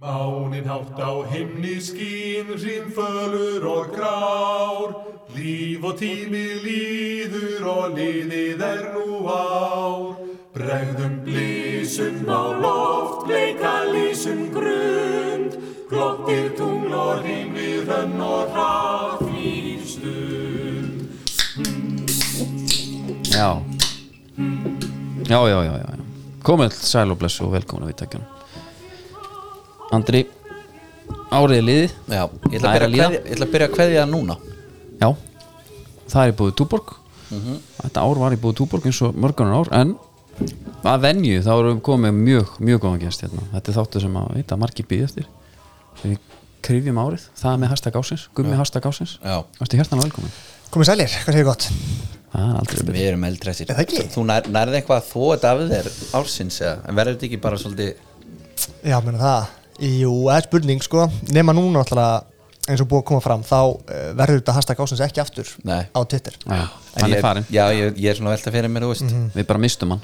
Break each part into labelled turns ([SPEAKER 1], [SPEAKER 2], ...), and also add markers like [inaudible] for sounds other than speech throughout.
[SPEAKER 1] Máninn hátt á himni skín, hrýmfölur og grár, líf og tími líður og liðið er nú ár. Bregðum blísum á loft, bleika lísum grund, glóttir tungl og himnir hönn og ráð í stund.
[SPEAKER 2] Já Já, já, já, já, já. Komið all sæl og blessu og velkomin að viðtækjunum Andri Árið er liðið
[SPEAKER 3] Já, ég ætla
[SPEAKER 2] Það er
[SPEAKER 3] að byrja
[SPEAKER 2] að
[SPEAKER 3] að
[SPEAKER 2] líða.
[SPEAKER 3] kveðja- ég ætla að byrja að kveðja núna
[SPEAKER 2] Já, það er í búið Túborg
[SPEAKER 3] Mhm.
[SPEAKER 2] Þetta ár var í búið Túborg eins og mörgunar ár En að venju þá erum við komið með mjög, mjög góðan gæst hérna Þetta er þáttu sem að vita margir býð eftir Þegar við krifjum árið Það er með hashtag ásins, gummi hashtag ásins
[SPEAKER 3] Já.
[SPEAKER 2] Vastu hjartan velkomin
[SPEAKER 4] Komið sælir, hvað séu gott?
[SPEAKER 2] Það er aldrei
[SPEAKER 3] Við erum eldræsir
[SPEAKER 4] Er það ekki?
[SPEAKER 3] Þú nær, nærði eitthvað að þóa þetta af þér ársins eða En verður þetta ekki bara svolítið
[SPEAKER 4] Já, menna það Jú, það er spurning sko Nefna núna alltaf eins og búið að koma fram Þá uh, verður þetta hashtag ásins ekki aftur
[SPEAKER 3] Nei.
[SPEAKER 4] Á Twitter
[SPEAKER 2] Já,
[SPEAKER 3] En
[SPEAKER 2] hann
[SPEAKER 3] ég-
[SPEAKER 2] er Mhm. farin,
[SPEAKER 3] Já, ég, ég er svona að velta fyrir mér, þú veist
[SPEAKER 2] við bara mistum hann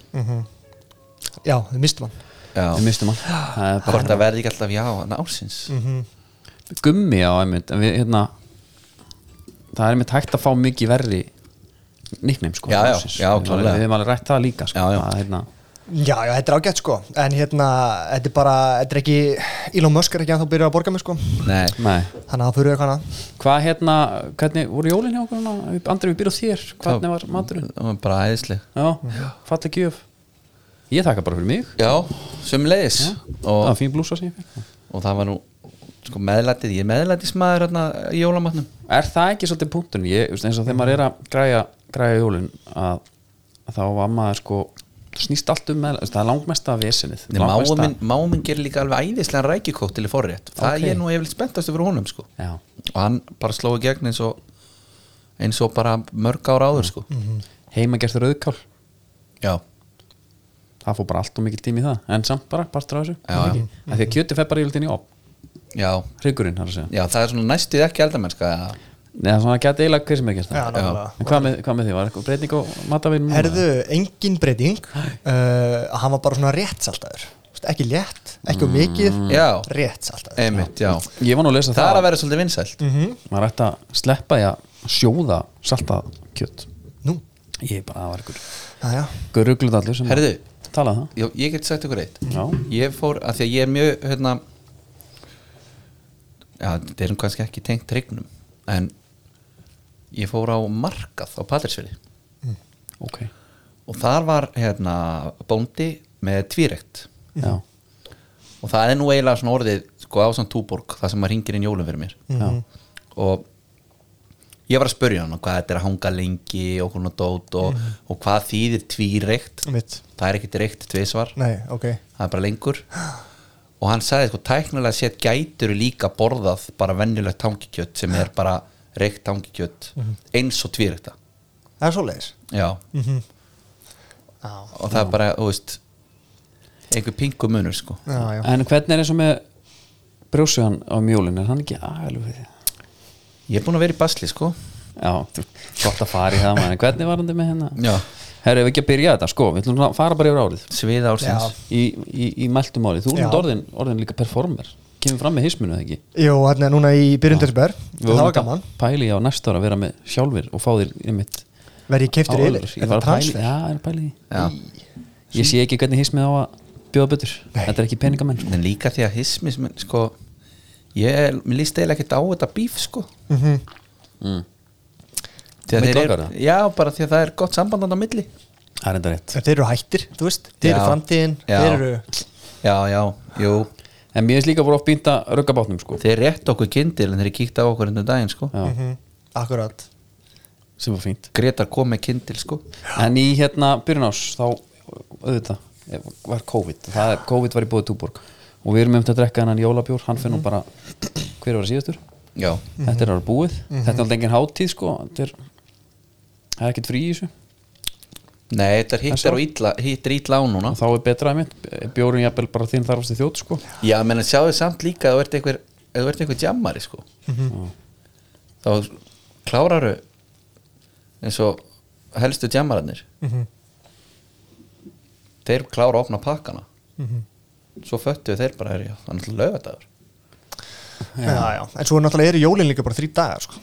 [SPEAKER 4] Já, þið mistum hann
[SPEAKER 2] Við
[SPEAKER 3] Já,
[SPEAKER 2] mistum hann Það er bara Mhm.
[SPEAKER 3] hvort það verði ekki alltaf já, en ársins
[SPEAKER 2] gummi á einmitt en við, hérna, það er einmitt hægt að fá mikið verri nickname sko
[SPEAKER 3] Já, já,
[SPEAKER 2] ársins.
[SPEAKER 3] já,
[SPEAKER 2] Við
[SPEAKER 3] klárlega.
[SPEAKER 2] við hefum alveg rætt það líka sko,
[SPEAKER 3] Já, já.
[SPEAKER 2] Að, hérna,
[SPEAKER 4] Já, já, þetta er ágætt sko En hérna, þetta er bara, þetta er ekki Elon Musk er ekki að þá byrja að borga mig sko
[SPEAKER 3] Nei,
[SPEAKER 2] nei,
[SPEAKER 4] Þannig að það fyrir eitthvað annað
[SPEAKER 2] hvað hérna hvernig voru jólin hjá okkur núna Við- Andri við byrjum á þér, hvernig var maturinn
[SPEAKER 3] það var bara æðisleg
[SPEAKER 2] já, falleg gjöf ég þakka bara fyrir mig
[SPEAKER 3] Já, sömulegis
[SPEAKER 2] það
[SPEAKER 3] og,
[SPEAKER 2] var fín blúsa sem ég fyrir
[SPEAKER 3] og það var nú sko, meðlætið, ég er meðlætismæður hérna í jólamatnum
[SPEAKER 2] er það ekki svolítið punktunum ég, þú veist, eins og þegar maður er að græja, græja jólin að, að þá var maður sko snýst allt um með, það er langmesta vesenið
[SPEAKER 3] Nei,
[SPEAKER 2] langmesta-
[SPEAKER 3] Máminn mámin gerir líka alveg æðislegan rækikótt til í forrétt Það
[SPEAKER 2] Ok.
[SPEAKER 3] okay. er nú yfirleitt spenntastu fyrir honum sko.
[SPEAKER 2] já
[SPEAKER 3] og hann bara sló í gegn eins og eins og bara mörg ára áður sko.
[SPEAKER 2] heimagert rauðkál
[SPEAKER 3] Já,
[SPEAKER 2] það fór bara allt og mikið tími í það en samt bara partur á þessu
[SPEAKER 3] Já, já.
[SPEAKER 2] Af því að kjöti fer bara yfirleitt inn í op
[SPEAKER 3] já,
[SPEAKER 2] hryggurinn þar að segja
[SPEAKER 3] já, það er svona næstuð ekki eldamennska eða?
[SPEAKER 2] neða svona gæti eiginlega hver sem er gæst
[SPEAKER 4] Já,
[SPEAKER 2] það
[SPEAKER 4] nákvæmlega.
[SPEAKER 2] en hvað með, hvað með því var eitthvað breyting á matavinnum
[SPEAKER 4] Herðu, engin breyting uh, Hann var bara svona rétt saltaður Ekki létt, ekki mm. mikið
[SPEAKER 3] Já.
[SPEAKER 4] Rétt saltaður
[SPEAKER 3] Einmitt, já
[SPEAKER 2] ég var nú að lesa
[SPEAKER 3] Það Mhm. er
[SPEAKER 2] það
[SPEAKER 3] að vera svolítið vinsælt
[SPEAKER 4] Mhm.
[SPEAKER 2] maður ætti að sleppa því að sjóða saltað kjött
[SPEAKER 4] Nú,
[SPEAKER 2] ég bara það var einhver
[SPEAKER 4] já, já
[SPEAKER 2] einhver ruggluðallur sem
[SPEAKER 3] Herðu,
[SPEAKER 2] talað það
[SPEAKER 3] ég, ég get sagt ykkur eitt
[SPEAKER 2] já
[SPEAKER 3] Ég fór, af því að ég er mjög hérna, Já, þetta er nú kannski ekki tengt tryggnum En ég fór á markað á Patrísfili
[SPEAKER 2] ok
[SPEAKER 3] Og þar var hérna bóndi með tvírekt
[SPEAKER 4] Mhm.
[SPEAKER 2] já
[SPEAKER 3] og það er nú eiginlega svona orðið sko ásand túborg, það sem maður ringir inn jólum fyrir mér
[SPEAKER 4] Mhm.
[SPEAKER 2] já
[SPEAKER 3] og ég var að spurja hann hvað þetta er að hanga lengi og hvernig dót og,
[SPEAKER 4] Mhm.
[SPEAKER 3] og hvað þýðir tvíreykt
[SPEAKER 4] Mitt,
[SPEAKER 3] það er ekkit reykt tvisvar,
[SPEAKER 4] nei, ok
[SPEAKER 3] það er bara lengur og hann sagði sko tæknilega sétt gætur líka borðað bara venjulegt tangikjött sem er bara reykt tangikjött
[SPEAKER 4] Mhm.
[SPEAKER 3] eins og tvíreykta
[SPEAKER 4] Það er svoleiðis
[SPEAKER 3] já,
[SPEAKER 4] Mhm. Já,
[SPEAKER 3] og það er bara, þú veist einhver pingu munur sko
[SPEAKER 4] já, já
[SPEAKER 2] en hvernig er eins og með brjósugan á mjólin er hann ekki alveg
[SPEAKER 3] ég er búin að vera í basli sko
[SPEAKER 2] Já, þú- gott að fara í það maður En Hvernig var hann með hennar?
[SPEAKER 3] Já.
[SPEAKER 2] Herru, ef við ekki að byrja þetta, sko, við ætlum að fara bara yfir árið
[SPEAKER 3] sviða ársins
[SPEAKER 4] Já.
[SPEAKER 2] Í, í, í mæltum árið, þú
[SPEAKER 4] Já.
[SPEAKER 2] erum orðin, orðin líka performer Kemur fram með hisminu, eða ekki?
[SPEAKER 4] Jú, hérna núna í byrjundarsberg
[SPEAKER 2] Við
[SPEAKER 4] Það
[SPEAKER 2] vorum
[SPEAKER 4] var gaman
[SPEAKER 2] að Pæli á næsta ára að vera með sjálfur og fá þér einmitt
[SPEAKER 4] Verði ég keiftur
[SPEAKER 2] álfur.
[SPEAKER 4] yfir
[SPEAKER 2] Ég
[SPEAKER 4] Þetta
[SPEAKER 2] var
[SPEAKER 4] er
[SPEAKER 2] að pæli,
[SPEAKER 4] transfer
[SPEAKER 2] já, er að pæli í því.
[SPEAKER 3] Já.
[SPEAKER 2] Ég sé ekki hvernig hismið á að bjóða betur
[SPEAKER 4] Nei.
[SPEAKER 2] Þetta er ekki peningamenn, sko
[SPEAKER 3] en líka því að hismi sem, sko, ég, mér líst eiginlega ekkert á þetta bíf sko mm
[SPEAKER 4] Mhm.
[SPEAKER 3] -hmm.
[SPEAKER 2] Mitt
[SPEAKER 3] mm.
[SPEAKER 2] okkar, eða?
[SPEAKER 3] já, bara því að það er gott samband á milli
[SPEAKER 2] Það er enda rétt
[SPEAKER 4] Þeir eru hættir, þú veist Þeir eru
[SPEAKER 3] Já.
[SPEAKER 4] framtíðin
[SPEAKER 3] Já.
[SPEAKER 4] Þeir eru
[SPEAKER 3] já, já, jú,
[SPEAKER 2] En mér finnst líka voru oft býnda ruggabátnum, sko
[SPEAKER 3] þeir rétt okkur kindil en þeir kíkta á okkur endur daginn sko
[SPEAKER 2] Já,
[SPEAKER 4] Mhm, Akkurat
[SPEAKER 2] sem var fínt
[SPEAKER 3] Gretar kom með kindil sko
[SPEAKER 2] En í hérna byrjun ás þá auðvitað eh, var COVID það, er- COVID var í búið túborg og við erum um þetta að drekka hennan jólabjór hann
[SPEAKER 4] Mhm.
[SPEAKER 2] finnum bara hver var síðastur
[SPEAKER 3] já,
[SPEAKER 2] þetta er alveg búið,
[SPEAKER 4] Mhm.
[SPEAKER 2] þetta er alltaf engin hátíð sko þetta er, það er ekkert frí í þessu
[SPEAKER 3] nei, þetta er
[SPEAKER 2] Þessi
[SPEAKER 3] hittir og illa hittir illa á núna
[SPEAKER 2] og þá er betra að mitt, bjórin jafnvel bara þín þarfasti þjótt sko
[SPEAKER 3] já, menn að sjáðu samt líka að þú ert einhver að þú ert einhver jammari sko
[SPEAKER 4] Mhm.
[SPEAKER 3] þá kláraru eins og helstu jammararnir
[SPEAKER 4] Mhm.
[SPEAKER 3] þeir klára að opna pakkana svo föttu þeir bara er ég þannig að löga dagur
[SPEAKER 4] já, já. en svo náttúrulega eru jólin líka bara þrý dagar sko.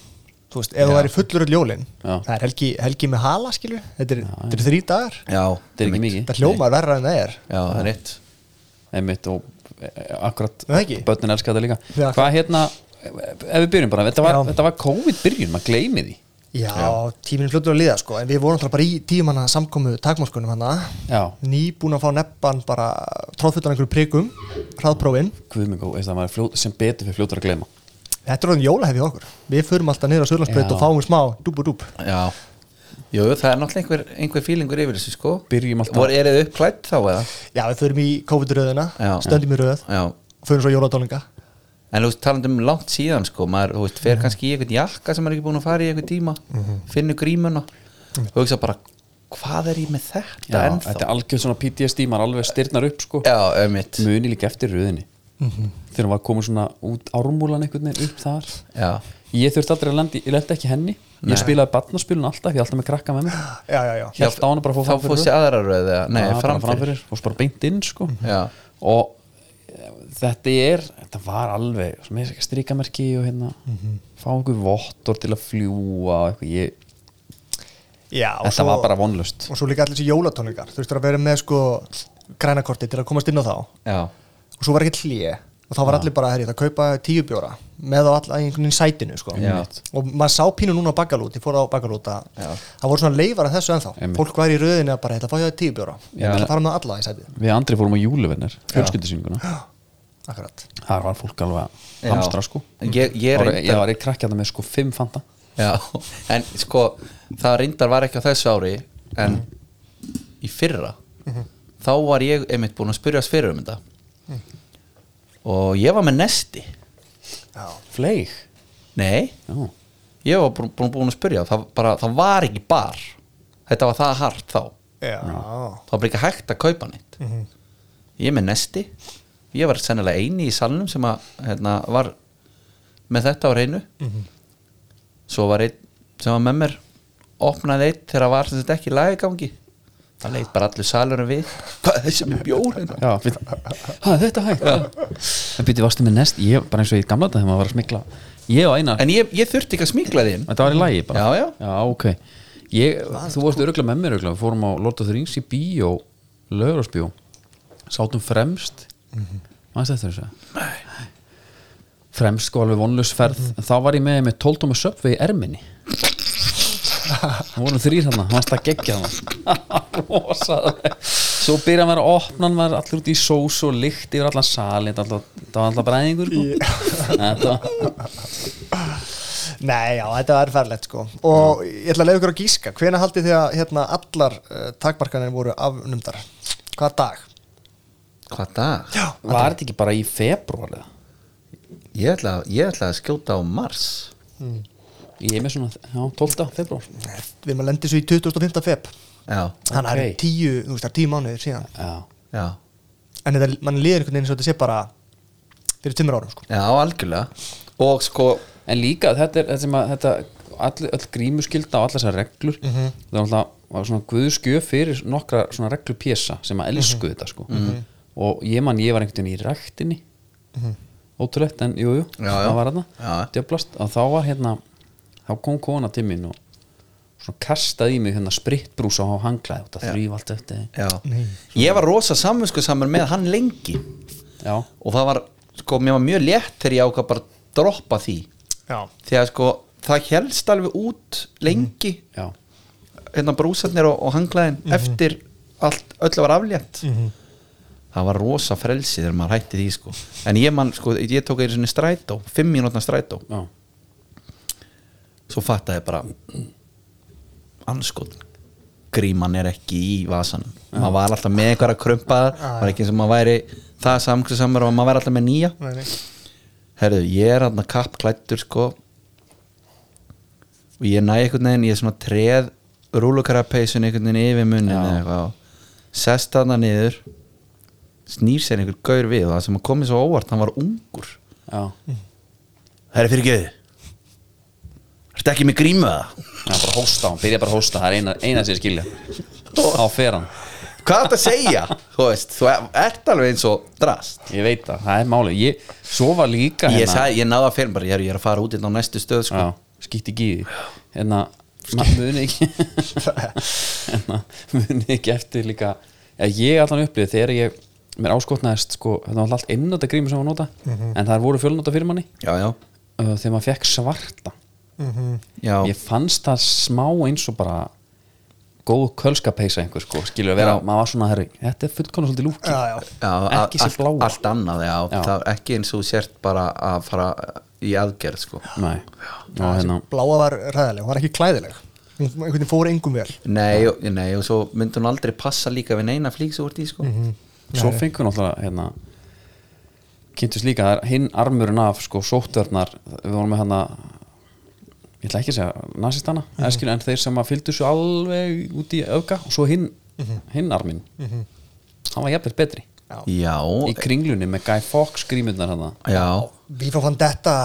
[SPEAKER 4] þú veist, ef þú væri fullur öll jólin
[SPEAKER 2] Já.
[SPEAKER 4] það er helgi, helgi með hala skilju þetta er, þetta er þrý dagar
[SPEAKER 3] já,
[SPEAKER 2] þetta er ekki mikið
[SPEAKER 4] þetta hljómar verra en það er
[SPEAKER 3] já, það er rétt
[SPEAKER 2] einmitt og e, akkurat
[SPEAKER 4] Nei, ekki.
[SPEAKER 2] börnin elska þetta líka
[SPEAKER 4] Já.
[SPEAKER 2] hvað hérna, ef við byrjum bara þetta var,
[SPEAKER 4] Já.
[SPEAKER 2] þetta var COVID byrjun, maður gleymi því
[SPEAKER 4] já, tíminn fljóttur að líða sko. en við vorum náttúrulega bara í tímanna samkomu takmórskunum hann
[SPEAKER 2] já,
[SPEAKER 4] nýbúin að fá neppan bara tróðfullan einhverjum prikum hraðprófin
[SPEAKER 2] guðmengu, veist það maður er fljót, sem betur fyrir fljótur að gleyma
[SPEAKER 4] þetta er orðin jólahefið hjá okkur við förum alltaf niður á Söðlandsbreyt
[SPEAKER 2] Já.
[SPEAKER 4] og fáum smá dúb og dúb
[SPEAKER 3] já, jú, það er náttúrulega einhver, einhver fílingur yfir þessu sko
[SPEAKER 2] Byrjum alltaf-
[SPEAKER 3] Voru- eru þið uppklætt þá eða
[SPEAKER 4] já, við förum í COVID-röðina
[SPEAKER 3] Já.
[SPEAKER 4] stöndum í röð
[SPEAKER 3] já,
[SPEAKER 4] förum svo jóladólinga
[SPEAKER 3] En þú veist, talandi um langt síðan sko, maður, þú veist, fer
[SPEAKER 2] Mhm.
[SPEAKER 3] kannski í eitthvað jakka sem maður er ekki búin að fara í eitthvað tíma, finnur grímuna og hugsa bara, hvað er ég með þetta
[SPEAKER 2] já,
[SPEAKER 3] ennþá?
[SPEAKER 2] þetta er algjörn svona PTSD, maður alveg styrnar upp sko
[SPEAKER 3] Já, ömmitt
[SPEAKER 2] muni líka eftir röðinni þegar maður komið svona út ármúlan einhvern veginn upp þar
[SPEAKER 3] Já,
[SPEAKER 2] ég þurfti aldrei að lendi, ég lendi ekki henni ég spilaði barnaspilun alltaf, ég er alltaf með krakka með mér
[SPEAKER 4] já, já, já,
[SPEAKER 2] Hélt á hana bara að fá
[SPEAKER 3] þá
[SPEAKER 2] framfyrir
[SPEAKER 3] fórst ég aðra röð eða, nei,
[SPEAKER 2] Já, bara
[SPEAKER 3] framfyrir,
[SPEAKER 2] framfyrir og bara beint inn sko
[SPEAKER 3] Já.
[SPEAKER 2] og eh, þetta er þetta var alveg, sem er ekki strikamerki og hérna, fá einhver vottor til að fljúa og eitthvað ég,
[SPEAKER 4] já og
[SPEAKER 2] þetta var bara vonlust
[SPEAKER 4] og svo líka allir þessi jólatónlingar þú veist að vera með sko grænakorti til að komast inn á þá og
[SPEAKER 3] Já,
[SPEAKER 4] svo var ekki hlýi og þá var allir bara, herri, það kaupa tíu bjóra með á alla í einhvern veginn sætinu sko.
[SPEAKER 3] Já.
[SPEAKER 4] og maður sá pínu núna á bakalút ég fór á bakalút að það voru svona leifar af þessu ennþá
[SPEAKER 2] Einmitt.
[SPEAKER 4] fólk væri í röðinu að bara, þetta fá ég að tíu bjóra
[SPEAKER 2] Já.
[SPEAKER 4] það fara með alla í sætið
[SPEAKER 2] við andri fórum á júluvenner, fjölskyldisýninguna
[SPEAKER 4] akkurat
[SPEAKER 2] þar var fólk alveg
[SPEAKER 3] Já.
[SPEAKER 2] hamstra sko
[SPEAKER 3] En ég- ég
[SPEAKER 2] Það var-
[SPEAKER 3] reyndar-
[SPEAKER 2] ég var einn krakkjana með sko fimm fanta
[SPEAKER 3] já, en sko það reyndar var ekki á þessu ári en í fyrra þá var ég einmitt búin að spyrjast fyrir um þetta og ég var með nesti
[SPEAKER 4] já.
[SPEAKER 2] fleig
[SPEAKER 3] Nei,
[SPEAKER 2] já,
[SPEAKER 3] ég var búin, búin, búin að spyrja það, bara, það var ekki bar þetta var það hart þá
[SPEAKER 4] Já. Mhm.
[SPEAKER 3] það var bara ekki hægt að kaupa neitt ég er með nesti ég var sennilega eini í salnum sem að hérna, var með þetta á reynu svo var einn sem var með mér opnaði einn þegar það var sem þetta ekki lægigangi það leit bara allur salurum við hvað er þessi með bjór hérna?
[SPEAKER 2] já fyrir, ha, þetta er hægt en byrju varstu með nest, ég bara eins og ég gamla þetta þegar maður var að smikla ég og Einar
[SPEAKER 3] en ég, ég þurfti ekki að smíkla þín
[SPEAKER 2] Þetta var í lagi bara
[SPEAKER 3] Já, sko- já.
[SPEAKER 2] ok ég, Þú varst öruglega með mér öruglega Við fórum á Lord of the Rings í bíó Lögrásbíó Sátum fremst mm
[SPEAKER 3] Mhm.
[SPEAKER 2] -hmm. þessu? Fremst sko alveg vonlaus ferð
[SPEAKER 3] Mhm.
[SPEAKER 2] mm Þá var ég með með 12 tóma söpvi í erminni Það vorum þrýr hann Hann stakk ekki hann [laughs] Svo byrja maður að opna hann var allir út í sós og lykt yfir allan salin þetta var alltaf- þetta var alltaf bræðingur sko. Þetta var
[SPEAKER 4] Nei, já, þetta er ferlegt sko og ég ætla að leiða ykkur að gíska hvena haldið þið að hérna, allar uh, takmarkanir voru afnumdar hvað dag?
[SPEAKER 3] hvað það?
[SPEAKER 4] Já,
[SPEAKER 2] Var þetta ekki bara í februar eða?
[SPEAKER 3] Ég, ætla, ég ætla að skjóta á mars
[SPEAKER 2] Ég er með svona, já, 12. februar
[SPEAKER 4] við maður lendið svo í 2005. feb
[SPEAKER 3] já,
[SPEAKER 4] þannig að það
[SPEAKER 2] Ok.
[SPEAKER 4] eru tíu, þú veist það er tíu mánuðir síðan
[SPEAKER 2] Já,
[SPEAKER 3] já
[SPEAKER 4] en þetta, mann líður einhvern veginn svo þetta sé bara fyrir tveimur árum sko
[SPEAKER 3] Já, algjörlega Og sko,
[SPEAKER 2] en líka þetta er þetta sem að þetta, all, öll grímuskylda og allar þessar reglur mm -hmm. það var alltaf, var svona guðskjöf fyrir nokkra svona reglupjesa sem að elsku þetta sko og ég man, ég var einhvern veginn í ræktinni Mhm. ótrúlegt, en jú, jú,
[SPEAKER 3] Já, já.
[SPEAKER 2] það var
[SPEAKER 3] Já.
[SPEAKER 2] þarna djöflast, og þá var hérna þá kom kona til mín og svona kastaði í mig hérna spritbrúsa á hanglaði og það þrýf allt eftir því.
[SPEAKER 3] já Ég var rosa samvinsku saman með hann lengi
[SPEAKER 2] já,
[SPEAKER 3] Og það var, sko, mér var mjög létt Þegar ég ákvað bara að droppa því
[SPEAKER 4] Já,
[SPEAKER 3] Þegar sko, það helst alveg út lengi
[SPEAKER 2] já,
[SPEAKER 3] Hérna brúsarnir og, og hanglaðin Eftir allt, öllu var aflétt
[SPEAKER 4] Mm.
[SPEAKER 3] Það var rosa frelsi Þegar maður hætti því, sko En ég man, sko, ég tók einu sinni strætó Fimm mínútna strætó
[SPEAKER 2] já
[SPEAKER 3] Svo fattaði ég bara Anskot Gríman er ekki í vasanum Maður var alltaf með einhverja krumpaðar Var ekki eins og maður væri það samkvæmsamur Og maður væri alltaf með nýja
[SPEAKER 4] nei, nei
[SPEAKER 3] Herðu, ég er hann kappklættur sko Og ég næ einhvern veginn Ég er svona treð Rúlukarapeysun einhvern veginn yfir munnin eða eitthvað og Sest hann niður Snýr sér einhver gaur við Og það sem komið svo óvart, hann var ungur
[SPEAKER 2] já,
[SPEAKER 3] Herðu fyrir geðu Ertu ekki með grímu það?
[SPEAKER 2] já bara hósta, hann byrja bara að hósta það er eina, eina sér skilja þá fer hann
[SPEAKER 3] hvað þetta segja þú veist, þú ert alveg eins og drast
[SPEAKER 2] Ég veit það, það er málið Ég, svo var líka
[SPEAKER 3] ég,
[SPEAKER 2] hérna
[SPEAKER 3] sagði, ég náði að fyrir bara, ég er, ég er að fara út inn á næstu stöð sko.
[SPEAKER 2] já, Skýtti ekki í því Hérna, maður muni ekki Hérna, muni ekki eftir líka eða Ég allan upplýði þegar ég Mér áskotnaðist, sko, þetta var alltaf einnota grími sem var nota
[SPEAKER 3] Mhm.
[SPEAKER 2] En það voru fjölnota fyrir manni
[SPEAKER 3] já, já,
[SPEAKER 2] uh, Þegar maður fekk svarta
[SPEAKER 3] já,
[SPEAKER 2] Ég fannst það smá eins og bara Góð kölskapeysa einhver, sko Skilur að vera,
[SPEAKER 3] Já.
[SPEAKER 2] maður var svona herri Þetta er fullkona svolítið lúki
[SPEAKER 4] já, já.
[SPEAKER 3] já
[SPEAKER 2] Ekki sem
[SPEAKER 3] allt-
[SPEAKER 2] bláa
[SPEAKER 3] allt annað, já,
[SPEAKER 2] Já.
[SPEAKER 3] Það, er ekki eins og þú sért bara að fara í aðgerð sko.
[SPEAKER 2] Nei, og hérna
[SPEAKER 4] bláa var ræðileg, hún var ekki klæðileg hún einhvern veginn fór engum vel
[SPEAKER 3] nei, og, nei, og svo myndi hún aldrei passa líka við neina flík sem þú ert í sko.
[SPEAKER 2] svo fengur náttúrulega hérna kynntist líka það er hinn armurinn af sko sóttverðnar við vorum með hana ég ætla ekki að segja nazistana mm en þeir sem að fylgdu svo alveg út í öfga og svo hinn hinn arminn hann var jafnveld betri
[SPEAKER 3] já, e-
[SPEAKER 2] í kringlunni með Guy Fawkes grímurnar hana
[SPEAKER 3] já
[SPEAKER 4] Viva Vendetta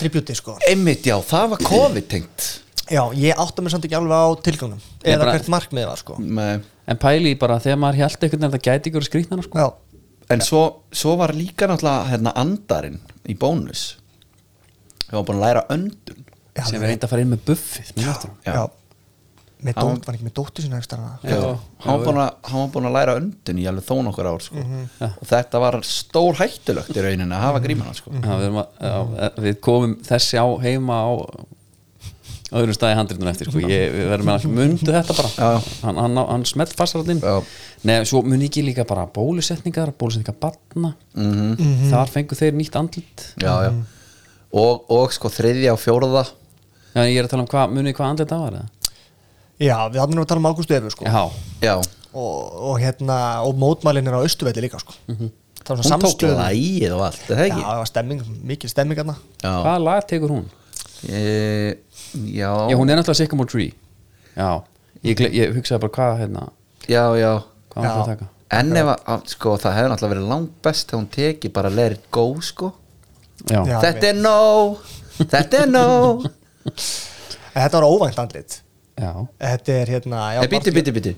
[SPEAKER 4] tributi sko
[SPEAKER 3] einmitt, já, það var COVID tengt
[SPEAKER 4] já, ég átta mig samt ekki alveg á tilgangnum eða
[SPEAKER 2] bara-
[SPEAKER 4] hvert markmið var sko
[SPEAKER 3] nei
[SPEAKER 2] en pæli í bara þegar maður held einhvern veginn að það gæti ykkur skrýtnana sko
[SPEAKER 4] já,
[SPEAKER 3] En svo, svo var líka náttúrulega hérna, andarinn í bónus Við varum búin að læra öndun
[SPEAKER 4] já,
[SPEAKER 2] sem er reynd að fara inn með buffið mér finnst það.
[SPEAKER 3] Já.
[SPEAKER 4] já. með dótt, var ekki með dóttu sína ekki starfa
[SPEAKER 2] Já.
[SPEAKER 3] Hann var búin að- hann var búin að læra öndun í alveg þó nokkur ár sko. Og þetta var stór hættulögt í rauninni að hafa grímana sko.
[SPEAKER 2] Já, við, erum að, já, við komum þessi á heima á öðrum staði handritunum eftir sko. ég, við verðum að mundu þetta bara
[SPEAKER 3] Já.
[SPEAKER 2] hann, hann, hann smelt fastar allir
[SPEAKER 3] Já.
[SPEAKER 2] Nei, svo mun ekki líka bara bólusetningar bólusetningar batna
[SPEAKER 3] Mhm.
[SPEAKER 2] -hmm. þar fengu þeir nýtt andlit
[SPEAKER 3] Já, já Og, og sko þriðja og fjórða
[SPEAKER 2] já, ég er að tala um hvað, munið hvað andlit það var eða?
[SPEAKER 4] já, við hafum nú að tala um Ágústu Efu sko
[SPEAKER 2] já,
[SPEAKER 3] Já,
[SPEAKER 4] og, og hérna, og mótmælin er á Östuvelli líka sko það var
[SPEAKER 3] hún tók
[SPEAKER 4] svona samstöð
[SPEAKER 3] lægið og allt, er það
[SPEAKER 4] já,
[SPEAKER 3] ekki?
[SPEAKER 4] það var stemming, mikil stemming hérna
[SPEAKER 3] Já,
[SPEAKER 2] hvað lag tekur hún?
[SPEAKER 3] e, já.
[SPEAKER 2] já, hún er náttúrulega Sycamore Tree já, ég, gle- ég hugsaði bara hvað hérna,
[SPEAKER 3] já, já
[SPEAKER 2] hvað hann
[SPEAKER 4] Já.
[SPEAKER 2] fyrir að taka
[SPEAKER 3] En ef að, að- sko, það hefði náttúrulega verið langt best þegar hún teki bara let it go, sko
[SPEAKER 2] já,
[SPEAKER 4] Já.
[SPEAKER 3] Þetta er nóg, þetta er nóg
[SPEAKER 4] en þetta var óvænt andlit
[SPEAKER 2] já.
[SPEAKER 4] þetta er hérna já,
[SPEAKER 3] Nei, bíti, bíti, bíti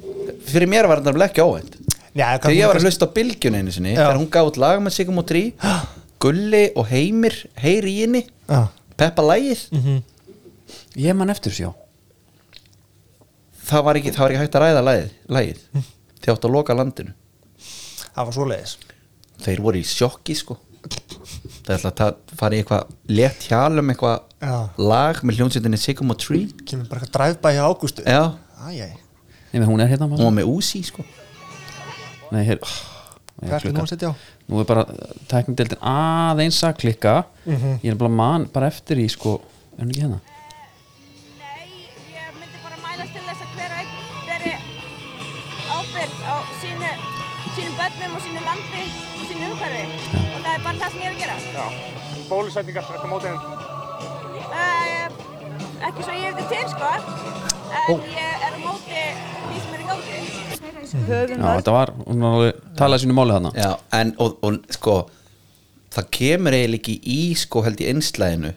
[SPEAKER 3] Fyrir mér var þetta nefnilega ekki óvænt
[SPEAKER 4] já,
[SPEAKER 3] Þegar ég var að hlusta á bylgjun einu sinni
[SPEAKER 4] Já.
[SPEAKER 3] Þegar hún gaf út lag með Sigum og Trí [gasps] Gulli og Heimir, heyri í henni
[SPEAKER 4] Já. Mhm.
[SPEAKER 3] Peppa lægið
[SPEAKER 2] ég man eftir þessu, já
[SPEAKER 3] það, var ekki, það var ekki hægt að ræða lagið, lagið. Þegar áttu að loka landinu
[SPEAKER 4] það var svoleiðis
[SPEAKER 3] Þeir voru í sjokki, sko Það er alltaf að fara í eitthvað létt hjal um
[SPEAKER 4] Já.
[SPEAKER 3] eitthvað lag með hljónsveitinni Sigum og Trí
[SPEAKER 4] kemur bara eitthvað dræfbæ hjá Ágústu
[SPEAKER 3] Já,
[SPEAKER 4] Æjæj,
[SPEAKER 2] Nei, menn hún er hérna maður.
[SPEAKER 3] hún var með úsi, sko
[SPEAKER 2] Nei, hér
[SPEAKER 4] Hvað ertu nú að setja á?
[SPEAKER 2] Nú er bara teknindildin aðeins að klikka Ég er bara mann bara eftir í sko Er hún ekki hérna?
[SPEAKER 5] Nei, ég myndi bara mælast til þess að hver og einn veri ábyrgð á sínu, sínum börnum og sínu landi og sínu umhverfi. Og það er bara það sem ég er að gera.
[SPEAKER 6] Já, bólusetningar eftir mótið þeim.
[SPEAKER 5] Uh, ekki svo ég hefði til, sko. En ég er á móti því sem er í gangi.
[SPEAKER 2] Já, þetta var, hún var alveg talaði sínu máli þarna
[SPEAKER 3] Já, en og, og sko það kemur eiginlega ekki í sko held í einslæðinu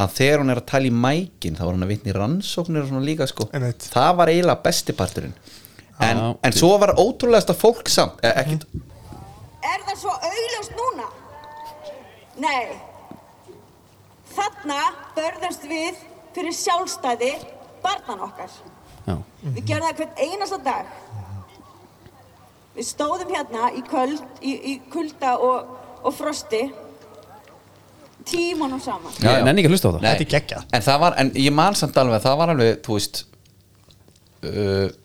[SPEAKER 3] að þegar hún er að tala í mækin þá var hún að vitna í rannsóknir og svona líka sko
[SPEAKER 4] Einmitt.
[SPEAKER 3] það var eiginlega besti parturinn en,
[SPEAKER 2] Já.
[SPEAKER 3] en svo var ótrúlegasta fólk samt eh, ekkit,
[SPEAKER 5] Er það svo augljóst núna? Nei. Þarna börðumst við fyrir sjálfstæði barnan okkar.
[SPEAKER 2] Já,
[SPEAKER 5] Við gerum það hvern einasta dag. Við stóðum hérna í, köld, í, í kulda og, og frosti tímanum saman.
[SPEAKER 2] já,
[SPEAKER 3] Já, já.
[SPEAKER 2] en enn ekki að hlusta á það
[SPEAKER 3] Nei.
[SPEAKER 4] Þetta er geggjað.
[SPEAKER 3] en það var, en ég man samt alveg að það var alveg, þú veist uh,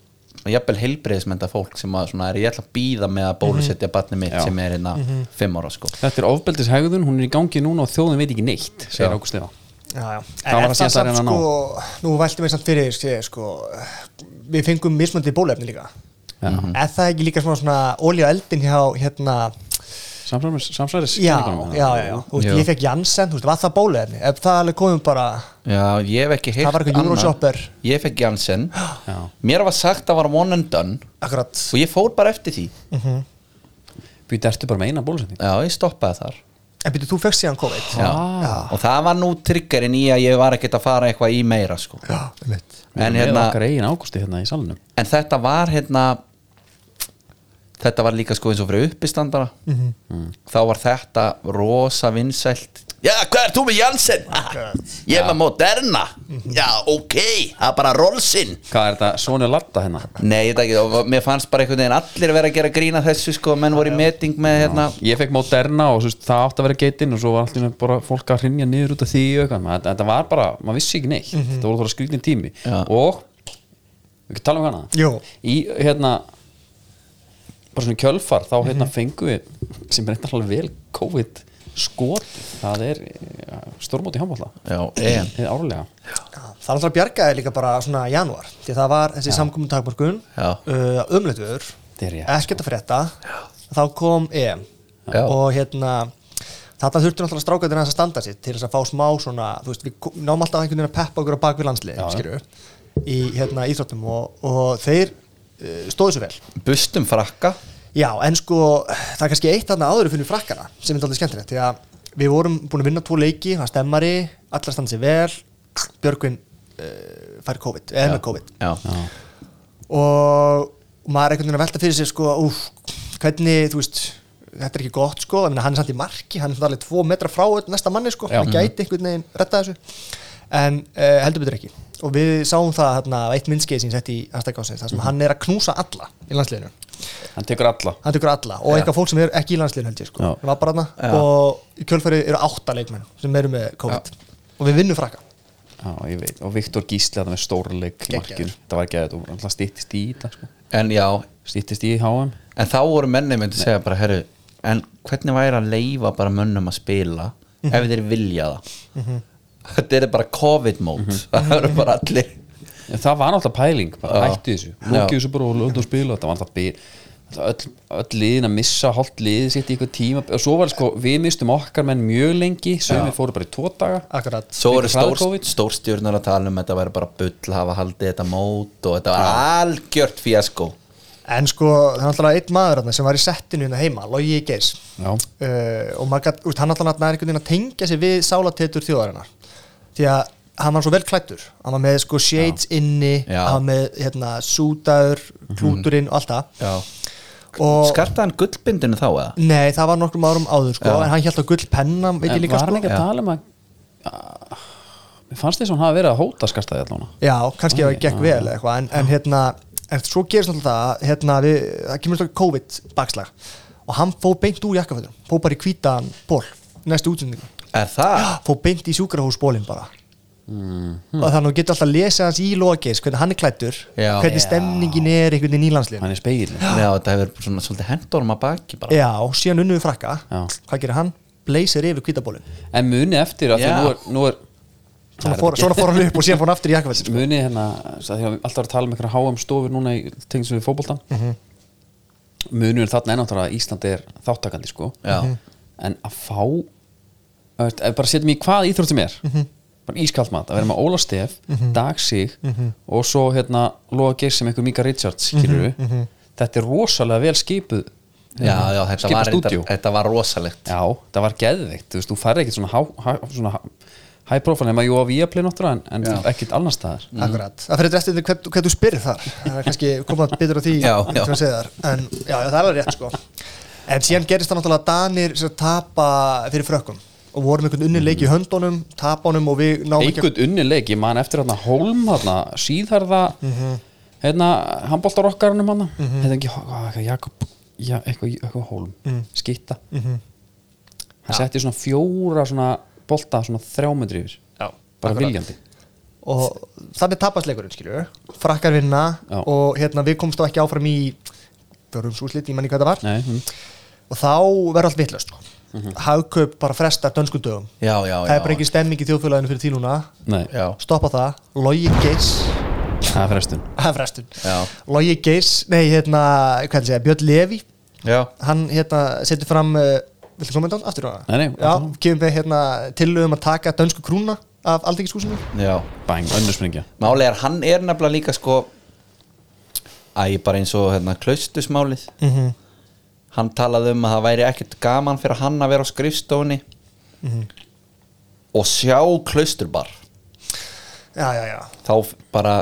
[SPEAKER 3] jafnvel heilbreiðismenda fólk sem að svona er ég ætla að býða með að
[SPEAKER 4] Mhm.
[SPEAKER 3] bólusetja barnið mitt
[SPEAKER 2] Já.
[SPEAKER 3] sem er hérna fimm ára sko
[SPEAKER 2] Þetta er ofbeldishægðun, hún er í gangi núna og þjóðin veit ekki neitt segir
[SPEAKER 3] Já.
[SPEAKER 2] Ágúst Eva
[SPEAKER 4] Já, já.
[SPEAKER 2] Það var það síðasta að reyna að ná.
[SPEAKER 4] sko, nú vælti mér samt fyrir þér, sko, við fengum mismöndi bólefni líka
[SPEAKER 2] Já.
[SPEAKER 4] er það ekki líka svona, svona olja á eldin hjá hérna,
[SPEAKER 2] Samsværis, samsværis
[SPEAKER 4] já,
[SPEAKER 2] hérna.
[SPEAKER 4] já, já, já. Þú veist,
[SPEAKER 3] Jú.
[SPEAKER 4] ég fekk Janssen, þú veist, var það bólefni ef það alveg komum bara
[SPEAKER 3] Já, ég hef ekki heyrt
[SPEAKER 4] Það var eitthvað Euroshopper.
[SPEAKER 3] Ég fekk
[SPEAKER 4] [gasps]
[SPEAKER 3] Janssen Mér var sagt að var one and done
[SPEAKER 4] akkurat,
[SPEAKER 3] Og ég fór bara eftir því
[SPEAKER 4] Mhm.
[SPEAKER 2] Býtti ertu bara með eina bólusetning
[SPEAKER 3] Já, ég stoppaði þar
[SPEAKER 4] En byrju, þú fegst síðan COVID
[SPEAKER 3] Já.
[SPEAKER 4] Já.
[SPEAKER 3] og það var nú triggerinn í að ég var ekkert að fara eitthvað í meira sko.
[SPEAKER 4] Já, einmitt
[SPEAKER 3] en,
[SPEAKER 2] Við erum
[SPEAKER 3] hérna,
[SPEAKER 2] með okkar eigin águsti hérna í salnum
[SPEAKER 3] en þetta var hérna þetta var líka sko eins og fyrir uppistandara
[SPEAKER 4] Mhm.
[SPEAKER 3] þá var þetta rosa vinsælt já hvað er þú með Janssen Ah, ég er með Moderna já ok, það er bara Rollsinn
[SPEAKER 2] Hvað er þetta, Sónu Latta hérna?
[SPEAKER 3] nei ég veit ekki, og mér fannst bara einhvern veginn allir vera að gera grína þessu sko, menn voru í meting með hérna
[SPEAKER 2] Ég fekk Moderna og svo, það átti að vera geitinn og svo var alltaf bara fólk að hrinja niður út af því og eitthvað, maður, þetta var bara, maður vissi ekki neitt þetta voru þóra skrýtin tími
[SPEAKER 3] Já.
[SPEAKER 2] og, við ekki tala um hana
[SPEAKER 4] Jú.
[SPEAKER 2] í hérna bara svona kjölfar, þá hérna fengu við sem er eitthvað vel COVID skot, það er ja, stórmóti handbólla,
[SPEAKER 3] já, en
[SPEAKER 2] eða árlega
[SPEAKER 4] Já, Það er náttúrulega bjargaði líka bara svona janúar því það var þessi samkominn takmörkun
[SPEAKER 3] Já.
[SPEAKER 4] uh, umleitviður,
[SPEAKER 2] Þetta er rétt,
[SPEAKER 4] ekkert að frétta þá kom EM
[SPEAKER 3] Já.
[SPEAKER 4] og hérna þetta þurfti náttúrulega strákæðina þess að standa sitt til þess að fá smá svona, þú veist, við kom- náum alltaf einhvern veginn að peppa okkur á bak við landslið, skilju í hérna íþróttum og, og þeir uh, stóðu svo vel
[SPEAKER 3] bustum frakka
[SPEAKER 4] Já, en sko, það er kannski eitt þarna áður að finna frakkana sem er alltaf skemmtilegt því að við vorum búin að vinna tvo leiki, það stemmari allar standa sér vel Björgvin uh, fær COVID, eða með COVID
[SPEAKER 3] já,
[SPEAKER 4] og maður er einhvern veginn að velta fyrir sér sko, úf, hvernig, þú veist þetta er ekki gott sko, þannig að hann er samt í marki hann er samt alveg tvo metra frá öll næsta manni sko
[SPEAKER 2] Já.
[SPEAKER 4] hann gæti einhvern veginn retta þessu en uh, heldur betur ekki og við sáum það hérna, á eitt myndskeið sem ég sett í hashtag-ásins, þar sem hann er að knúsa alla í landsliðinu
[SPEAKER 2] hann tekur alla
[SPEAKER 4] hann tekur alla og eitthvað fólk sem er ekki í landsliðinu held ég sko,
[SPEAKER 2] Já.
[SPEAKER 4] hann var bara
[SPEAKER 3] Já.
[SPEAKER 4] hana og í kjölfæri eru átta leikmenn sem eru með COVID og við vinnum frakka
[SPEAKER 2] Já, ég veit, og Viktor Gísli þetta með stórleik
[SPEAKER 4] Geggjaður.
[SPEAKER 2] markinu, það var ekki að þetta stýttist í þetta sko.
[SPEAKER 3] en já,
[SPEAKER 2] stýttist í HM
[SPEAKER 3] En þá voru menni myndi segja bara herru, en hvernig væri að leifa bara mönnum að spila ef þeir vilja það þetta er bara covid mode það eru bara allir
[SPEAKER 2] En það var náttúrulega pæling, bara
[SPEAKER 3] Já.
[SPEAKER 2] hætti þessu
[SPEAKER 3] Já.
[SPEAKER 2] lókið þessu bara og lönd og spila þetta var náttúrulega byr öll, öll liðin að missa hálft liðið sitt í eitthvað tíma og svo var sko, við mistum okkar menn mjög lengi sem við fóru bara í tvo daga
[SPEAKER 4] akkurat
[SPEAKER 3] svo
[SPEAKER 2] Fengu
[SPEAKER 3] eru stór,
[SPEAKER 2] hraðkófið.
[SPEAKER 3] stórstjórnar að tala um þetta væri bara bull hafa haldið þetta mót og þetta var algjört fíasko
[SPEAKER 4] en sko það er alltaf einn maður hana, sem var í settinu hérna heima, Logi Geirs
[SPEAKER 2] Já.
[SPEAKER 4] uh, og maður gat, úst, hann alltaf er einhvern veginn að tengja sig við sálatetur þjóðarinnar því að hann var svo vel klættur hann var með sko shades inni
[SPEAKER 3] Já.
[SPEAKER 4] hann var með hérna sútaður
[SPEAKER 2] Mhm.
[SPEAKER 4] klúturinn og allt það og
[SPEAKER 3] skartaðan gullbindinu þá eða?
[SPEAKER 4] nei það var nokkrum árum áður sko en hann hjælt á gull penna veit ég
[SPEAKER 2] en
[SPEAKER 4] líka
[SPEAKER 2] var hann
[SPEAKER 4] sko
[SPEAKER 2] ekki að tala um að mér fannst þess að hann hafi verið að hóta skarstaði allan
[SPEAKER 4] Já, kannski ef það gekk vel eða eitthvað en, en hérna, en svo gerist náttúrulega það að, hérna, við, það kemur náttúrulega COVID bakslag og hann fó beint úr jakkafötum fó bara í hvítan ból næstu útsendingu,
[SPEAKER 3] er það?
[SPEAKER 4] fó beint í sjúkrahúsbólin bara og þannig að þú getur alltaf að lesa hans í logis hvernig hann er klættur,
[SPEAKER 3] Já.
[SPEAKER 4] hvernig stemningin er einhvern veginn í landslið
[SPEAKER 2] hann er speil
[SPEAKER 3] Já, þetta hefur verið svona svolítið hendorm að baki bara
[SPEAKER 4] Já, og síðan unnu við frakka
[SPEAKER 2] Já.
[SPEAKER 4] hvað gerir hann? Blazer yfir hvítabólin
[SPEAKER 2] en muni eftir að
[SPEAKER 3] Já.
[SPEAKER 2] því nú er, nú er
[SPEAKER 4] svona fór, svona fór hann upp og síðan fór hann aftur í jakkafötum sko.
[SPEAKER 2] muni hérna það því að við alltaf er að tala um einhverja HM stofur núna í tengsum við fótboltan mm -hmm. munur þarna er náttúrulega að Ísland er þáttakandi sko
[SPEAKER 3] Já. Mhm.
[SPEAKER 2] en að fá að veist, ef bara setjum í hvað íþrótt sem er bara ískalt mat, að vera með Óla Stef Dagsig og svo hérna Lóa Geirs sem einhver Mika Richards skilur þetta er rosalega vel skipuð
[SPEAKER 3] já, já þetta, var,
[SPEAKER 2] stúdíu
[SPEAKER 3] þetta, þetta var rosalegt
[SPEAKER 2] Já, það var geðveikt, þú veist, þú færði ekkert svona, há, há, svona há- high profile nema jú á Viaplay náttúrulega en, en ekkert annars staðar
[SPEAKER 3] Mhm.
[SPEAKER 4] Akkurat, það fyrir eftir því hvern, hvern þú spyrir þar það er kannski komað betur á því
[SPEAKER 3] Já, já.
[SPEAKER 4] til að segja þar. en já, já, það er alveg rétt sko en síðan gerist það náttúrulega að Danir sem tapa fyrir frökkum og vorum einhvern unni
[SPEAKER 3] Mhm.
[SPEAKER 4] leik í höndunum tapunum og við náum ekki
[SPEAKER 2] einhvern unni leik, ég man eftir hérna Holm, hérna, síðharða
[SPEAKER 4] Mhm.
[SPEAKER 2] hérna, handbóltarokkarunum hérna, hérna ekki, hvað, eitthvað, Jakob ja, eitthvað, eitthvað Holm,
[SPEAKER 4] Mhm.
[SPEAKER 2] skýtta hann setti svona fjóra svona bolta, svona þrjámyndri yfir,
[SPEAKER 4] Já,
[SPEAKER 2] bara
[SPEAKER 4] akkurat.
[SPEAKER 2] viljandi
[SPEAKER 4] og þannig tapast leikurinn skilur frakkar vinna
[SPEAKER 2] Já.
[SPEAKER 4] og hérna við komst þá ekki áfram í fjörumsúslit, ég manni hvað það var
[SPEAKER 2] Nei, mm.
[SPEAKER 4] og þá verður allt vitlust sko. hagkaup bara fresta dönsku dögum
[SPEAKER 3] já, Mhm. já,
[SPEAKER 4] það er bara
[SPEAKER 3] já.
[SPEAKER 4] ekki stemming í þjóðfélaginu fyrir því núna
[SPEAKER 2] Nei.
[SPEAKER 3] já,
[SPEAKER 4] stoppa það, logi geiss
[SPEAKER 2] það er frestun
[SPEAKER 4] [laughs] Það er frestun
[SPEAKER 3] Já.
[SPEAKER 4] Logi Geirs, nei hérna hvað segja, Björn Levi
[SPEAKER 3] já.
[SPEAKER 4] hann hérna setur fram uh, viltu kommenta á hann aftur á það?
[SPEAKER 2] Nei, nei,
[SPEAKER 4] Já,
[SPEAKER 2] áfram.
[SPEAKER 4] kemur við hérna tillögum að taka dönsku krúna af aldingiskúsinu
[SPEAKER 3] já.
[SPEAKER 2] bang, önnursmringja
[SPEAKER 3] Málið er, hann er nefnilega líka sko Æ, bara eins og hérna, klaustusmálið
[SPEAKER 4] mm -hmm.
[SPEAKER 3] Hann talaði um að það væri ekkert gaman fyrir hann að vera á skrifstóni og sjá klausturbar
[SPEAKER 4] já, já, já,
[SPEAKER 3] þá f- bara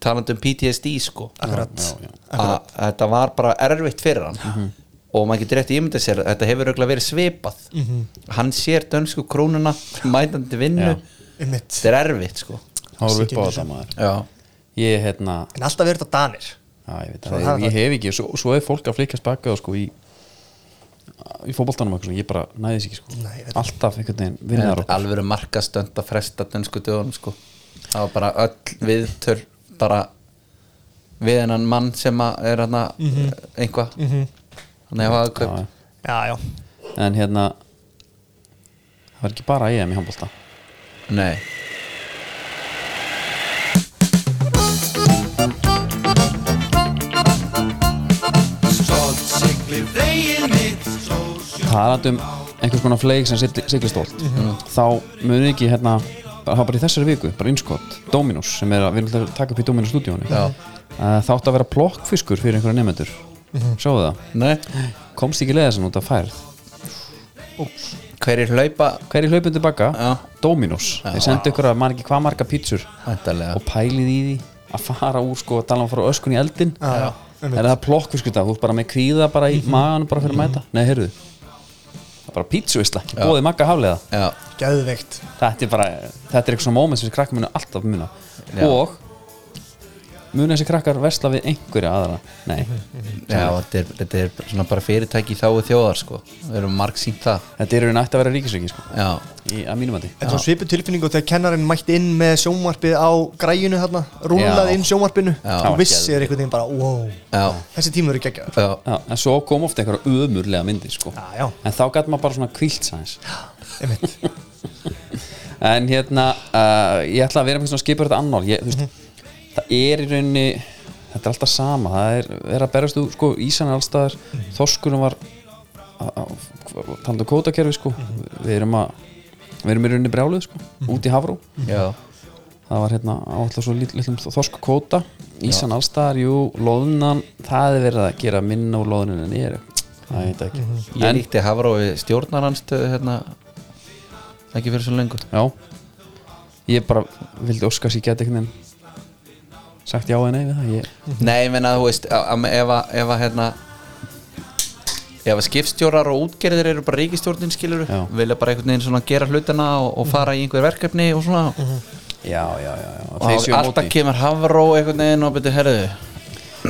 [SPEAKER 3] talandi um PTSD sko
[SPEAKER 4] akkurat
[SPEAKER 3] að þetta var bara erfitt fyrir hann og maður getur rétt ímyndað sér að þetta hefur örugglega verið svipað hann sér dönsku krónuna mætandi vinnu,
[SPEAKER 2] Já.
[SPEAKER 4] Einmitt.
[SPEAKER 3] þetta er erfitt sko
[SPEAKER 2] Háru upp á
[SPEAKER 4] Sikkert
[SPEAKER 2] þetta
[SPEAKER 4] sem-
[SPEAKER 2] maður
[SPEAKER 3] já,
[SPEAKER 2] Ég, hérna,
[SPEAKER 4] en alltaf verður þetta danir
[SPEAKER 2] já, ég veit
[SPEAKER 4] Svo
[SPEAKER 2] að
[SPEAKER 4] það-
[SPEAKER 2] ég, ég hef ekki Svo, svo er fólk að flikast baka sko, í, í fótboltanum og eitthvað svona, Ég bara næði þess ekki sko.
[SPEAKER 4] Nei, þetta-
[SPEAKER 2] Alltaf einhvern veginn
[SPEAKER 3] En
[SPEAKER 2] vinnar okkur
[SPEAKER 3] alvöru markastönd að fresta dönsku dögunum sko það var bara öll viðtör bara við hennan mann sem að er hann að einhvað hann hefur að kaup
[SPEAKER 2] Mhm. Já, já.
[SPEAKER 4] já, já,
[SPEAKER 2] En hérna Það var ekki bara EM í handbólta
[SPEAKER 3] nei
[SPEAKER 2] Talandi um einhvers konar fleik sem sigli stólt
[SPEAKER 3] Mhm.
[SPEAKER 2] Þá munið ekki hérna bara, Það var bara í þessari viku, bara innskott Dominus, sem er að við erum alltaf að taka upp í Dominus stúdíónu
[SPEAKER 3] Já.
[SPEAKER 2] Það átti að vera plokkfiskur fyrir einhverja nefnendur
[SPEAKER 3] Mhm.
[SPEAKER 2] Sjáðu það
[SPEAKER 3] nei
[SPEAKER 2] Komst ekki leiðasin út af færð
[SPEAKER 3] hverjir hlaupa
[SPEAKER 2] Hverju hlaupum tilbaka?
[SPEAKER 3] Já.
[SPEAKER 2] Dominus Þeir sendu ykkur að maður ekki hvað marga pítsur
[SPEAKER 3] hættalega
[SPEAKER 2] Og pælið í því að fara úr sko að tala um að fara öskun í eldin
[SPEAKER 4] já, já.
[SPEAKER 2] Er það plokkfiskuta? Þú ert bara með kvíða bara
[SPEAKER 3] Mhm.
[SPEAKER 2] í maganum bara fyrir að mæta? Nei, heyrðu Það er bara pítsuvisla, ekki bóðið magga haflega
[SPEAKER 3] já,
[SPEAKER 4] geðveikt
[SPEAKER 2] Þetta er bara, þetta er eitthvað svona moment sem þessi krakkar munu alltaf muna
[SPEAKER 3] Já.
[SPEAKER 2] Og munu þessi krakkar versla við einhverja aðra Nei,
[SPEAKER 3] já þetta, er, þetta er svona bara fyrirtæki í þáu þjóðar sko við erum marg sínt það
[SPEAKER 2] þetta eru nætt að vera ríkisviki sko,
[SPEAKER 3] já,
[SPEAKER 2] í, að mínum að því
[SPEAKER 4] Þetta var svipu tilfinningu þegar kennarinn mætti inn með sjónvarpið á græjunu hérna, rúlaði
[SPEAKER 2] Já.
[SPEAKER 4] inn sjónvarpinu
[SPEAKER 3] Já.
[SPEAKER 4] og vissir einhvern veginn bara, wow,
[SPEAKER 3] já,
[SPEAKER 4] þessi tímur eru geggjaður.
[SPEAKER 3] já.
[SPEAKER 2] Já, en svo kom ofta einhverja ömurlega myndir sko.
[SPEAKER 4] Já, já.
[SPEAKER 2] En þá gæti maður bara svona kvílt sæns
[SPEAKER 4] Einmitt.
[SPEAKER 2] En hérna, uh, ég ætla að vera með svona skipur þetta annar ég, þú veist, Það er í rauninni, þetta er alltaf sama Það er, er að berast úr, sko, Ísan er allstaðar Þorskunum var Talandi um kótakerfi, sko Við erum að, við erum í rauninni brjáluð, sko Út í Hafró
[SPEAKER 3] já.
[SPEAKER 2] það var hérna áallega svo lít- litlum þorsku kvóta Ísan allstaðar, jú, loðunan það er verið að gera minna úr loðunin en ég er það er þetta ekki
[SPEAKER 3] ég
[SPEAKER 2] en,
[SPEAKER 3] líkti Hafrói stjórnaranstöðu hérna ekki fyrir svo lengur
[SPEAKER 2] já, ég bara vildi óska sér geta einhvern veginn sagt já eða nei við það ég,
[SPEAKER 3] Nei, ég meina, þú veist, að- að- ef að, ef að hérna ef að skipstjórar og útgerðir eru bara ríkistjórnin skilur
[SPEAKER 2] Já. Mhm.
[SPEAKER 3] vilja bara einhvern veginn svona gera hlutina og, og fara í einhver verkefni og svona
[SPEAKER 2] já, já, já, já.
[SPEAKER 3] og
[SPEAKER 2] Mhm. þeir séu á
[SPEAKER 3] alltaf
[SPEAKER 2] móti
[SPEAKER 3] kemur Havró einhvern veginn og byrja herðu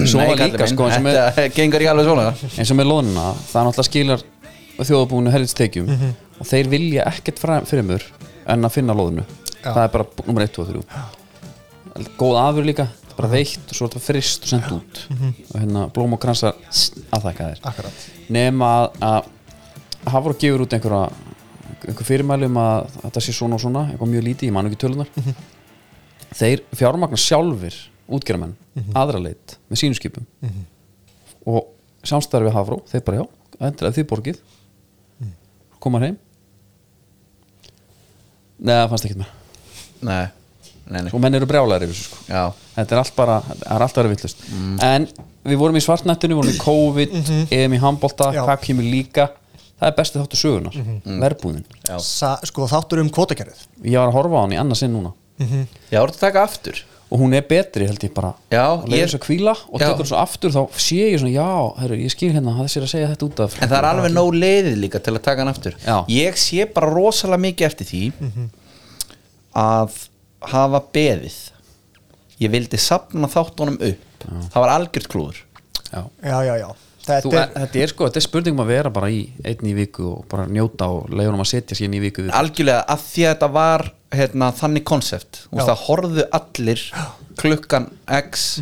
[SPEAKER 2] Svo var
[SPEAKER 3] kallinn
[SPEAKER 2] líka,
[SPEAKER 3] minn,
[SPEAKER 2] sko,
[SPEAKER 3] [laughs]
[SPEAKER 2] eins og með-
[SPEAKER 3] þetta gengur ekki alveg svona
[SPEAKER 2] eins og með loðunina, það er náttúrulega skilar þjóðabúinu helvitstekjum og þeir vilja ekkert fra- fremur en að finna loðinu
[SPEAKER 4] Já.
[SPEAKER 2] það er bara bú- nummer 1 og 3 góð afur líka, það er bara veitt og svo er þetta frist og sendt út og hérna blóm og kransar aðþakka þér
[SPEAKER 4] Akkurat.
[SPEAKER 2] nema að, að hafa og gefur út einhverja einhver fyrirmæli um að þetta sé svona og svona eitthvað mjög lítið, ég man ekki tölunar þeir fjármagna sjálfir útgerðamenn, aðra leit með sínskipum og samstarfi við Hafró, þeir bara já endraði þið borgið koma heim neða, það fannst ekki mér
[SPEAKER 3] Nei, nei, nei
[SPEAKER 2] og menn eru brjálæðir yfir þessu sko
[SPEAKER 3] Já,
[SPEAKER 2] þetta er allt bara, það er allt að vera villust
[SPEAKER 3] Mm.
[SPEAKER 2] en við vorum í svartnættinu, vorum í COVID EM í handbolta,
[SPEAKER 4] Já.
[SPEAKER 2] hvað kemur líka það er bestið þáttu sögunar verbúðin,
[SPEAKER 4] Sa, sko þáttur um kvótakerfið.
[SPEAKER 2] ég var að horfa á hann í annarsinn núna
[SPEAKER 3] já, orðið að taka aftur
[SPEAKER 2] og hún er betri held ég bara
[SPEAKER 3] Já,
[SPEAKER 2] og leiður
[SPEAKER 3] ég-
[SPEAKER 2] svo að hvíla og
[SPEAKER 3] Já.
[SPEAKER 2] tekur svo aftur þá sé ég svona, já, herru, ég skil hérna þessi er að segja þetta út af
[SPEAKER 3] En það er alveg nóg leiðið líka til að taka hann aftur
[SPEAKER 2] Já. Mhm.
[SPEAKER 3] Ég sé bara rosalega mikið eftir því að hafa beðið Ég vildi sapna þáttunum upp Það var algjört klúður
[SPEAKER 2] já.
[SPEAKER 4] Já, já, já.
[SPEAKER 2] Þú,
[SPEAKER 4] Þetta
[SPEAKER 2] þetta,
[SPEAKER 4] er,
[SPEAKER 2] er, þetta er sko, þetta er spurningum að vera bara í einn í viku og bara njóta og leiður um að setja sér inn í viku við.
[SPEAKER 3] Algjörlega af því að þetta var hérna, þannig konsept
[SPEAKER 4] Já.
[SPEAKER 3] Það horfðu allir klukkan x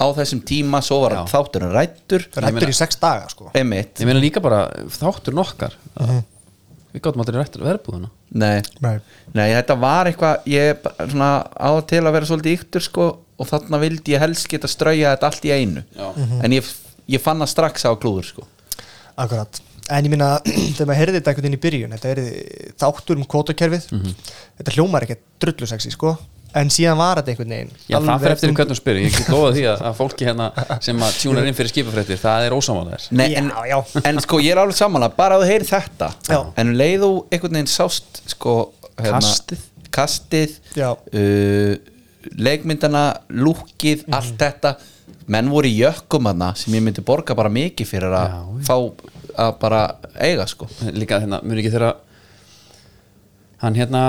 [SPEAKER 3] á þessum tíma Svo var
[SPEAKER 2] Mhm. Já.
[SPEAKER 3] þáttunum rættur
[SPEAKER 4] þetta er hættur í sex daga, sko.
[SPEAKER 3] Einmitt
[SPEAKER 2] Ég meina líka bara þáttur nokkar Við gáttum aldrei rætt um verðbúðuna
[SPEAKER 3] Nei
[SPEAKER 4] Nei.
[SPEAKER 3] Nei, þetta var eitthvað ég er bara svona á og til að vera svolítið yktur sko og þarna vildi ég helst geta strauja þetta allt í einu
[SPEAKER 2] Já.
[SPEAKER 3] en ég, ég fann það strax á klúður sko
[SPEAKER 4] Akkurat. En ég minna, [clears throat] þegar maður heyrði
[SPEAKER 2] Mhm.
[SPEAKER 4] þetta einhvern veginn í byrjun, þetta er þáttur um kvótakerfið, þetta hljómar ekki drullu sexi, sko. en síðan var þetta einhvern veginn
[SPEAKER 2] Já, það fer eftir um
[SPEAKER 4] einhvern
[SPEAKER 2] hvernig hún spyrir, ég get lofa því að, að fólki hérna sem að tjúnar inn fyrir skipafréttir, það er ósamálaðir
[SPEAKER 3] Nei,
[SPEAKER 4] Já,
[SPEAKER 3] en,
[SPEAKER 4] já.
[SPEAKER 3] en sko ég er alveg samanlega bara að þú heyri þetta
[SPEAKER 4] Já.
[SPEAKER 3] en um leið þú einhvern veginn sást sko,
[SPEAKER 2] Kastið.
[SPEAKER 3] kastið
[SPEAKER 4] Já.
[SPEAKER 3] uh, leikmyndana, lúkið allt þetta, menn voru í jökkum hana sem ég myndi borga bara mikið fyrir að
[SPEAKER 2] Já,
[SPEAKER 3] fá að bara eiga sko
[SPEAKER 2] Líka hérna, mun ekki þegar hann hérna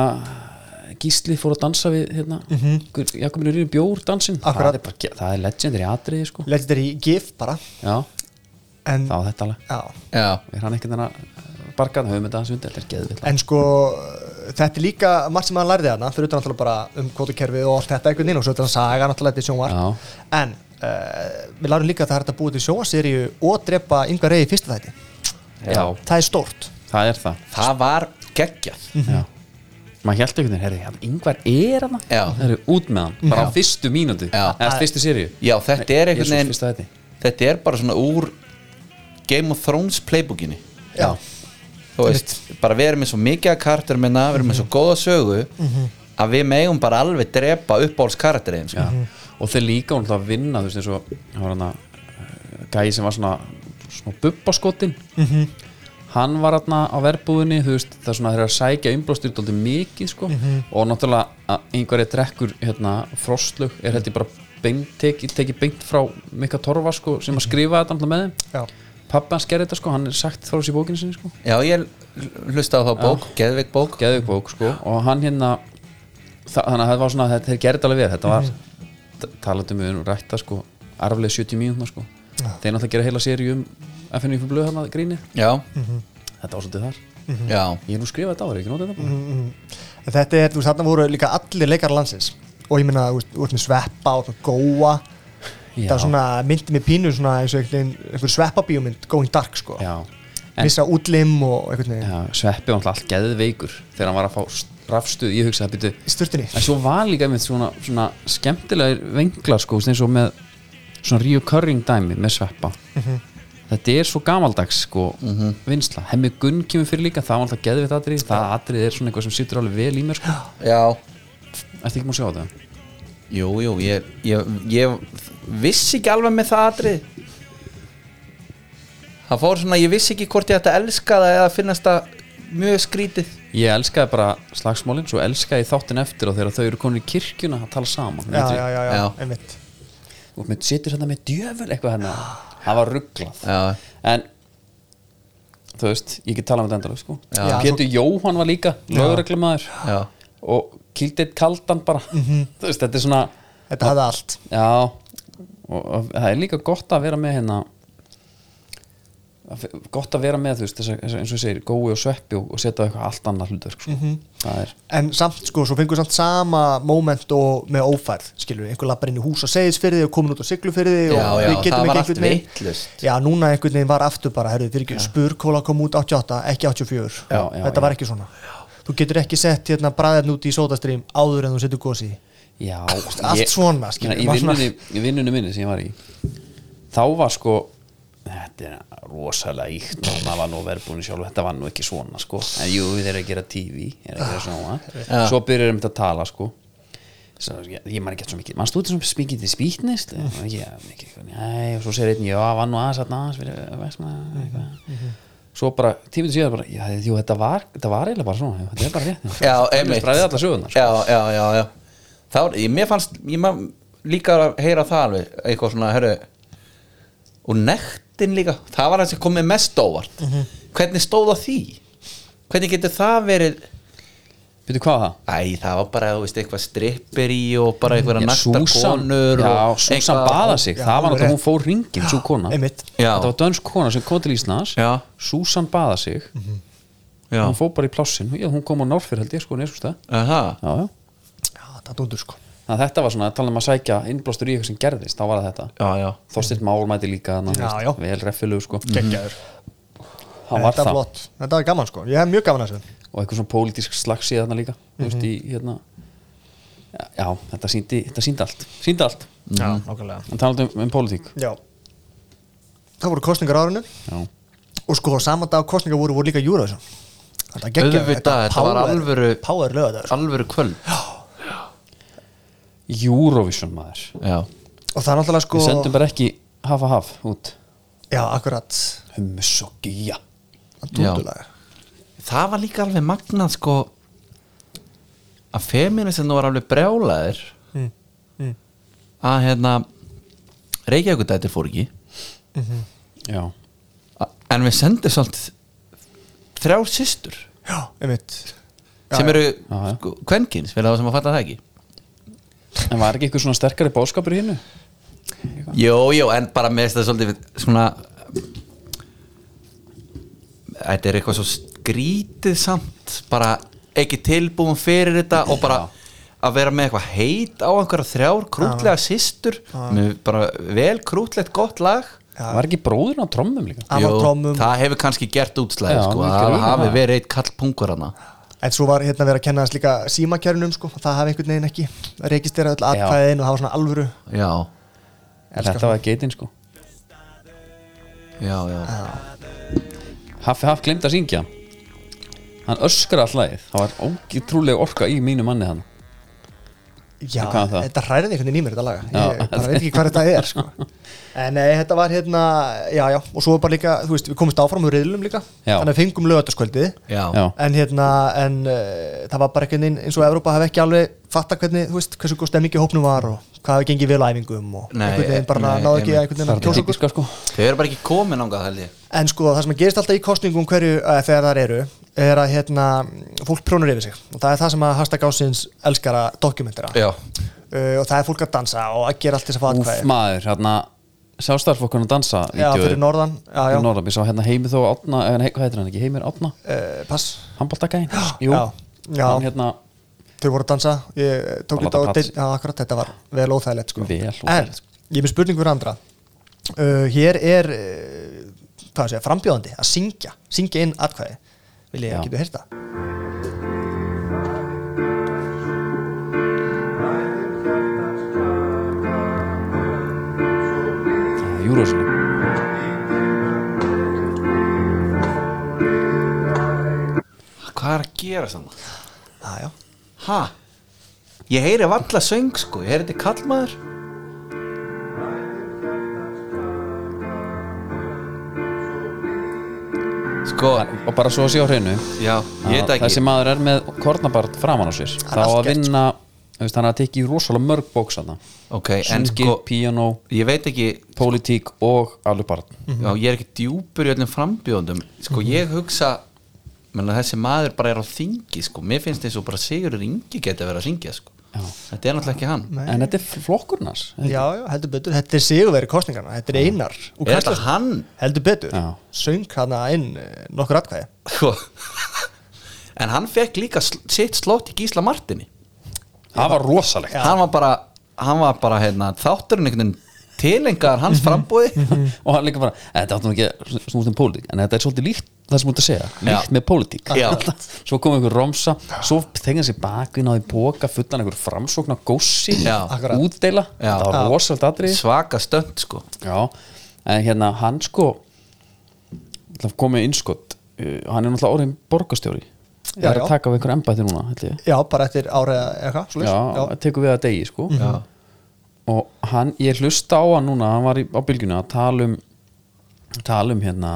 [SPEAKER 2] Gísli fór að dansa við hérna mm -hmm. Jakobinu Rýri Bjór dansinn
[SPEAKER 4] Mhm. Akkurat.
[SPEAKER 2] það er,
[SPEAKER 4] Mm.
[SPEAKER 2] bara, ge- það er legendir í atriði sko
[SPEAKER 4] legendir í GIF bara
[SPEAKER 2] Já,
[SPEAKER 4] en,
[SPEAKER 2] það var þetta alveg
[SPEAKER 4] já,
[SPEAKER 3] Já,
[SPEAKER 2] Er hann ekkert hérna barkað, höfum þetta hans undir, þetta er geðvill
[SPEAKER 4] en sko þetta er líka margt sem hann lærði þarna fyrir utan náttúrulega bara um kvotukerfið og allt þetta einhvern veginn og svo þetta saga náttúrulega þetta er sjónvarp en uh, við lærum líka að það er hægt að búa til sjónvarseríu og drepa yngvar reyði í fyrsta þætti
[SPEAKER 2] Já,
[SPEAKER 4] það er stórt
[SPEAKER 2] það er það
[SPEAKER 3] það var geggjað
[SPEAKER 4] Mhm.
[SPEAKER 2] Já maður held einhvern veginn, herri, hann yngvar er hann
[SPEAKER 3] Já.
[SPEAKER 2] herri, út með hann, bara á fyrstu mínútu
[SPEAKER 3] Já.
[SPEAKER 2] eða fyrstu seríu
[SPEAKER 3] Já, þetta er
[SPEAKER 2] Jesús,
[SPEAKER 3] einhvern
[SPEAKER 2] fyrsta
[SPEAKER 3] veginn
[SPEAKER 2] þætti.
[SPEAKER 3] þetta er bara svona úr Game of Thrones playbookinni
[SPEAKER 4] já,
[SPEAKER 3] þú veist, bara við erum með svo mikið að karakter minna, við erum með svo góða sögu að við megum bara alveg drepa uppáhalds karakterinn sko.
[SPEAKER 2] Já. Mm. og þeir líka hún að vinna þú veist eins og það var hann að gæi sem var svona, svona bubbaskotin hann var hann á verbúðinni þú veist það er svona þeir eru að sækja umblástur dálítið mikið sko og náttúrulega að einhverja drekkur hérna frostlug er held ég bara beint, teki, teki beint frá Mikka Torfa sko sem að skrifa þetta alltaf með þeim
[SPEAKER 4] já,
[SPEAKER 2] pappi hans gerði þetta sko, hann er sagt frá þessi bókinu sinni sko
[SPEAKER 3] Já, ég hl- hlustaði á þá bók, Geðvik bók
[SPEAKER 2] geðvik bók sko og hann hérna þa- þannig að það var svona að þetta er gerðið alveg vel þetta var t- talandi um við og rækta sko arflega 70 mínútna sko þeir náttúrulega gera heila séri um FNF blöð hann að gríni
[SPEAKER 3] Já,
[SPEAKER 2] þetta var svolítið þar
[SPEAKER 3] já,
[SPEAKER 2] ég er nú skrifað þetta á þér ekki nótið
[SPEAKER 4] Mm.
[SPEAKER 2] þetta bara
[SPEAKER 4] En þetta er, þú veist, þarna voru líka allir leikar landsins og ég meina, þú veist, þú veist, með sveppa og svona góa það var svona, myndi með pínu svona eins og einhvern veginn, einhver sveppabíómynd going dark, sko,
[SPEAKER 2] já en
[SPEAKER 4] missa útlim og einhvern veginn,
[SPEAKER 2] já, sveppi var náttúrulega allt geðveikur þegar hann var að fá st- rafstuð ég hugsaði að byrju
[SPEAKER 4] í sturtunni
[SPEAKER 2] en svo var líka einmitt svona, svona skemmtilegir venglar sko, þú veist, eins og með svona reoccurring dæmi með sveppa
[SPEAKER 4] Mhm.
[SPEAKER 2] þetta er svo gamaldags sko, vinsla, hemmi Gunn kemur fyrir líka það var alltaf geðvitt atrið, það atrið er svona eitthvað sem sýttur alveg vel í mér sko,
[SPEAKER 3] já
[SPEAKER 2] ertu ekki múið að sjá þetta
[SPEAKER 3] Jú, jú, ég, ég, ég vissi ekki alveg með það atrið Það fór svona, ég vissi ekki hvort ég ætti að elska það eða finnast það mjög skrítið
[SPEAKER 2] ég elskaði bara slagsmálin, svo elskaði ég þáttinn eftir og þegar þau eru komin í kirkjuna að tala saman,
[SPEAKER 4] já, já, já, já,
[SPEAKER 3] Já.
[SPEAKER 4] einmitt
[SPEAKER 2] og með sýttur þetta með djöfur eitthvað hérna, það var rugglað
[SPEAKER 3] Já,
[SPEAKER 2] en þú veist, ég get talað með þetta endalega sko.
[SPEAKER 4] Já.
[SPEAKER 2] Pétur Jóhann var líka lögreglumæður
[SPEAKER 3] já,
[SPEAKER 2] og kildi eitt kaldan bara [laughs] þú veist, þetta er svona
[SPEAKER 4] þetta hafði allt
[SPEAKER 2] já, og, og það er líka gott að vera með hérna að fe- gott að vera með þú veist, þess að, eins og ég segir, gói og sveppi og, og setja á eitthvað allt annað hlutverk sko. það er,
[SPEAKER 4] en samt, sko, svo fengur samt sama moment og með ófærð, skilur við, einhver lappar inn í hús og segis fyrir þig og komin út og siglu fyrir þig
[SPEAKER 3] Já,
[SPEAKER 4] og
[SPEAKER 3] já,
[SPEAKER 4] við getum
[SPEAKER 3] það var
[SPEAKER 4] ekki
[SPEAKER 3] allt
[SPEAKER 4] einhvern veginn-
[SPEAKER 3] vitlaust.
[SPEAKER 4] já, núna einhvern veginn var aftur bara, herruðu, fyrir ekki spurkóla kom út 88, ekki 84
[SPEAKER 2] Já, já,
[SPEAKER 4] þetta
[SPEAKER 2] já.
[SPEAKER 4] var ekki svona þú getur ekki sett hérna bræðarn út í sódastrým áður en þú setur gósi
[SPEAKER 2] já
[SPEAKER 4] allt svona,
[SPEAKER 2] Ég meina,
[SPEAKER 4] skilur
[SPEAKER 2] í,
[SPEAKER 4] var svona-
[SPEAKER 2] vinnunni, í vinnunni minni sem ég var í þá var sko þetta er rosalega íkt og það var nú verðbúinu sjálf þetta var nú ekki svona sko en jú þeir eru að gera TV þeir eru að gera svona
[SPEAKER 3] Ah. Já.
[SPEAKER 2] svo byrjar þeim að tala sko Svo, ég, ég maður ekki svo mikið, mannst þú þetta sem spingið til spýtnist
[SPEAKER 3] Mm.
[SPEAKER 2] og svo segir einn, já, var nú aðeins þarna aðeins fyrir vesma
[SPEAKER 3] Mhm.
[SPEAKER 2] eitthvað. svo bara, tímið síðan bara já, jú, þetta var, þetta var eiginlega bara svona þetta er bara rétt,
[SPEAKER 3] já,
[SPEAKER 2] það
[SPEAKER 3] einmitt
[SPEAKER 2] spræði alla sögurnar sko.
[SPEAKER 3] Já, já, já, já Þá, ég, mér fannst, ég maður líka að heyra það alveg, eitthvað svona, hörru og nektin líka það var það sem komið mest óvart
[SPEAKER 2] Mhm.
[SPEAKER 3] hvernig stóð á því? Hvernig getur það verið
[SPEAKER 2] Býttu, hvað var það?
[SPEAKER 3] Æ, það var bara, þú veist, eitthvað strippir í og bara eitthvað naktar konur
[SPEAKER 2] Mm, já,
[SPEAKER 3] og
[SPEAKER 2] Susan
[SPEAKER 3] eitthvað-
[SPEAKER 2] baða sig, það
[SPEAKER 4] Já,
[SPEAKER 2] var
[SPEAKER 4] alveg
[SPEAKER 2] náttúrulega
[SPEAKER 4] rétt.
[SPEAKER 2] hún fór ringin, svo kona
[SPEAKER 4] einmitt.
[SPEAKER 3] Já.
[SPEAKER 2] þetta var dönsk kona sem kom til Íslands
[SPEAKER 3] Já.
[SPEAKER 2] Susan baða sig,
[SPEAKER 3] Já,
[SPEAKER 2] hún fór bara í plássin já, hún kom á Norfjör held ég sko, nesústa
[SPEAKER 3] Aha.
[SPEAKER 2] já, já.
[SPEAKER 4] já, það dundur sko
[SPEAKER 2] Þannig að þetta var svona, tala um að sækja innblástur í eitthvað sem gerðist, þá var það þetta
[SPEAKER 3] já, já
[SPEAKER 2] Þorstilt Már mæti líka, ná,
[SPEAKER 4] Já, já.
[SPEAKER 2] vel reffilegu sko
[SPEAKER 4] Mhm. geggjaður,
[SPEAKER 2] það var það,
[SPEAKER 4] þetta var flott þetta var gaman sko, ég hef mjög gaman að þessu
[SPEAKER 2] og eitthvað svona pólitísk slags í þarna líka, þú veist, í
[SPEAKER 4] Mhm.
[SPEAKER 2] hérna já, já, þetta síndi, þetta síndi allt síndi allt,
[SPEAKER 4] já, nákvæmlega
[SPEAKER 2] en talandi um, um pólitík
[SPEAKER 4] já. það voru kostningar á árinu
[SPEAKER 2] já,
[SPEAKER 4] og sko, saman dag kostningar voru, voru líka Eurovision þetta geggjaður, sko.
[SPEAKER 3] Auðvitað, þetta var alvöru-
[SPEAKER 4] power lögadagur
[SPEAKER 3] Alvöru kvöld
[SPEAKER 2] Eurovision maður
[SPEAKER 3] já,
[SPEAKER 4] og það er náttúrulega sko
[SPEAKER 2] Við sendum bara ekki haf að haf út
[SPEAKER 4] já, akkurat, Um
[SPEAKER 2] Hummus og gíja
[SPEAKER 3] Já.
[SPEAKER 4] dúndulega
[SPEAKER 3] það var líka alveg magnað sko að feministinn var alveg brjálaðir að hérna Reykjavíkudættir fór ekki
[SPEAKER 2] Já,
[SPEAKER 3] A- en við sendum svolítið þrjár systur
[SPEAKER 4] já, einmitt
[SPEAKER 3] sem eru
[SPEAKER 2] já.
[SPEAKER 3] sko, kvenkins fyrir þá sem að fatta það ekki
[SPEAKER 2] en var ekki eitthvað svona sterkari bóðskapur í hinnu?
[SPEAKER 3] Jó, jó, en bara með þetta svolítið svona Þetta er eitthvað svo skrítið samt bara ekki tilbúin fyrir þetta og bara að vera með eitthvað heit á einhverja þrjár krútlega systur með bara vel krútlegt gott lag
[SPEAKER 2] Var ekki bróðurinn á trommum líka?
[SPEAKER 4] Hann var á trommum.
[SPEAKER 3] það hefur kannski gert útslæði
[SPEAKER 2] Já,
[SPEAKER 3] sko,
[SPEAKER 2] mikið
[SPEAKER 3] að
[SPEAKER 2] raunar.
[SPEAKER 3] hafi verið eitt kall pungur hana
[SPEAKER 4] en svo var hérna verið að kenna þess líka símakjörnum sko, það hafi einhvern veginn ekki að registrera öll atkvæðin og hafa svona alvöru
[SPEAKER 3] Já,
[SPEAKER 4] elska
[SPEAKER 2] Þetta var geitin sko
[SPEAKER 3] já, já
[SPEAKER 2] Haffi Haff glemt að syngja Hann öskra all lagið Það var ótrúlega orka í mínu manni hann
[SPEAKER 4] Já,
[SPEAKER 2] En hvað er það?
[SPEAKER 4] þetta hræðið einhvern veginn í mér þetta laga
[SPEAKER 2] Já.
[SPEAKER 4] Ég bara veit ekki hvað þetta er sko. En nei, þetta var hérna Já, já, og svo bara líka, þú veist, við komumst áfram úr riðlum líka,
[SPEAKER 2] Já.
[SPEAKER 4] þannig að fengum lögataskvöldið
[SPEAKER 3] Já,
[SPEAKER 2] Já.
[SPEAKER 4] En hérna, en uh, það var bara einhvern veginn eins og Evrópa hafi ekki alveg fatta hvernig, þú veist, hversu góð stemmingi hópnum var og hvað hafi gengið vel á æfingum og
[SPEAKER 3] Nei,
[SPEAKER 4] einhvern veginn bara
[SPEAKER 3] nei,
[SPEAKER 4] náðu ekki
[SPEAKER 3] einmitt.
[SPEAKER 2] Það er
[SPEAKER 4] einhvern veginn að kjósa
[SPEAKER 2] þetta
[SPEAKER 4] okkur
[SPEAKER 2] típiska sko
[SPEAKER 3] Þau eru bara ekki komin ánga held ég
[SPEAKER 4] En sko það sem gerist alltaf í kostningum hverju eh, þegar þar eru er að hérna, fólk prjónur yfir sig og það er það sem að hashtag ásins elskara dokumentera
[SPEAKER 3] Já,
[SPEAKER 4] uh, og það er fólk að dansa og að gera allt til þess að fá
[SPEAKER 2] Úf
[SPEAKER 4] atkvæði
[SPEAKER 2] maður, hérna Sjástarflokkurinn að dansa
[SPEAKER 4] Já,
[SPEAKER 2] vídeóið.
[SPEAKER 4] fyrir norðan, já, já.
[SPEAKER 2] Fyrir norðan, ég sá hérna heimir þó átna Hvað heitir hann ekki, heimir átna
[SPEAKER 4] uh, Pass, [gasps]
[SPEAKER 2] Hamboltakæn, jú
[SPEAKER 4] já, já.
[SPEAKER 2] Hann hérna,
[SPEAKER 4] þau voru að dansa ég
[SPEAKER 2] Að
[SPEAKER 4] tók
[SPEAKER 2] láta
[SPEAKER 4] þetta á
[SPEAKER 2] plats.
[SPEAKER 4] deil- já, akkurat, þetta var vel óþægilegt sko.
[SPEAKER 2] Vel
[SPEAKER 4] en
[SPEAKER 2] óþægilegt,
[SPEAKER 4] ég er með spurningu fyrir andra uh, hér er uh, hvað sé, frambjóðandi að syngja syngja inn atkvæði vil ég
[SPEAKER 2] Já.
[SPEAKER 4] ekki þú heyrta
[SPEAKER 2] Júrósinu
[SPEAKER 3] hvað er að gera saman?
[SPEAKER 4] já, já,
[SPEAKER 3] Ha? Ég heyri valla söng sko, ég heyri þetta kallmaður Sko,
[SPEAKER 2] Og bara svo að sé á hreinu
[SPEAKER 3] já, ég veit
[SPEAKER 2] að
[SPEAKER 3] ekki
[SPEAKER 2] Þessi maður er með kornabart framan á sér
[SPEAKER 4] er
[SPEAKER 2] Það á
[SPEAKER 4] allt
[SPEAKER 2] að
[SPEAKER 4] gert,
[SPEAKER 2] vinna þú veist, Hann er að tekið rosalega mörg bóks hann
[SPEAKER 3] Ok, sko. en
[SPEAKER 2] Sungi,
[SPEAKER 3] sko,
[SPEAKER 2] piano,
[SPEAKER 3] ég veit ekki
[SPEAKER 2] pólitík og alveg barn
[SPEAKER 3] já, Ég er ekki djúpur í öllum frambjóðundum Sko, ég hugsa menna, Þessi maður bara er á þingi sko Mér finnst eins og bara Sigurður Ingi geti að vera að syngja sko Þetta er náttúrulega ekki hann
[SPEAKER 2] En þetta er flokkurnas
[SPEAKER 4] já, heldur betur þetta er sigurveri kostningarna, þetta er einar og
[SPEAKER 3] Er þetta
[SPEAKER 4] Karlsson.
[SPEAKER 3] hann?
[SPEAKER 4] heldur betur,
[SPEAKER 2] Já.
[SPEAKER 4] söng hana inn eh, nokkur atkvæði
[SPEAKER 3] Sko [laughs] En hann fekk líka sl sitt slott í Gísla Martini
[SPEAKER 2] Það var rosalegt
[SPEAKER 3] hann var bara, hann var bara hérna, þátturinn einhvern veginn tilengar hans frambúði
[SPEAKER 4] Mm.
[SPEAKER 2] og hann líka bara, þetta áttum ekki að snúst um pólitík en þetta er svolítið líkt það sem þú ert að segja líkt
[SPEAKER 3] Já.
[SPEAKER 2] með pólitík
[SPEAKER 3] Já.
[SPEAKER 2] [laughs] svo kom einhver romsa, svo þengið sér bakvinn á því póka fullan einhver framsókn á gósi
[SPEAKER 3] Já.
[SPEAKER 4] Akkurat.
[SPEAKER 2] útdeila,
[SPEAKER 3] Já.
[SPEAKER 2] þetta
[SPEAKER 4] Já.
[SPEAKER 2] var rosalegt atrið
[SPEAKER 3] svaka stönd sko
[SPEAKER 2] Já, en hérna hann sko ætla að koma með innskott uh, hann er náttúrulega orðin borgarstjóri
[SPEAKER 4] Já,
[SPEAKER 2] er
[SPEAKER 4] já.
[SPEAKER 2] að taka við einhver embætti núna held ég.
[SPEAKER 4] já, bara eftir ára eða eitthvað
[SPEAKER 2] já,
[SPEAKER 4] svoleiðis. Mhm.
[SPEAKER 2] tekur við að degi sko
[SPEAKER 3] Já.
[SPEAKER 2] og hann, ég hlusta á hann núna hann var í, á bylgjunni að tala um tala um hérna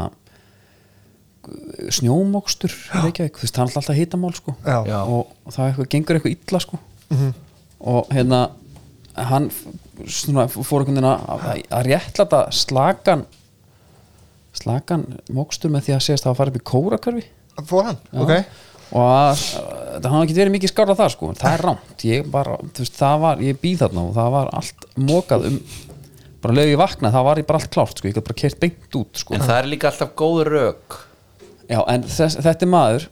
[SPEAKER 2] snjómokstur í Reykjavík, þú veist, hann er alltaf hitamál sko
[SPEAKER 4] Já. Mhm.
[SPEAKER 3] Já.
[SPEAKER 2] og það eitthvað, gengur eitthvað illa sko og hérna hann f- svona, fór einhvern veginn að, að- að réttlata slagan slagan mokstur með því að segist að hafa farið upp í kórakörfi
[SPEAKER 4] já, fór hann, ok
[SPEAKER 2] og að, það hafði ekki verið mikið skárað það sko, en það er rámt ég bara, þú veist, það var, ég býð þarna og það var allt mokað um bara lög ég vaknaði, það var ég bara allt klárt sko, ég gæti bara kert beint út sko
[SPEAKER 3] en það er líka alltaf góð rök
[SPEAKER 2] Já, en þess, þetta er maður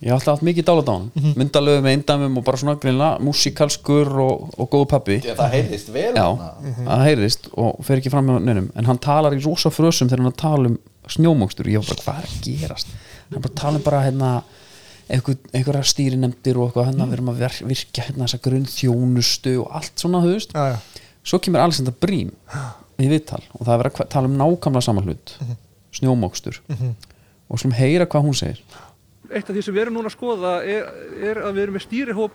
[SPEAKER 2] Ég hef alltaf haft mikið dálat á hann
[SPEAKER 4] Mhm.
[SPEAKER 2] mm Myndalögu með eindamum og bara svona greinlega Músikalskur og, og góðu pappi Já,
[SPEAKER 3] það heyrðist vel
[SPEAKER 4] Mhm.
[SPEAKER 2] það heyrðist og fer ekki fram með neinum En hann talar í rosa frösum þegar hann er að tala um snjómókstur Ég var bara, hvað er að gerast? Hann bara tala um bara hérna einhver- einhverjar stýrinemdir og eitthvað hérna
[SPEAKER 4] Mhm.
[SPEAKER 2] við erum að ver- virkja hérna þessa grunnþjónustu og allt svona, þú veist
[SPEAKER 4] Já, já.
[SPEAKER 2] svo kemur Alexander
[SPEAKER 4] [gasps]
[SPEAKER 2] Brím í viðtal og það er verið að kva- tala um nákvæmlega saman hlut
[SPEAKER 4] Mhm.
[SPEAKER 2] snjómokstur og slum heyra hvað hún segir
[SPEAKER 7] Eitt af því sem við erum núna að skoða er, er að við erum með stýrihóp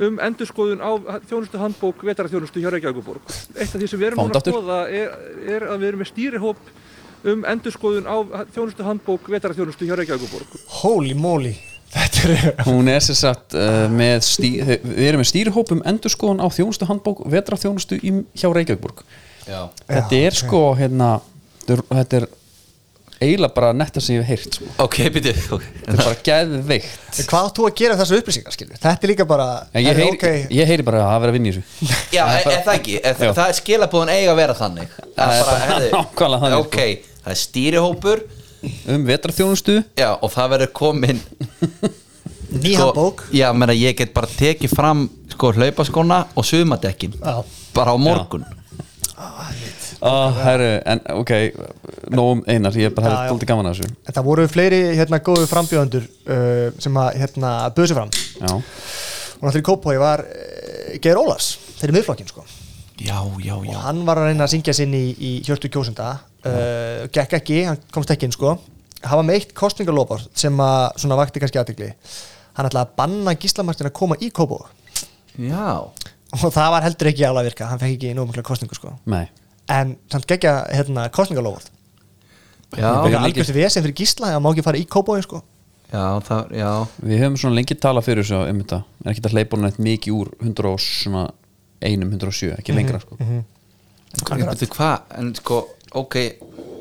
[SPEAKER 7] um endurskoðun á þjónustu handbók vetarþjónustu hjá Reykjavíkuborg. Eitt af því sem við erum
[SPEAKER 2] Fáum
[SPEAKER 7] núna
[SPEAKER 2] þetta
[SPEAKER 7] að
[SPEAKER 2] aftur.
[SPEAKER 7] skoða er, er að við erum með stýrihóp um endurskoðun á þjónustu handbók vetarþjónustu hjá Reykjavíkuborg.
[SPEAKER 4] Holy moly [laughs] Þetta er
[SPEAKER 2] Hún er sér satt uh, með stí, þau- við erum með stýrihópum endurskoðun á þjónustu handbók vetraþjónustu í, hjá Reykjavíkborg
[SPEAKER 3] Já.
[SPEAKER 2] Þetta er sko hérna þetta er- þetta er eiginlega bara netta sem ég hef heyrt sko.
[SPEAKER 3] ok, býtu
[SPEAKER 2] þetta er bara geðveikt
[SPEAKER 4] Hvað átt þú að gera þessu upplýsingar skilur? Þetta er líka bara
[SPEAKER 2] En ég,
[SPEAKER 4] Herri,
[SPEAKER 2] heyri,
[SPEAKER 4] ok,
[SPEAKER 2] ég heyri bara að hafa verið að vinna í þessu
[SPEAKER 3] já, e- er, er það ekki, er,
[SPEAKER 2] Já.
[SPEAKER 3] það er skilabúðan eiga að vera þannig það er bara, herðu,
[SPEAKER 2] Nákvæmlega þannig, sko.
[SPEAKER 3] ok, það er stýrihópur
[SPEAKER 2] um
[SPEAKER 4] [laughs]
[SPEAKER 2] vetraþjónustu
[SPEAKER 3] já, og það verður komin sko-
[SPEAKER 4] Ný handbók
[SPEAKER 3] já, menna, ég get bara tekið fram sko, hlaupaskona og sumadekkin
[SPEAKER 4] Já.
[SPEAKER 3] bara á morgun
[SPEAKER 2] ah, herru, en ok nóg um einar, ég er bara
[SPEAKER 4] Já,
[SPEAKER 2] hefði
[SPEAKER 4] já.
[SPEAKER 2] dóldi gaman að þessu
[SPEAKER 4] En það voru fleiri hérna góðu frambjöðendur uh, sem að hérna böðu sig fram og
[SPEAKER 2] Já.
[SPEAKER 4] náttúrulega í Kópói var uh, Geir Ólafs fyrir miðflokkin sko
[SPEAKER 3] já, já, já
[SPEAKER 4] og hann var að reyna að syngja sinni í, í Hjörtu kjósenda uh, gekk ekki, hann komst ekki inn sko hafa með eitt kostningalópar sem að svona vakti kannski aðtikli hann ætlaði að banna gíslamartin að koma í Kópó og
[SPEAKER 3] já,
[SPEAKER 4] það var heldur ekki alveg að virka, hann fekk ekki nóg mikla kostningu sko
[SPEAKER 2] nei,
[SPEAKER 4] en samt geggja hérna kostningalópar
[SPEAKER 3] já,
[SPEAKER 4] það er
[SPEAKER 2] mikið-
[SPEAKER 4] algjörst vesen fyrir gísla að má ekki fara í Kópói sko
[SPEAKER 3] já, það, já.
[SPEAKER 2] við hefum svona lengi talað fyrir þessu um þetta, er ekki að hleypa hún eitt mikið úr 100 og svona einum 107, ekki lengra
[SPEAKER 4] Mhm.
[SPEAKER 2] sko
[SPEAKER 3] Ég veitu hvað, en sko, ok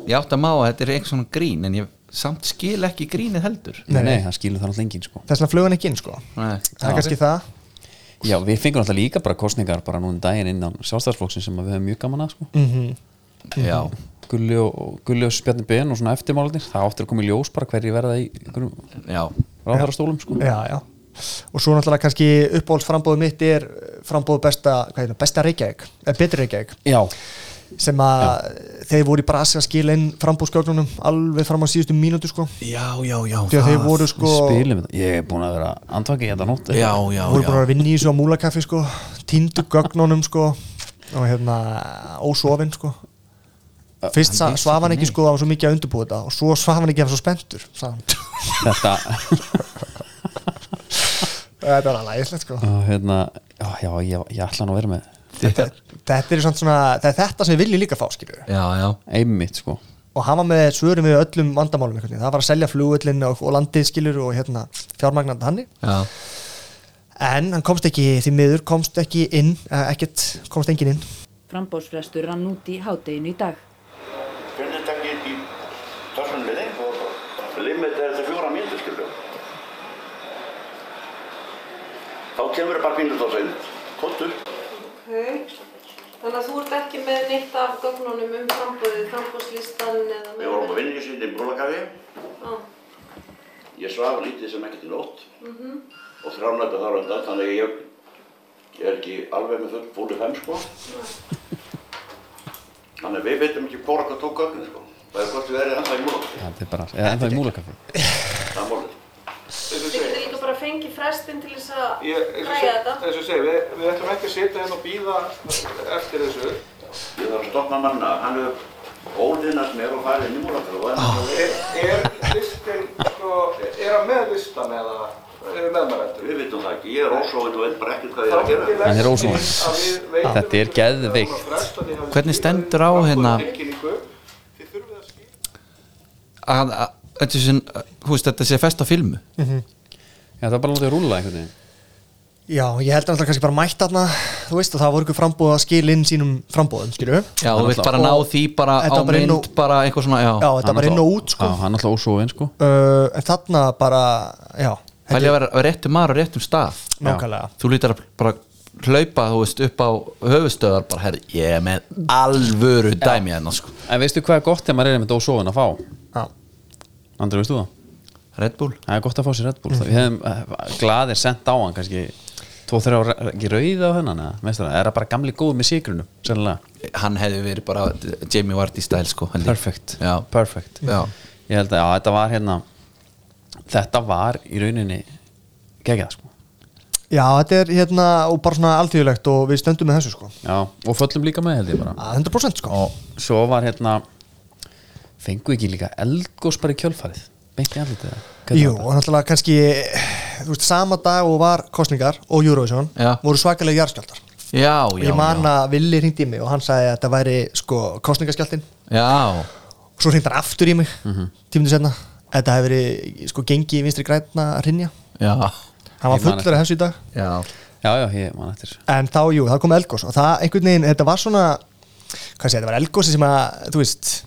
[SPEAKER 3] ég átt að má að þetta er einhvers svona grín en ég samt skil ekki grínið heldur
[SPEAKER 2] nei, nei, það skilur það alltaf enginn sko
[SPEAKER 4] þess vegna flög hann ekki inn sko
[SPEAKER 3] Nei.
[SPEAKER 4] það er kannski það
[SPEAKER 2] Já, við fengum alltaf líka bara kostningar bara núna um daginn innan sjálfstæðsflóksin sem að við höfum mjög gaman að sko.
[SPEAKER 4] Mhm.
[SPEAKER 3] já,
[SPEAKER 2] Gulli og, og Gulli og Spjarni Ben og svona eftirmálanir, það áttir að koma í ljós bara hverju verða í einhverjum
[SPEAKER 3] já,
[SPEAKER 2] ráðarastólum sko.
[SPEAKER 4] já, já. og svo náttúrulega kannski uppáhaldsframbóðu mitt er frambóðu besta, hvað er það, besta Reykjavík eða betri Reykjavík
[SPEAKER 2] Já,
[SPEAKER 4] sem að þeir voru í brasi að skila inn frambúðsgögnunum alveg fram á síðustu mínútu sko
[SPEAKER 3] já, já, já
[SPEAKER 4] því að
[SPEAKER 3] það-
[SPEAKER 4] þeir voru
[SPEAKER 2] við
[SPEAKER 4] sko
[SPEAKER 2] spilum þetta Ég er búin að vera andvaki hérna nótt
[SPEAKER 3] já, já,
[SPEAKER 4] voru
[SPEAKER 3] já,
[SPEAKER 4] bara að vinna í þessu á múlakaffi sko týndu gögnunum sko og hérna ósofin sko fyrst sa- svaf hann ekki sko það var svo mikið að undirbúið þetta og svo svaf hann ekki að var svo spenntur sagði hann.
[SPEAKER 2] Þetta,
[SPEAKER 4] [laughs] þetta var alveg æðislegt sko
[SPEAKER 2] á, hérna, já, já, ég, ég ætla nú að vera með
[SPEAKER 3] já,
[SPEAKER 4] þetta er samt svona, það er þetta sem við viljum líka fá skilju
[SPEAKER 3] já,
[SPEAKER 2] einmitt sko
[SPEAKER 4] og hann var með svörum við öllum vandamálum einhvernig. það var að selja flugullin og, og landið skilur og hérna fjármagnandi hannig
[SPEAKER 3] já.
[SPEAKER 4] en hann komst ekki því miður, komst ekki inn eh, ekkert, komst engin inn
[SPEAKER 8] Frambóðsfrestur rann út í hádeginu í dag.
[SPEAKER 9] Stjórnirtakið í Þorsunliði og limit er þetta fjóra mínútur skilju. Þá kemur bara pínur þá sein. Kottur.
[SPEAKER 10] Ok, þannig að þú ert ekki með neitt af gögnunum um frambúðið, frambúðslistan eða með...
[SPEAKER 9] Við vorum að vinna í sinni brúlakafi.
[SPEAKER 10] Já,
[SPEAKER 9] Ég svaf lítið sem ekkert í nótt
[SPEAKER 10] Mhm.
[SPEAKER 9] og þrjánaði þar á undan þannig að ég, ég er ekki alveg með full fúlið fem sko. Þannig að við veitum ekki hvora hvað tók gögnin sko. Það er hvort við erum ennþá í múlakafi.
[SPEAKER 2] Þetta er bara, eða ennþá í múlakaffi
[SPEAKER 9] Það er mólið.
[SPEAKER 10] þið getur líka bara fengið frestinn til þess að
[SPEAKER 6] Ég, eins og
[SPEAKER 10] græja þetta.
[SPEAKER 6] ég segi, við, við ætlum ekki að sitja hérna og býða eftir þessu.
[SPEAKER 9] Ég þarf að stopna manna, hann hefur ólinnast mér og farið inn í múlakafi og hann hefur
[SPEAKER 6] Er, er listin, sko, er hann með listan eða eru meðmælendur?
[SPEAKER 9] Við veitum það ekki, ég er ósóðin og veit bara ekkert hvað ég er að gera.
[SPEAKER 2] Hann er
[SPEAKER 6] Hann
[SPEAKER 2] ósómaður. Þetta er geðveikt.
[SPEAKER 3] Hvernig stendur á hérna- Að- að- Þetta sé, þú veist, þetta sé fest á filmu
[SPEAKER 2] Já, það er bara látið að rúlla einhvern veginn
[SPEAKER 4] já, ég held að hann kannski bara mætt þarna þú veist, og það voru ykkur frambúð að skil inn sínum frambúðum, skilju já,
[SPEAKER 3] Já, þú vilt bara ná því bara á
[SPEAKER 4] Þetta bara inn
[SPEAKER 3] mynd
[SPEAKER 4] og-
[SPEAKER 3] bara eitthvað svona, já,
[SPEAKER 4] þetta
[SPEAKER 2] Hann
[SPEAKER 4] bara inn og
[SPEAKER 2] náttúrulega-
[SPEAKER 4] út sko
[SPEAKER 2] Já, hann alltaf ósóin sko
[SPEAKER 4] uh, en þarna bara, já
[SPEAKER 3] Það er að vera vera réttum maður og réttum stað
[SPEAKER 4] nákvæmlega
[SPEAKER 3] Þú lítur að bara hlaupa, þú veist, upp á höfustöðar bara, herri, ég er með alvöru dæmi hérna, sko
[SPEAKER 2] En veistu hvað er gott þegar maður er einmitt ósóin að fá?
[SPEAKER 4] já.
[SPEAKER 2] Andri, veistu það?
[SPEAKER 3] Red Bull
[SPEAKER 2] Það er gott að fá sér Red Bull Við hefum eh, glaðir sendt á hann kannski Tvo þrjá ekki rauða á hennan eða, meistara, er það bara gamli góð með síkrunum Sennilega,
[SPEAKER 3] Hann hefði verið bara Jamie Vardy stæl, sko hann
[SPEAKER 2] perfect,
[SPEAKER 3] Já,
[SPEAKER 2] perfect.
[SPEAKER 3] Já.
[SPEAKER 2] Ég held að já, þetta var hérna Þetta var í rauninni Gekkið sko
[SPEAKER 4] já, þetta er hérna og bara svona alþjóðlegt og við stöndum með þessu sko
[SPEAKER 2] já, Og föllum líka með held ég bara
[SPEAKER 4] að 100% sko
[SPEAKER 2] Og svo var hérna Fengu ekki líka eldgós bara í kjölfarið Beint í andlitið eða? Hvernig
[SPEAKER 4] Jú,
[SPEAKER 2] var
[SPEAKER 4] og náttúrulega kannski þú veist, sama dag og var kostningar og Eurovision
[SPEAKER 3] Já.
[SPEAKER 4] voru svakalega jarðskjáltar
[SPEAKER 3] já,
[SPEAKER 4] og
[SPEAKER 3] já,
[SPEAKER 4] ég man
[SPEAKER 3] já,
[SPEAKER 4] að Willi hringdi í mig og hann sagði að þetta væri sko kostningaskjáltin
[SPEAKER 3] já.
[SPEAKER 4] og svo hringdi hann aftur í mig mm
[SPEAKER 3] Mhm.
[SPEAKER 4] -hmm. tímundu senna þetta hefur verið sko gengi í vinstri græna að hrinja
[SPEAKER 3] Já,
[SPEAKER 4] hann var
[SPEAKER 2] Ég man
[SPEAKER 4] fullur af þessu í dag
[SPEAKER 3] já,
[SPEAKER 2] já, já, ég man eftir
[SPEAKER 4] en þá, jú, þá kom eldgós og það einhvern veginn, þetta var svona hvað sé, þetta var eldgósi sem að, þú veist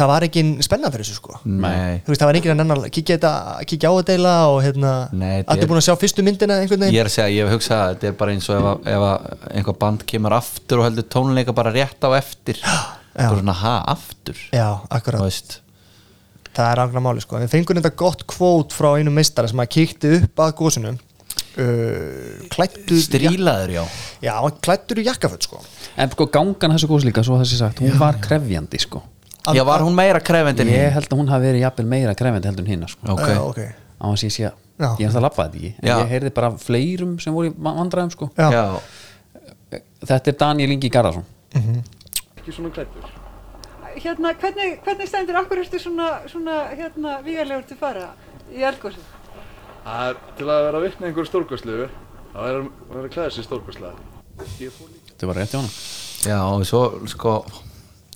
[SPEAKER 4] það var engin spennan fyrir þessu sko
[SPEAKER 3] nei
[SPEAKER 4] þú veist, það var engin að nennan kíkja, þetta, kíkja á að deila og hérna,
[SPEAKER 3] Nei, þetta
[SPEAKER 4] allir
[SPEAKER 3] er-
[SPEAKER 4] búin að sjá fyrstu myndina einhvern
[SPEAKER 3] Ég
[SPEAKER 4] veginn
[SPEAKER 3] er að segja, ég hef hugsað að þetta er bara eins og ef, að- ef að einhver band kemur aftur og heldur tónleika bara rétt á [gasps] eftir Það er svona, ha, aftur
[SPEAKER 4] já,
[SPEAKER 3] Þú
[SPEAKER 4] akkurat,
[SPEAKER 3] veist,
[SPEAKER 4] það er angla máli sko við fengum þetta gott kvót frá einum meistara sem að kíkti upp að gósinu uh, klættur
[SPEAKER 3] strílaður, já
[SPEAKER 4] já, hann klættur í jakkaföld sko
[SPEAKER 2] en sko gangan þessu góðs líka, svo það sé sagt hún var krefjandi sko
[SPEAKER 3] Já, var hún meira krefend en
[SPEAKER 2] ég held að hún hafi verið jafnvel meira krefjandi heldur en hinn sko.
[SPEAKER 3] Ok,
[SPEAKER 4] uh, okay.
[SPEAKER 2] á hans ég sé að
[SPEAKER 4] Já.
[SPEAKER 2] ég hef það labbað þetta ekki
[SPEAKER 3] Já.
[SPEAKER 2] en ég heyrði bara af fleirum sem voru í va- vandræðum sko.
[SPEAKER 4] Já.
[SPEAKER 3] já,
[SPEAKER 2] þetta er Daniel Ingi Garðarsson
[SPEAKER 7] Ekki svona klættur.
[SPEAKER 10] Hérna, hvernig, hvernig stendur, akkur ertu svona, svona hérna, vígarlegur til fara í eldgósið?
[SPEAKER 7] Það er til að vera vitni einhverju stórkvæslu, það verður að vera að klæða sér stórkvæslega.
[SPEAKER 2] þetta var rétt hjá hann
[SPEAKER 3] já, og svo, sko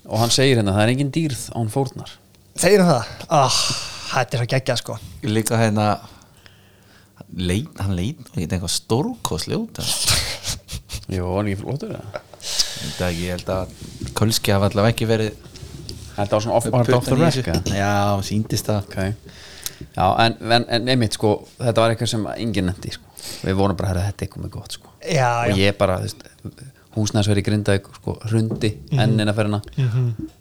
[SPEAKER 2] og hann segir hérna, það er engin dýrð án fórnar
[SPEAKER 4] þeir eru það, ah, þetta er svo geggjað sko
[SPEAKER 3] Líka hérna leit, Hann leit nú ekki eitthvað stórkosli út eða?
[SPEAKER 2] Jó, hann ekki flottur eða?
[SPEAKER 3] Ég veit það ekki, Ég held að Kölski hafa allavega ekki verið
[SPEAKER 2] Þetta var svona off, var þetta off the
[SPEAKER 3] puttan í
[SPEAKER 2] rack
[SPEAKER 3] þessu.
[SPEAKER 2] eða?
[SPEAKER 3] Já, síndist það
[SPEAKER 2] Ok Já, en, en, en einmitt sko þetta var eitthvað sem enginn nefndi sko. við vorum bara að herra, þetta er komið gott sko.
[SPEAKER 4] já, já,
[SPEAKER 2] og ég bara, þú veist, húsnæðsveri grinda sko, hrundi
[SPEAKER 4] Mhm.
[SPEAKER 2] ennina ferina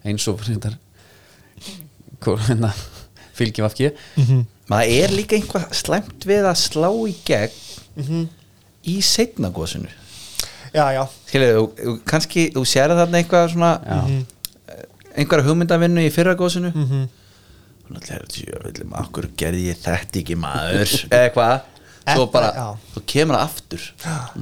[SPEAKER 2] eins og reyndar hvor hérna fylgjum af ekki
[SPEAKER 4] Mhm.
[SPEAKER 3] maður er líka einhvað slæmt við að slá í gegn
[SPEAKER 4] Mhm.
[SPEAKER 3] í setna góðsynu
[SPEAKER 4] já, já,
[SPEAKER 3] skilur, þú- þú, kannski þú sér þarna eitthvað svona
[SPEAKER 2] Mhm.
[SPEAKER 3] mm einhverja hugmyndavinnu í fyrra góðsynu mm
[SPEAKER 4] Mhm.
[SPEAKER 3] -hmm. Jöfullum, akkur gerði ég þetta ekki maður
[SPEAKER 4] [laughs]
[SPEAKER 3] eða hvað svo
[SPEAKER 4] Þetta,
[SPEAKER 3] bara,
[SPEAKER 4] já.
[SPEAKER 3] þú kemur það aftur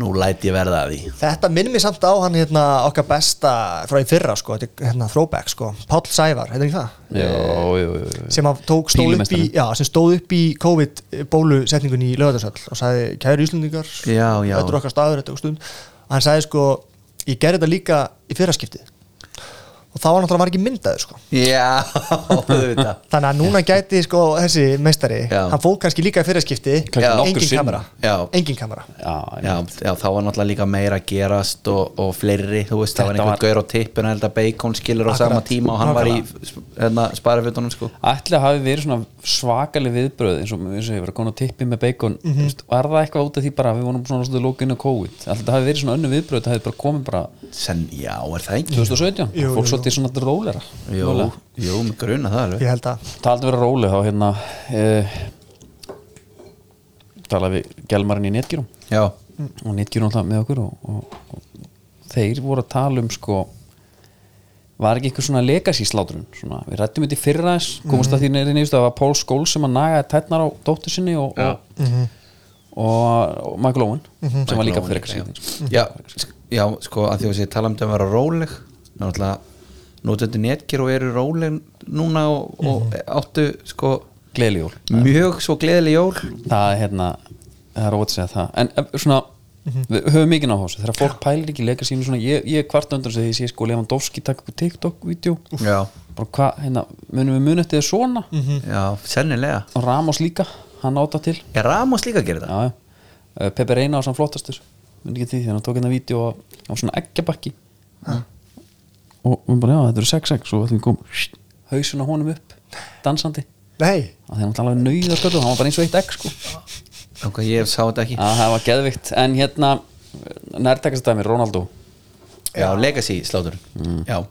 [SPEAKER 3] nú læt ég verða að því
[SPEAKER 4] Þetta minnir mér samt á hann hérna, okkar besta frá í fyrra sko, þetta er, hérna, throwback sko, Páll Sævar, heitir ekki það?
[SPEAKER 2] Jó, jú, jú, jú.
[SPEAKER 4] Sem, hann tók, stóð upp í,
[SPEAKER 2] Pílumeistarin.
[SPEAKER 4] já, sem stóð upp í COVID bólusetningunni í lögðarsöll og sagði, kæru Íslendingar,
[SPEAKER 3] Já, já.
[SPEAKER 4] þetta er okkar staður, þetta er okkar stund og hann sagði sko, ég gerði þetta líka í fyrraskiptið og þá var náttúrulega var ekki myndaður sko
[SPEAKER 3] já, [laughs] þú veit það
[SPEAKER 4] þannig að núna gæti sko þessi meistari
[SPEAKER 3] Já.
[SPEAKER 4] hann fór kannski líka í fyrraskipti
[SPEAKER 2] Kannski nokkur
[SPEAKER 4] engin
[SPEAKER 2] sinnum.
[SPEAKER 4] kamera,
[SPEAKER 3] Já.
[SPEAKER 4] engin kamera
[SPEAKER 2] Já, já.
[SPEAKER 3] Já, já, þá var náttúrulega líka meira að gerast og, og fleiri, þú veist, það var
[SPEAKER 2] Þetta
[SPEAKER 3] einhver
[SPEAKER 2] var-
[SPEAKER 3] gaur á tippinu held að Bacon skilur á
[SPEAKER 4] Akkurat,
[SPEAKER 3] sama tíma og hann var í sp- hérna, sparafjötunum sko
[SPEAKER 2] Ætli að hafi verið svona svakaleg viðbröð eins og, eins og ég var að koma á tippi með bacon
[SPEAKER 4] Mhm.
[SPEAKER 2] mm var það eitthvað út af því bara að við vorum svona svolítið lókinu COVID, ætli það hafi verið svona önnu viðbröð það hefði bara komið bara
[SPEAKER 3] Sen, já, er það ekki?
[SPEAKER 2] 2017,
[SPEAKER 4] Mhm. Jú, jú,
[SPEAKER 2] fólk
[SPEAKER 4] jú.
[SPEAKER 2] svolítið svona rólera
[SPEAKER 3] Jú, jú, mig gruna það alveg
[SPEAKER 4] ég held að,
[SPEAKER 2] Taldi vera róli þá hérna eh, talaði við gelmarinn í netgjörum
[SPEAKER 3] Já,
[SPEAKER 2] og netgjörum alltaf með okkur og, og, og þeir voru að tala um sko var ekki eitthvað svona legacy slátrun svona, við rættum þetta í fyrra þess komast að því neyri nýðust að það var Paul Scholes sem að nagaði tætnar á dóttur sinni og, og, og, og Michael Owen sem var líka
[SPEAKER 3] Mhm. Michael
[SPEAKER 2] fyrir
[SPEAKER 3] Owen,
[SPEAKER 2] eitthvað sko.
[SPEAKER 3] já, sk- já, sko, að því að ég tala um þetta að vera róleg náttúrulega, nótandi netgir og eru róleg núna og, og
[SPEAKER 2] Mhm.
[SPEAKER 3] áttu, sko,
[SPEAKER 2] gleðilegjól
[SPEAKER 3] mjög svo gleðileg jól
[SPEAKER 2] það er hérna það er óvægt að segja það en eh, svona
[SPEAKER 3] Mhm.
[SPEAKER 2] við höfum mikið á þessu þegar fólk pælir ekki leika sínu svona ég, ég kvart undan sem því ég sé sko Lewandowski taka ykkur TikTok-vídeó
[SPEAKER 3] Já,
[SPEAKER 2] bara hvað hérna munum við munið þetta svona
[SPEAKER 3] Mhm. já, sennilega
[SPEAKER 2] og Ramos líka hann áta til
[SPEAKER 3] Er Ramos líka að gera það?
[SPEAKER 2] já, já. Eh, Pepe Reina var svona flottastur mun ekki til því þegar hann tók hérna vídeo og hann var svona eggjabakki og hún bara já þetta eru 6-6 og allir kom hausuna honum upp dansandi
[SPEAKER 4] nei,
[SPEAKER 2] að þegar hann talaði nöyða skötu hann var bara eins og eitt egg sko
[SPEAKER 3] Okay, ég sá þetta ekki
[SPEAKER 2] Já, það var geðvikt En hérna, nærtækast dæmi, Ronaldo
[SPEAKER 3] Já, legacy slátur Já,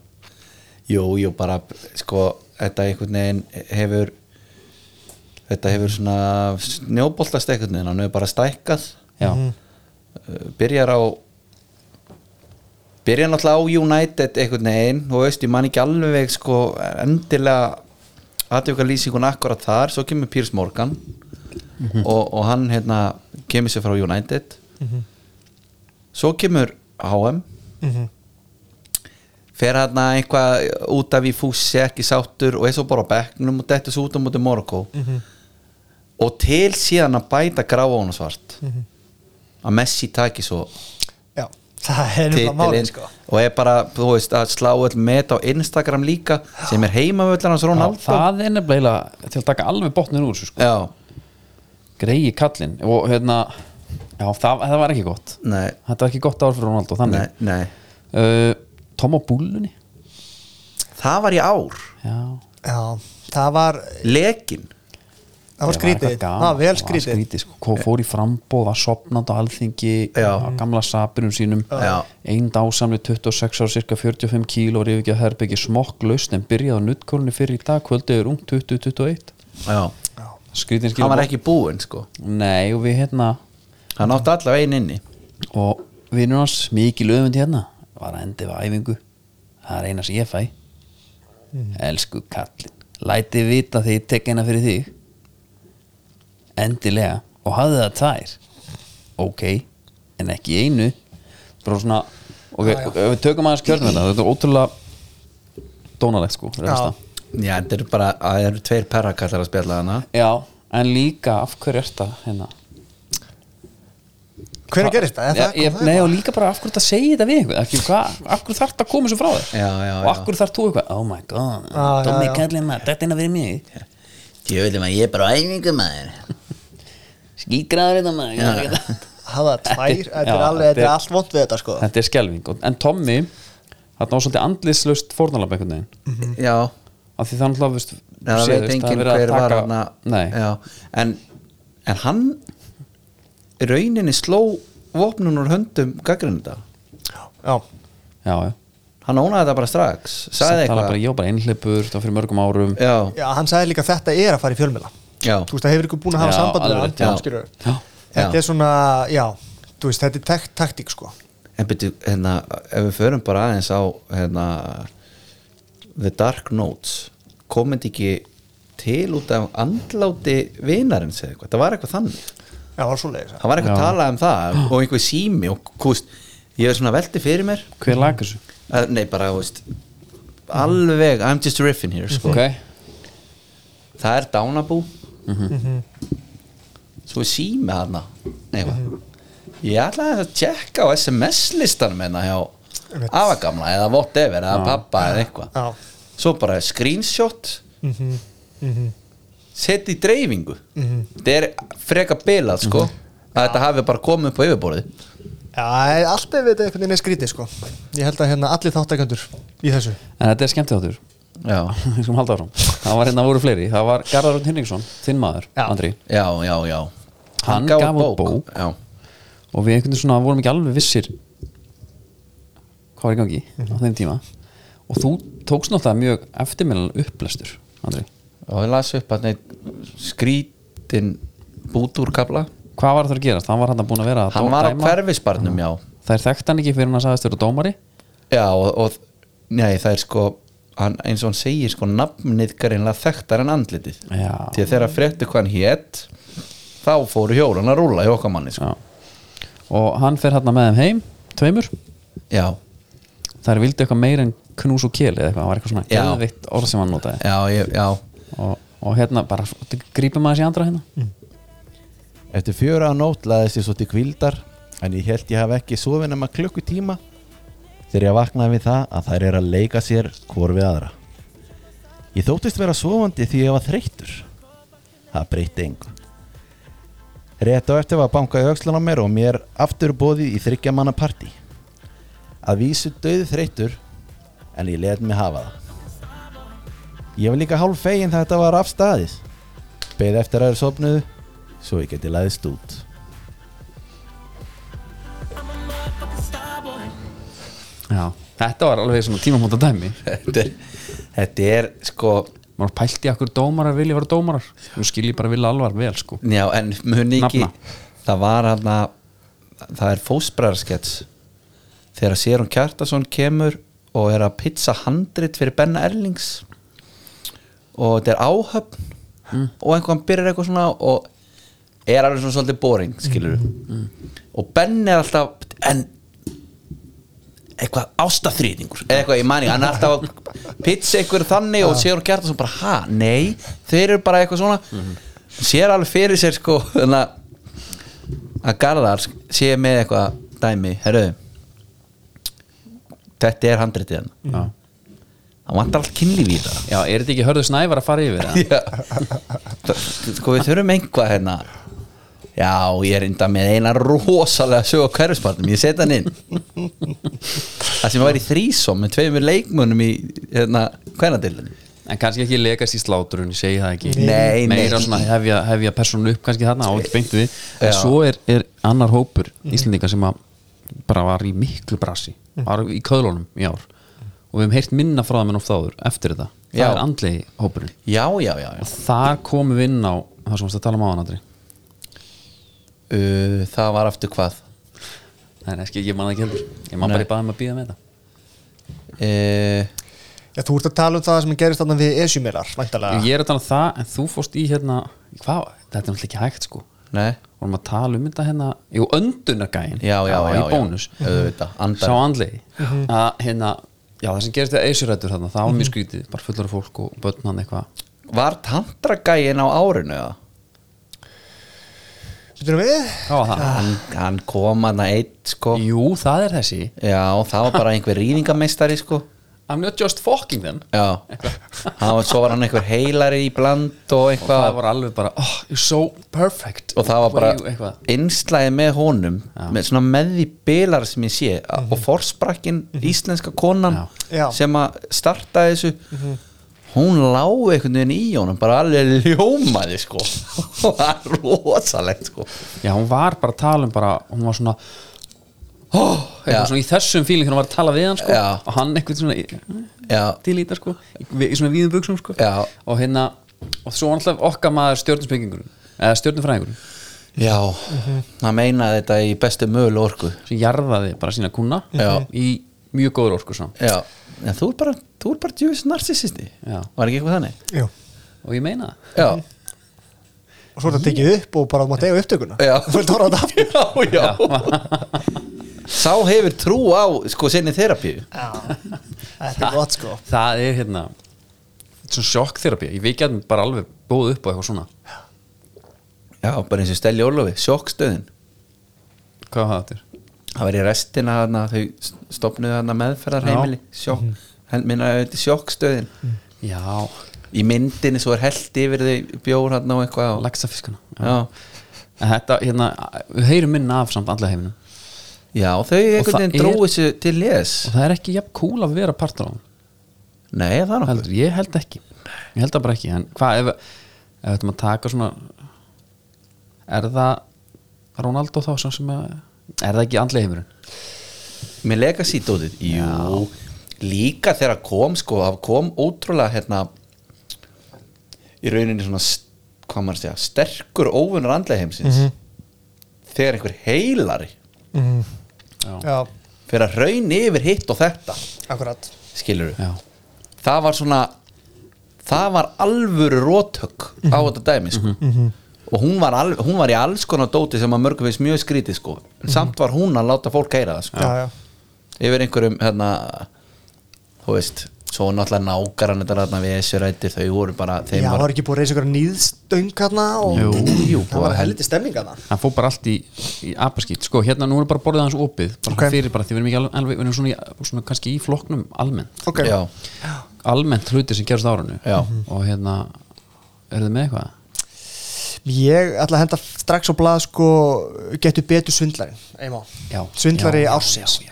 [SPEAKER 3] jú, jú, bara sko, þetta einhvern veginn hefur þetta hefur svona snjóboltast einhvern veginn, hann hefur bara stækkað
[SPEAKER 2] Já,
[SPEAKER 3] uh, byrjar á byrjar náttúrulega á United einhvern veginn, þú veist, ég man ekki alveg sko, endilega aðtöka lýsingun akkurat þar, svo kemur Piers Morgan og, og hann hérna, kemur sér frá United svo kemur HM
[SPEAKER 4] Mhm.
[SPEAKER 3] fer hann að einhvað
[SPEAKER 4] Mhm.
[SPEAKER 3] út af í fússi ekki sáttur og er svo bara á bekknum og dettur svo út á mútið Morgo og til síðan að bæta gráa hún og svart
[SPEAKER 4] Mhm.
[SPEAKER 3] að Messi taki svo
[SPEAKER 4] já, það er nefnilega
[SPEAKER 3] titilinn
[SPEAKER 4] málið sko
[SPEAKER 3] og er bara, þú veist, að slá öll met á Instagram líka, sem er heimavöldan hans
[SPEAKER 2] Já,
[SPEAKER 3] Ronaldo
[SPEAKER 2] það er nefnilega til að taka alveg botnin úr þessu, sko.
[SPEAKER 3] Já,
[SPEAKER 2] greiði kallinn og hérna já, það, það var ekki gott
[SPEAKER 3] nei,
[SPEAKER 2] þetta var ekki gott ár fyrir Ronaldo
[SPEAKER 3] nei,
[SPEAKER 2] þannig
[SPEAKER 3] nei
[SPEAKER 2] uh, Tom á búlunni
[SPEAKER 3] Það var í ár,
[SPEAKER 2] já,
[SPEAKER 4] já, það var,
[SPEAKER 3] lekin
[SPEAKER 4] það var skrítið það var vel skrítið
[SPEAKER 2] skrítið sko, Kom- fór í frambóð, var sopnand á alþingi
[SPEAKER 3] Já.
[SPEAKER 2] á gamla sapinum sínum
[SPEAKER 3] Já.
[SPEAKER 2] einn dásamli 26 ára cirka 45 kíl og reyfi ekki að herbyggi smokklaust en byrjaði á nutkólunni fyrir í dag kvöldið er ung 2021
[SPEAKER 3] Já,
[SPEAKER 2] skrítin
[SPEAKER 3] hann
[SPEAKER 2] skilur
[SPEAKER 3] var ekki búinn sko
[SPEAKER 2] nei og við hérna
[SPEAKER 3] Hann átti allavega einn inni
[SPEAKER 2] og vinnur hans mikið löfund hérna var að endi við æfingu það er eina sem ég fæ elsku kallinn læti vita þegar ég tek eina fyrir þig endilega og hafði það tær ok, en ekki í einu bara svona ok, ef við tökum aðeins kjörnum þetta þetta er ótrúlega dónalegt sko fyrir
[SPEAKER 4] Já.
[SPEAKER 2] vestan.
[SPEAKER 3] Já, þetta eru bara, það eru tveir perrakallar að spjalla hana
[SPEAKER 2] já, en líka af hverju er þetta hérna
[SPEAKER 4] hvernig gerist það? Er
[SPEAKER 2] Já,
[SPEAKER 4] það-
[SPEAKER 2] ég,
[SPEAKER 4] kom það
[SPEAKER 2] nei
[SPEAKER 4] eitthvað?
[SPEAKER 2] og líka bara af hverju þetta segir þetta við einhver ekki, hva, af hverju þarf þetta að koma svo frá þér
[SPEAKER 3] Já, já,
[SPEAKER 2] og af
[SPEAKER 3] já.
[SPEAKER 2] hverju þarf þú eitthvað oh my god,
[SPEAKER 4] Já, já,
[SPEAKER 2] Tommy
[SPEAKER 4] já.
[SPEAKER 2] kallinn maður þetta er inn að vera mig,
[SPEAKER 3] Djöðum að ég er bara á æfingu maður
[SPEAKER 2] skýtgræður þetta hérna, maður já.
[SPEAKER 4] hafa tvær,
[SPEAKER 2] Þetta-
[SPEAKER 4] þetta er
[SPEAKER 2] já,
[SPEAKER 4] alveg þetta
[SPEAKER 2] þetta
[SPEAKER 4] er
[SPEAKER 2] er-
[SPEAKER 4] allt vond við þetta sko
[SPEAKER 2] þetta er skelving Og- en Tommy, þarna á svolítið andlislaust fórnalab einhvern veginn,
[SPEAKER 3] Mm. Já,
[SPEAKER 2] af því þannig að veist,
[SPEAKER 3] Já, það veit enginn hver var hana
[SPEAKER 2] nei,
[SPEAKER 3] Já, en, en hann í rauninni sló vopnun úr höndum gaggrinda
[SPEAKER 4] já,
[SPEAKER 2] já, já
[SPEAKER 3] Hann ónaði þetta bara strax Sagði
[SPEAKER 2] Samt alveg
[SPEAKER 3] eitthvað
[SPEAKER 2] bara, ég var bara einhleipur, það var fyrir mörgum árum
[SPEAKER 3] Já,
[SPEAKER 4] já, hann sagði líka þetta er að fara í fjölmjöla
[SPEAKER 3] já,
[SPEAKER 4] þú veist, það hefur ykkur búin að hafa
[SPEAKER 2] Já,
[SPEAKER 4] samband
[SPEAKER 2] alveg
[SPEAKER 4] með
[SPEAKER 2] rétt,
[SPEAKER 3] já.
[SPEAKER 4] hann skilurðu.
[SPEAKER 2] já,
[SPEAKER 4] þetta
[SPEAKER 3] Já.
[SPEAKER 4] er svona, já þú veist, þetta er tek- taktík sko
[SPEAKER 3] en byrju, hérna Ef við förum bara aðeins á hérna, The Dark Notes komið ekki til út af andláti vinarins eða eitthvað, það var eitthvað þannig
[SPEAKER 4] já, var svo leiðis
[SPEAKER 3] það var eitthvað
[SPEAKER 2] Já.
[SPEAKER 3] að tala um það og einhver sími og kúst ég er svona velti fyrir mér
[SPEAKER 2] hver lag þessu
[SPEAKER 3] uh, nei bara, þú veist alveg, I'm just riffing here sko.
[SPEAKER 2] ok,
[SPEAKER 3] það er dánabú
[SPEAKER 2] Mhm.
[SPEAKER 3] svo er sími hana nei, mm ég ætlaði að tjekka á sms listanum hérna hjá
[SPEAKER 4] Einmitt.
[SPEAKER 3] afagamla eða whatever, eða pappa eða eitthvað
[SPEAKER 4] já, Mhm.
[SPEAKER 3] svo bara screenshot seti í dreifingu þetta er freka bilað sko
[SPEAKER 2] Mhm.
[SPEAKER 3] að þetta hafi bara komið upp á yfirborðið
[SPEAKER 4] já, allt er við þetta einhvern veginn er skrítið sko ég held að hérna allir þáttaköndur í þessu
[SPEAKER 2] en þetta er skemmtið áttur
[SPEAKER 3] já
[SPEAKER 2] [laughs] við skulum halda áfram, það var hérna voru fleiri það var Garðar Örn Hinriksson, þinn maður,
[SPEAKER 4] Já.
[SPEAKER 2] Andri
[SPEAKER 3] já, já, já
[SPEAKER 2] Hann gaf út bók.
[SPEAKER 3] Já.
[SPEAKER 2] og við einhvern veginn svona vorum ekki alveg vissir hvað var í gangi á þeim tíma og þú tókst náttúrulega mjög eftirminnilega upplestur Andri.
[SPEAKER 3] og ég las upp að neitt skrítin bútúrkabla
[SPEAKER 2] hvað var það að gera? hann var hann búin að vera að
[SPEAKER 3] hann
[SPEAKER 2] dó-
[SPEAKER 3] var á
[SPEAKER 2] dæma.
[SPEAKER 3] hverfisbarnum, já
[SPEAKER 2] þær þekkt hann ekki fyrir hann að sagðist vera dómari
[SPEAKER 3] já, og, og nei, það er sko hann, eins og hann segir sko nafnið greinlega þekktar en andlitið
[SPEAKER 2] Já.
[SPEAKER 3] því að þegar fréttu hvað hann hétt þá fóru hjólun að rúla í okkar manni sko.
[SPEAKER 2] Já. og hann fer hann með þeim heim tveimur,
[SPEAKER 3] já,
[SPEAKER 2] þær vildi eitthvað meira en knús og kjeli eða eitthvað, það var eitthvað svona
[SPEAKER 3] Já.
[SPEAKER 2] geðvitt orð sem hann notaði
[SPEAKER 3] já, ég, já
[SPEAKER 2] og, og hérna bara grípum maður sér andra hérna
[SPEAKER 11] Eftir fjöra á nótt laðist ég svo til kvildar en ég held ég haf ekki sofið nema klukkutíma þegar ég vaknaði við það að þær eru að leika sér hvor við aðra. Ég þóttist vera sofandi því ég var þreyttur. Það breytti engu. Rétt á eftir var bankað í aukslun á mér og mér aftur bóðið í þryggja manna partí. Að vísu döði þreyttur en ég let mig hafa það. Ég var líka hálf fegin þegar þetta var afstæðið. Beði eftir að þeir sofnuðu svo ég geti læðist út.
[SPEAKER 2] Já. þetta var alveg svona tímamóta dæmi
[SPEAKER 3] þetta er, þetta er sko
[SPEAKER 2] maður pælt í akkur dómarar vilja vera dómarar nú skil ég bara vilja alvar vel sko
[SPEAKER 3] já, en muni ekki
[SPEAKER 2] Nafna.
[SPEAKER 3] það var hann að það er fósbræðarskets þegar Sérum Kjartason kemur og er að pizza handrit fyrir Benna Erlings og þetta er áhöfn og einhvern byrjar eitthvað svona og er alveg svona svolítið boring skilur og Ben er alltaf en eitthvað ástaþrýtingur eða eitthvað, ég mani, hann er alltaf að pizza einhver þannig og Sigur Kjartason bara, ha, nei þeir eru bara eitthvað svona sér alveg fyrir sér sko þannig að- að Garðar sé með eitthvað dæmi herru þetta er handritið hann
[SPEAKER 2] Já.
[SPEAKER 3] hann vantar allt kynlíf í það
[SPEAKER 2] Já, er þetta ekki hörðu snævar að fara yfir það?
[SPEAKER 3] Já. sko við þurfum einhvað hérna já ég er enda með eina rosalega sög á hverfispartum ég seti hann inn það sem að væri þrísom með tveimur leikmönnum í hérna hvernadildinu
[SPEAKER 2] En kannski ekki legast í slátrun, segi það ekki
[SPEAKER 3] Nei, nei.
[SPEAKER 2] Meira svona hefja, hefja persónu upp kannski þarna á ekki beint við En
[SPEAKER 3] Já.
[SPEAKER 2] svo er, er annar hópur
[SPEAKER 3] Mhm.
[SPEAKER 2] Íslendinga sem að bara var í miklu brasi Var í köðlunum í ár Og við hefum heyrt minna frá það minn oft áður eftir þetta Það
[SPEAKER 3] Já.
[SPEAKER 2] er andlegi hópurinn
[SPEAKER 3] já, já, já, já.
[SPEAKER 2] Og þar komum við inn á það sem varst að tala um áðan, Andri
[SPEAKER 3] uh, það var aftur hvað
[SPEAKER 2] Nei, nei, ekki, ég man það ekki heldur Ég man bara
[SPEAKER 3] Nei.
[SPEAKER 2] í baðum að býða með þetta
[SPEAKER 3] uh,
[SPEAKER 4] Já, þú ert að tala um það sem gerist þarna við Esjumilar,
[SPEAKER 3] Ah.
[SPEAKER 4] væntalega
[SPEAKER 2] Ég er að tala um það, en þú fórst í hérna Hvað, þetta er náttúrulega ekki hægt sko
[SPEAKER 3] Nei
[SPEAKER 2] Vorum að tala um þetta hérna Jú, öndunargæin
[SPEAKER 3] Já, já, já,
[SPEAKER 2] Í
[SPEAKER 3] já.
[SPEAKER 2] bónus
[SPEAKER 3] Auðvitað, andar.
[SPEAKER 2] Sá andlegi
[SPEAKER 3] Mhm.
[SPEAKER 2] Að hérna Já, það sem gerist við eisurættur þarna Það var mjög skrítið Bara fullar af fólk og börn hann eitthvað
[SPEAKER 3] Var tantragæin á árinu eða?
[SPEAKER 4] Þetta erum við
[SPEAKER 2] Hvað var það?
[SPEAKER 3] hann, hann kom hann að eitt sko
[SPEAKER 2] Jú, það er þessi
[SPEAKER 3] Já, það var bara einhver rýningameistari sko
[SPEAKER 2] I'm not just fucking them
[SPEAKER 3] [laughs] Já, hann var, svo var hann einhver heilari í bland og
[SPEAKER 2] Og það
[SPEAKER 3] eitthvað
[SPEAKER 2] var alveg bara Oh, you're so perfect
[SPEAKER 3] og það var
[SPEAKER 2] Jú,
[SPEAKER 3] bara
[SPEAKER 2] eitthvað.
[SPEAKER 3] einslæði með honum með svona með því bilar sem ég sé mm
[SPEAKER 2] Mhm.
[SPEAKER 3] og forsprakkin íslenska konan
[SPEAKER 4] Já. Já.
[SPEAKER 3] sem að starta þessu
[SPEAKER 2] Mhm.
[SPEAKER 3] hún lágu einhvern veginn í honum bara alveg ljómaði sko [laughs] það var rosalegt sko
[SPEAKER 2] Já, hún var bara að tala um bara Hún var svona Oh,
[SPEAKER 3] Já.
[SPEAKER 2] eitthvað svona í þessum fíling hún var að tala við hann sko,
[SPEAKER 3] Já.
[SPEAKER 2] og hann eitthvað svona í-
[SPEAKER 3] Já,
[SPEAKER 2] til í þetta sko í, í svona víðum buksum sko
[SPEAKER 3] já,
[SPEAKER 2] og hérna, og svo alltaf okkar maður stjórnusbyggingur eða stjórnufræðingur
[SPEAKER 3] já
[SPEAKER 2] Mhm.
[SPEAKER 3] hann meinaði þetta í bestu möguleg orku
[SPEAKER 2] sem jarðaði bara sína kuna
[SPEAKER 3] Já.
[SPEAKER 2] í mjög góður orku sko. samt
[SPEAKER 3] Já, en þú er bara, þú er bara djúvis narcissisti
[SPEAKER 2] Já. Mhm.
[SPEAKER 3] Var ekki eitthvað þannig?
[SPEAKER 4] Jú.
[SPEAKER 2] og ég meina það
[SPEAKER 3] Já, [laughs]
[SPEAKER 4] Og svo er þetta tekið upp og bara þú mátt eiga upptökuna
[SPEAKER 3] já
[SPEAKER 4] [laughs] Þú vilt horfa á
[SPEAKER 3] [laughs]
[SPEAKER 4] þetta aftur
[SPEAKER 3] Já, já Sá hefur trú á sko sinni terapíu
[SPEAKER 4] Já, [laughs] þetta er gott sko
[SPEAKER 2] það er hérna svona sjokkþerapi, ég veik að bara alveg bóð upp á eitthvað svona
[SPEAKER 3] Já, bara eins og Stelji Ólofi, sjokkstöðin
[SPEAKER 2] hvað var það aftur?
[SPEAKER 3] Það var í restina þarna, þau stopnuðu þarna meðferðarheimili Sjokk,
[SPEAKER 2] Mhm.
[SPEAKER 3] mm. minna þetta er sjokkstöðin
[SPEAKER 2] já,
[SPEAKER 3] Í myndinni svo er held yfir þau bjór hann og eitthvað og-
[SPEAKER 2] laxafiskana
[SPEAKER 3] Já,
[SPEAKER 2] En þetta, hérna, við heyrum minna af samt andlega heiminum
[SPEAKER 3] já þau einhvern
[SPEAKER 2] það
[SPEAKER 3] veginn dróðu
[SPEAKER 2] er-
[SPEAKER 3] þessu til les
[SPEAKER 2] og það er ekki jafn cool að vera partur á hann
[SPEAKER 3] Nei, það er nokkuð
[SPEAKER 2] heldur, ég held ekki ég held það bara ekki, en hvað ef ef þetta maður taka svona er það Ronaldo þá sem sem að er það ekki andlega heimurinn
[SPEAKER 3] með legacy dótið jú, líka þegar kom sko, það kom ótrúlega hérna í rauninni svona st- hvað maður að segja, sterkur óvunur andlega heimsins
[SPEAKER 2] Mhm.
[SPEAKER 3] þegar einhver heilari
[SPEAKER 4] Já,
[SPEAKER 3] fyrir að raun yfir hitt og þetta
[SPEAKER 4] akkurat
[SPEAKER 3] skilur við,
[SPEAKER 2] já,
[SPEAKER 3] það var svona það var alvöru rótök á
[SPEAKER 4] Mhm.
[SPEAKER 3] þetta dæmi sko og hún var, al, hún var í alls konar dóti sem að mörgum veist mjög skrítið sko en samt var hún að láta fólk heyra það sko
[SPEAKER 4] Mhm. Já, já,
[SPEAKER 3] yfir einhverjum hérna þú veist, svo náttúrulega nákaran þetta hérna við Esjurætti, þau voru bara
[SPEAKER 4] já
[SPEAKER 3] þeim
[SPEAKER 4] það
[SPEAKER 3] var,
[SPEAKER 4] var ekki búið að reysa ykkur nýðstöng hana og
[SPEAKER 2] Jú, jú,
[SPEAKER 4] Það var helviti stemming hana
[SPEAKER 2] það fór bara allt í, í apaskýt, sko, hérna nú erum bara borðið hans opið, bara
[SPEAKER 4] Ok.
[SPEAKER 2] okay. fyrir bara, því við erum ekki alveg, alveg við erum svona, í- svona kannski í flokknum almennt
[SPEAKER 4] Ok,
[SPEAKER 3] já,
[SPEAKER 2] almennt hluti sem gerast á árunu
[SPEAKER 3] Já.
[SPEAKER 2] og hérna, er þið með eitthvað?
[SPEAKER 4] ég ætla að henda strax á blað sko Getur betur svindlarinn, Eimá
[SPEAKER 2] Já.
[SPEAKER 4] Svindlari
[SPEAKER 2] Já, já,
[SPEAKER 4] ársins
[SPEAKER 2] já, já, já.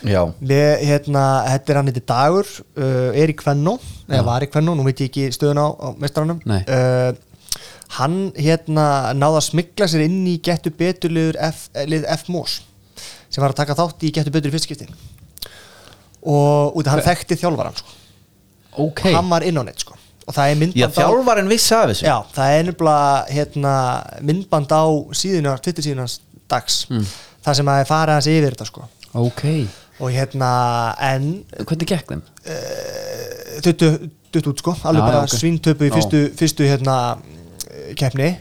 [SPEAKER 3] já,
[SPEAKER 4] Við, hérna, þetta er hann eitthvað dagur uh, er í Kvennó, eða var í Kvennó nú veit ég ekki stöðun á, á mestranum
[SPEAKER 2] Nei.
[SPEAKER 4] uh, hann hérna náða að smikla sér inn í getur beturliður F, eh, lið F-Mós sem var að taka þátt í getur betur í fyrstskipti og út af hann þekkti þjálfaran sko.
[SPEAKER 2] ok,
[SPEAKER 4] hann var inn á neitt sko. og það er
[SPEAKER 3] já
[SPEAKER 4] myndband á
[SPEAKER 3] þjálfarinn vissi af þessu
[SPEAKER 4] já, það er nefnilega hérna, myndband á síðunar, tvittir síðunars dags það sem að fara hans yfir þetta sko.
[SPEAKER 2] ok
[SPEAKER 4] og hérna, en
[SPEAKER 2] hvernig gekk þeim?
[SPEAKER 4] Eh, duttu duttu út sko, alveg
[SPEAKER 2] Já, já,
[SPEAKER 4] bara
[SPEAKER 2] ok.
[SPEAKER 4] svíntöpu í
[SPEAKER 2] Já.
[SPEAKER 4] fyrstu, fyrstu hérna keppni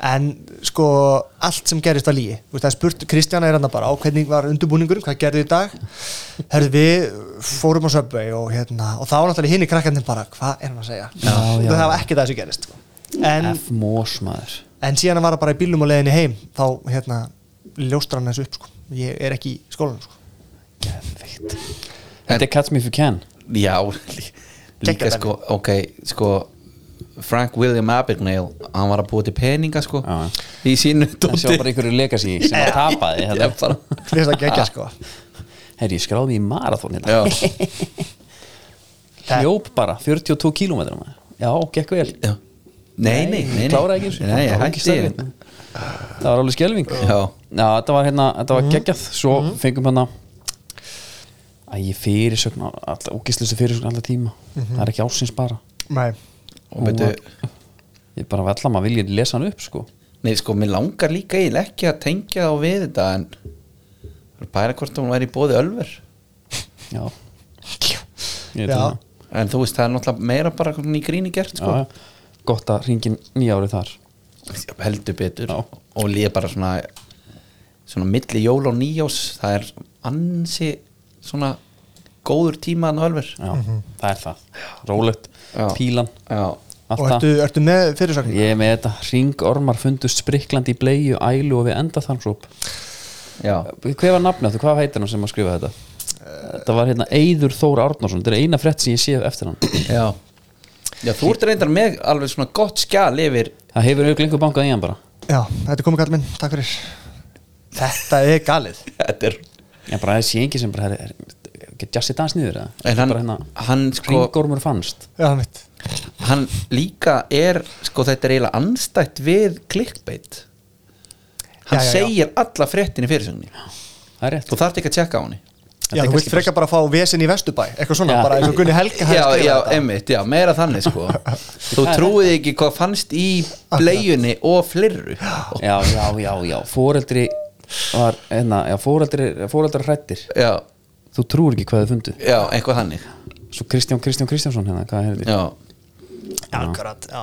[SPEAKER 4] en sko allt sem gerist var líi Þú veist, það er spurt, Kristjana er hann bara á hvernig var undurbúningurinn, hvað gerðu í dag herðu við fórum á söpvei og hérna, og þá var náttúrulega hinn í krakkarnir bara, hvað er hann að segja
[SPEAKER 2] Já, já.
[SPEAKER 4] það var ekki það sem gerist sko. En-
[SPEAKER 2] F. Mós maður
[SPEAKER 4] en síðan var það bara í bílum og leiðinni heim þá hérna ljóstra hann þessu upp sko. ég er ekki í skólanum sko.
[SPEAKER 2] Þetta er Catch Me If You Can
[SPEAKER 3] Já, [laughs] lí- líka
[SPEAKER 4] Geggjað
[SPEAKER 3] sko ok, sko Frank William Abagnale, hann var að búa til peninga sko, í sínu
[SPEAKER 2] En sjá
[SPEAKER 3] dóti
[SPEAKER 2] bara einhverju legacy sem að tapaði Þetta er bara
[SPEAKER 4] Mér finnst það
[SPEAKER 2] [laughs]
[SPEAKER 4] geggjað, sko.
[SPEAKER 2] Herri, ég skráði mig í marathón hérna
[SPEAKER 3] Já.
[SPEAKER 2] [laughs] Hljóp bara, 42 km Já, gekk vel
[SPEAKER 3] Já. Nei, nei, nei, nei.
[SPEAKER 2] Kláraði ekki einu sinni.
[SPEAKER 3] Nei, ég
[SPEAKER 2] Það var ógeðslega
[SPEAKER 3] hætti
[SPEAKER 2] erfitt.
[SPEAKER 3] ég.
[SPEAKER 2] Það var alveg skelving
[SPEAKER 3] Já. Mhm.
[SPEAKER 2] þetta var hérna, þetta var geggjað Svo fengum hérna Æ, ég fyrirsögn Úkisleysi fyrirsögn alltaf tíma
[SPEAKER 4] Mhm.
[SPEAKER 2] Það er ekki ásins bara
[SPEAKER 4] Nei.
[SPEAKER 3] Og byrju-
[SPEAKER 2] var- Ég bara vella maður viljið lesa hann upp sko
[SPEAKER 3] Nei, sko, mér langar líka ég ekki að tengja þá við þetta en bæra hvort hún væri í bóði ölver
[SPEAKER 2] Já Ég um
[SPEAKER 4] Já.
[SPEAKER 2] til
[SPEAKER 3] En þú veist, það er náttúrulega meira bara hvernig í gríni gert sko.
[SPEAKER 2] það Já, já. Gott að ringin nýja árið þar
[SPEAKER 3] heldur betur Já. og líka bara svona svona milli jól og nýjós það er ansi svona góður tíma en ölver
[SPEAKER 2] Já,
[SPEAKER 4] Mhm.
[SPEAKER 2] það er það, rólegt pílan,
[SPEAKER 3] Já.
[SPEAKER 2] allt
[SPEAKER 4] og
[SPEAKER 2] það
[SPEAKER 4] ertu, ertu með fyrirsögn
[SPEAKER 2] Ég er með þetta, ringormar fundust spriklandi í bleiu, ælu og við enda þarmsóp
[SPEAKER 3] Já.
[SPEAKER 2] Hver var nafnið þetta, hvað heitir hann sem að skrifa þetta? Þetta var hérna Eyður Þór Árnarsson Þetta er eina frett sem ég sé eftir hann
[SPEAKER 3] Já. Já, þú ert reyndar með alveg svona gott skjal yfir
[SPEAKER 2] Það hefur auðvitað lengur bankað í hann bara
[SPEAKER 4] já, þetta er komið kall minn, takk fyrir þetta er galið
[SPEAKER 3] Þetta er
[SPEAKER 2] Ég bara, það sé engi sem bara, er, er, er Jassi dans niður eða?
[SPEAKER 3] En hann-
[SPEAKER 2] Bara hérna,
[SPEAKER 3] hann sko-
[SPEAKER 2] Ringormur fannst
[SPEAKER 4] já, mitt
[SPEAKER 3] hann líka er sko þetta er eiginlega anstætt við clickbait hann
[SPEAKER 4] Já, já, já.
[SPEAKER 3] segir alla fréttin í fyrirsögninni
[SPEAKER 2] Það er rétt
[SPEAKER 3] þú þarft ekki að tjekka á henni
[SPEAKER 4] já, þú vilt frekar bara fá vesen í Vesturbæ eitthvað svona,
[SPEAKER 2] Já.
[SPEAKER 4] bara eins og Gunni Helga
[SPEAKER 3] já,
[SPEAKER 4] hefði skrifað
[SPEAKER 3] já,
[SPEAKER 4] þetta.
[SPEAKER 3] einmitt, já, meira þannig sko þú trúið ekki hvað fannst í bleiunni og flirru
[SPEAKER 2] Já, já, já, já, fóreldri var, hérna, já, fóreldri, fóreldri hrættir
[SPEAKER 3] já,
[SPEAKER 2] Þú trúir ekki hvað þið fundu
[SPEAKER 3] já, eitthvað þannig
[SPEAKER 2] Svo Kristján Kristján Kristjánsson hérna, hvað er þetta?
[SPEAKER 3] já.
[SPEAKER 4] Akkurat, já.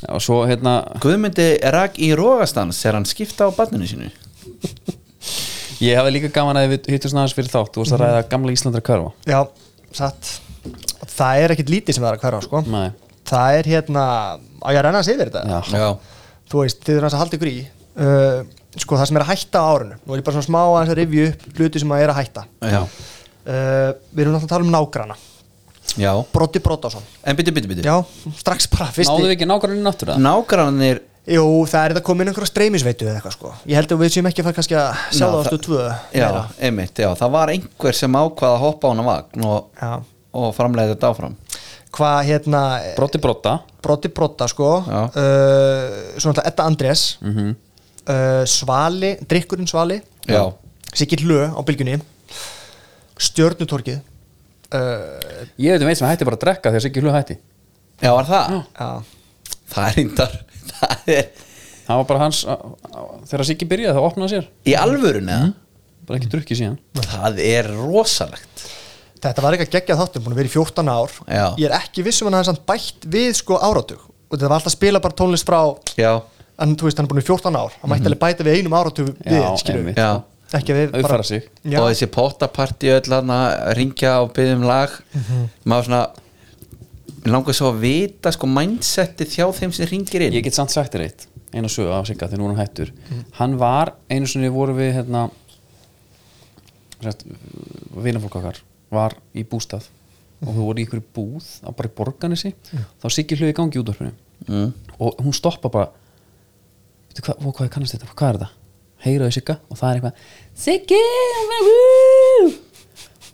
[SPEAKER 2] Já, Og svo hérna,
[SPEAKER 3] Guðmundi rak í rógastans er hann skipta á barninu sínu
[SPEAKER 2] ég hefði líka gaman að við hittum svona aðeins fyrir þátt Þú varst
[SPEAKER 4] Mhm.
[SPEAKER 2] að ræða gamla Íslandra körfa
[SPEAKER 4] já, satt það er ekkit lítið sem það er að hverfa sko.
[SPEAKER 2] Nei,
[SPEAKER 4] það er hérna á ég að renna að segja þetta
[SPEAKER 2] já,
[SPEAKER 3] já,
[SPEAKER 4] þú veist, þið eru hans að halda ykkur í uh, sko það sem er að hætta á árinu nú er ég bara svona smá aðeins að rifju upp hluti sem að er að hætta
[SPEAKER 3] já,
[SPEAKER 4] uh, við erum náttúrulega að tala um nágrana
[SPEAKER 3] já.
[SPEAKER 4] Broddi Broddason
[SPEAKER 3] en byttu, byttu, byttu
[SPEAKER 4] já, strax bara fyrst
[SPEAKER 2] náðu við ekki nákvæmlega náttúra
[SPEAKER 3] nágrannir
[SPEAKER 4] jú, það er þetta komin einhverja streymisveitu eða eitthvað sko ég held að við séum ekki að fara kannski að sjá
[SPEAKER 3] Já,
[SPEAKER 4] það á
[SPEAKER 3] það-
[SPEAKER 4] stöð tvö
[SPEAKER 3] já,
[SPEAKER 4] meira.
[SPEAKER 3] einmitt, já, það var einhver sem ákvað að hoppa á hana vagn og,
[SPEAKER 4] Já.
[SPEAKER 3] og framlega þetta áfram
[SPEAKER 4] hvað hérna
[SPEAKER 2] Brotti brotta
[SPEAKER 4] Broddi Brodda sko
[SPEAKER 3] Já. Mhm.
[SPEAKER 4] uh, svona alltaf Edda Andrés uh, Svali, drikkurinn Svali
[SPEAKER 3] Já.
[SPEAKER 4] Siggi Hlö á bylgjunni Stjörnutorkið uh,
[SPEAKER 2] Ég veit um einn sem hætti bara að drekka þegar Siggi Hlug hætti
[SPEAKER 3] Já, var það?
[SPEAKER 4] já
[SPEAKER 3] Það er reyndar [laughs] Það er
[SPEAKER 2] Það var bara hans, á- á- þegar Siggi byrjaði þá opnaði hann sér
[SPEAKER 3] í alvörun eða?
[SPEAKER 2] Bara ekki drukkið síðan
[SPEAKER 4] Mm.
[SPEAKER 3] Það er rosalegt
[SPEAKER 4] Þetta var eitthvað geggjað þáttum, búin að vera í 14 ár
[SPEAKER 3] Já.
[SPEAKER 4] Ég er ekki viss um hann hafði samt bætt við sko áratug og þetta var alltaf að spila bara tónlist frá
[SPEAKER 3] Já,
[SPEAKER 4] en þú veist, hann er búin í 14 ár hann mætti alveg bæta við einum áratug við,
[SPEAKER 2] Já,
[SPEAKER 4] skilur
[SPEAKER 2] einmitt.
[SPEAKER 4] við
[SPEAKER 3] já
[SPEAKER 4] ekki við,
[SPEAKER 2] Uppfæra sig.
[SPEAKER 4] Já,
[SPEAKER 3] Og þessi pottaparti öll hana ringja og byggja um lag Maður svona Mér langar svo að vita sko mindsetti þjá þeim sem ringir inn
[SPEAKER 2] Ég get samt sagt þér eitt, eina sögu af Sigga þegar nú er hann hættur Hann var, einu sinni voru við hérna Vinafólk okkar var í bústað og þú voru í einhverju búð á bara í borganessi þá Siggi hljóði í gangi í útvarpinu
[SPEAKER 3] mm.
[SPEAKER 2] og hún stoppa bara "Veitu hvað, ó, hvað kannast þetta, hvað er þetta heyraði Sigga og það er eitthvað Siggi, I'm gonna woo!"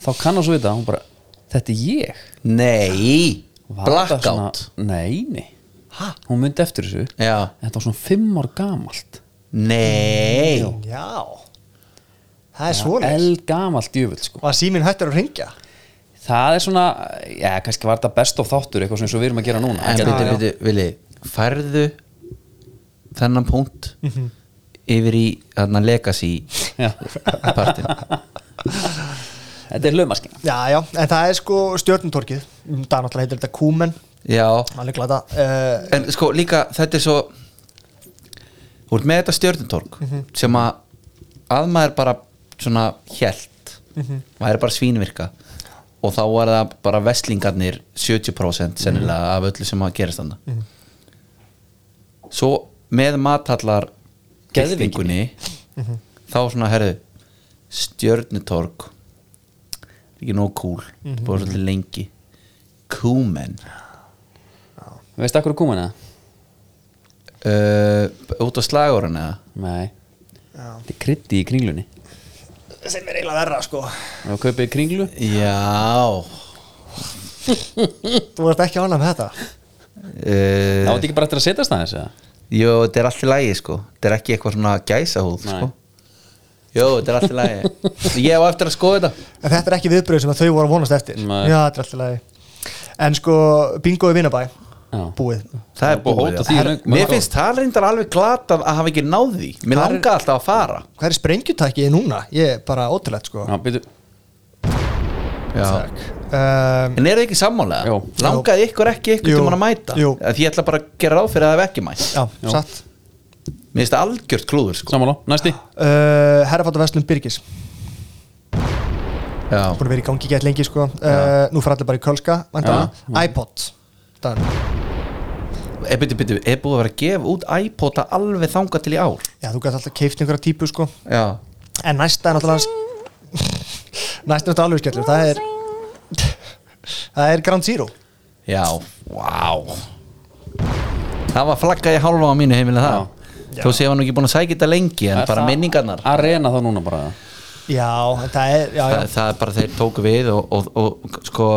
[SPEAKER 2] þá kannast þú þetta, hún bara þetta er ég
[SPEAKER 3] Nei,
[SPEAKER 2] Var þetta
[SPEAKER 3] blackout
[SPEAKER 2] svona- Nei, nei Hún myndi eftir þessu
[SPEAKER 3] Já,
[SPEAKER 2] Þetta var svona fimm ár gamalt
[SPEAKER 3] nei
[SPEAKER 4] já. það er svona
[SPEAKER 2] El gamalt djöfull sko
[SPEAKER 4] var síminn hættur að ringja
[SPEAKER 2] Það er svona, já, kannski var þetta best of þáttur eitthvað sem eins og við erum að gera núna
[SPEAKER 3] En
[SPEAKER 2] Þetta
[SPEAKER 3] byrju,
[SPEAKER 2] er-
[SPEAKER 3] byrju, vilji Færðu þennan punkt yfir í þarna legacy
[SPEAKER 2] [laughs] Já.
[SPEAKER 3] partin
[SPEAKER 2] Þetta er lögmaskina
[SPEAKER 4] já, já, en það er sko stjörnutorkið Mm, það er náttúrulega heitir þetta kúmen
[SPEAKER 3] Já,
[SPEAKER 4] alveg glata uh,
[SPEAKER 3] en sko líka þetta er svo þú ert með þetta stjörnutorg sem að að maður bara svona hjælt maður er bara svínvirka og þá er það bara veslingarnir 70% sennilega af öllu sem að gerast þannig svo með matallar geðvingunni
[SPEAKER 4] Mhm.
[SPEAKER 3] þá svona herðu stjörnutorg ekki nóg cool, mm
[SPEAKER 2] Mhm.
[SPEAKER 3] -hmm. búið svolítið lengi kúmen
[SPEAKER 2] Veistu akkur kúmen eða?
[SPEAKER 3] Uh, út á slagurinn eða?
[SPEAKER 2] Nei
[SPEAKER 4] Já.
[SPEAKER 2] Þetta er kryddi í kringlunni
[SPEAKER 4] sem er eiginlega verra sko
[SPEAKER 2] Það var kaupið kringlu
[SPEAKER 3] Já
[SPEAKER 4] þú varst ekki ánægð með þetta
[SPEAKER 3] uh,
[SPEAKER 2] Það var ekki bara eftir að setjast aðeins eða?
[SPEAKER 3] Jó, þetta er allt í lagi sko Þetta er ekki eitthvað svona gæsahúð sko. Jó, þetta er allt í [laughs] lagi Ég á eftir að skoða þetta
[SPEAKER 4] en þetta er ekki viðbröð sem að þau voru að vonast eftir
[SPEAKER 3] Nei.
[SPEAKER 4] já, þetta er alltaf lagi en sko, bingoði vinnabæ búið
[SPEAKER 3] Það er búið,
[SPEAKER 4] hóta
[SPEAKER 3] já.
[SPEAKER 4] því
[SPEAKER 3] Herra,
[SPEAKER 4] löng-
[SPEAKER 3] Mér
[SPEAKER 4] mörg
[SPEAKER 3] finnst það reyndar alveg glatað að hafa ekki náð því Mér
[SPEAKER 4] Hvar er-
[SPEAKER 3] langaði alltaf að fara
[SPEAKER 4] hvað er sprengjutæki núna? ég er bara ótrúlegt sko
[SPEAKER 2] Já, byrju
[SPEAKER 3] Já.
[SPEAKER 4] um,
[SPEAKER 3] En eru þið ekki sammálega? Jó. Langaði ykkur ekki ykkur
[SPEAKER 4] Jú.
[SPEAKER 3] tímann að mæta?
[SPEAKER 4] Jú.
[SPEAKER 3] Af Því ég ætla bara að gera ráð fyrir að það hef ekki mætt
[SPEAKER 4] Já, Jú. satt.
[SPEAKER 3] Mér finnst það algjört klúður sko.
[SPEAKER 2] Sammála, næsti
[SPEAKER 4] uh, herrafáttaverslun Birgis
[SPEAKER 3] Já.
[SPEAKER 4] búin að vera í gangi gett lengi sko uh, nú fyrir allir bara í kölska væntanlega.
[SPEAKER 3] Já, já.
[SPEAKER 4] iPod Dan.
[SPEAKER 3] Er, byrju, byrju, Eh, er búið að vera að gefa út iPod alveg þanga til í ár?
[SPEAKER 4] já, þú gæti alltaf keift einhverja típu sko
[SPEAKER 3] Já
[SPEAKER 4] en næsta er náttúrulega [laughs] næsta er náttúrulega alveg skellur það er það er [laughs] Ground Zero
[SPEAKER 3] Já, vá Það var flagga í hálfa á mínu heimilega það Þó séu hann ekki búin að sækja þetta lengi en
[SPEAKER 4] Er
[SPEAKER 3] bara
[SPEAKER 4] það
[SPEAKER 3] minningarnar
[SPEAKER 2] Arena þá núna bara
[SPEAKER 4] já, en það er já, já.
[SPEAKER 3] það, það er bara þeir tóku við og, og, og sko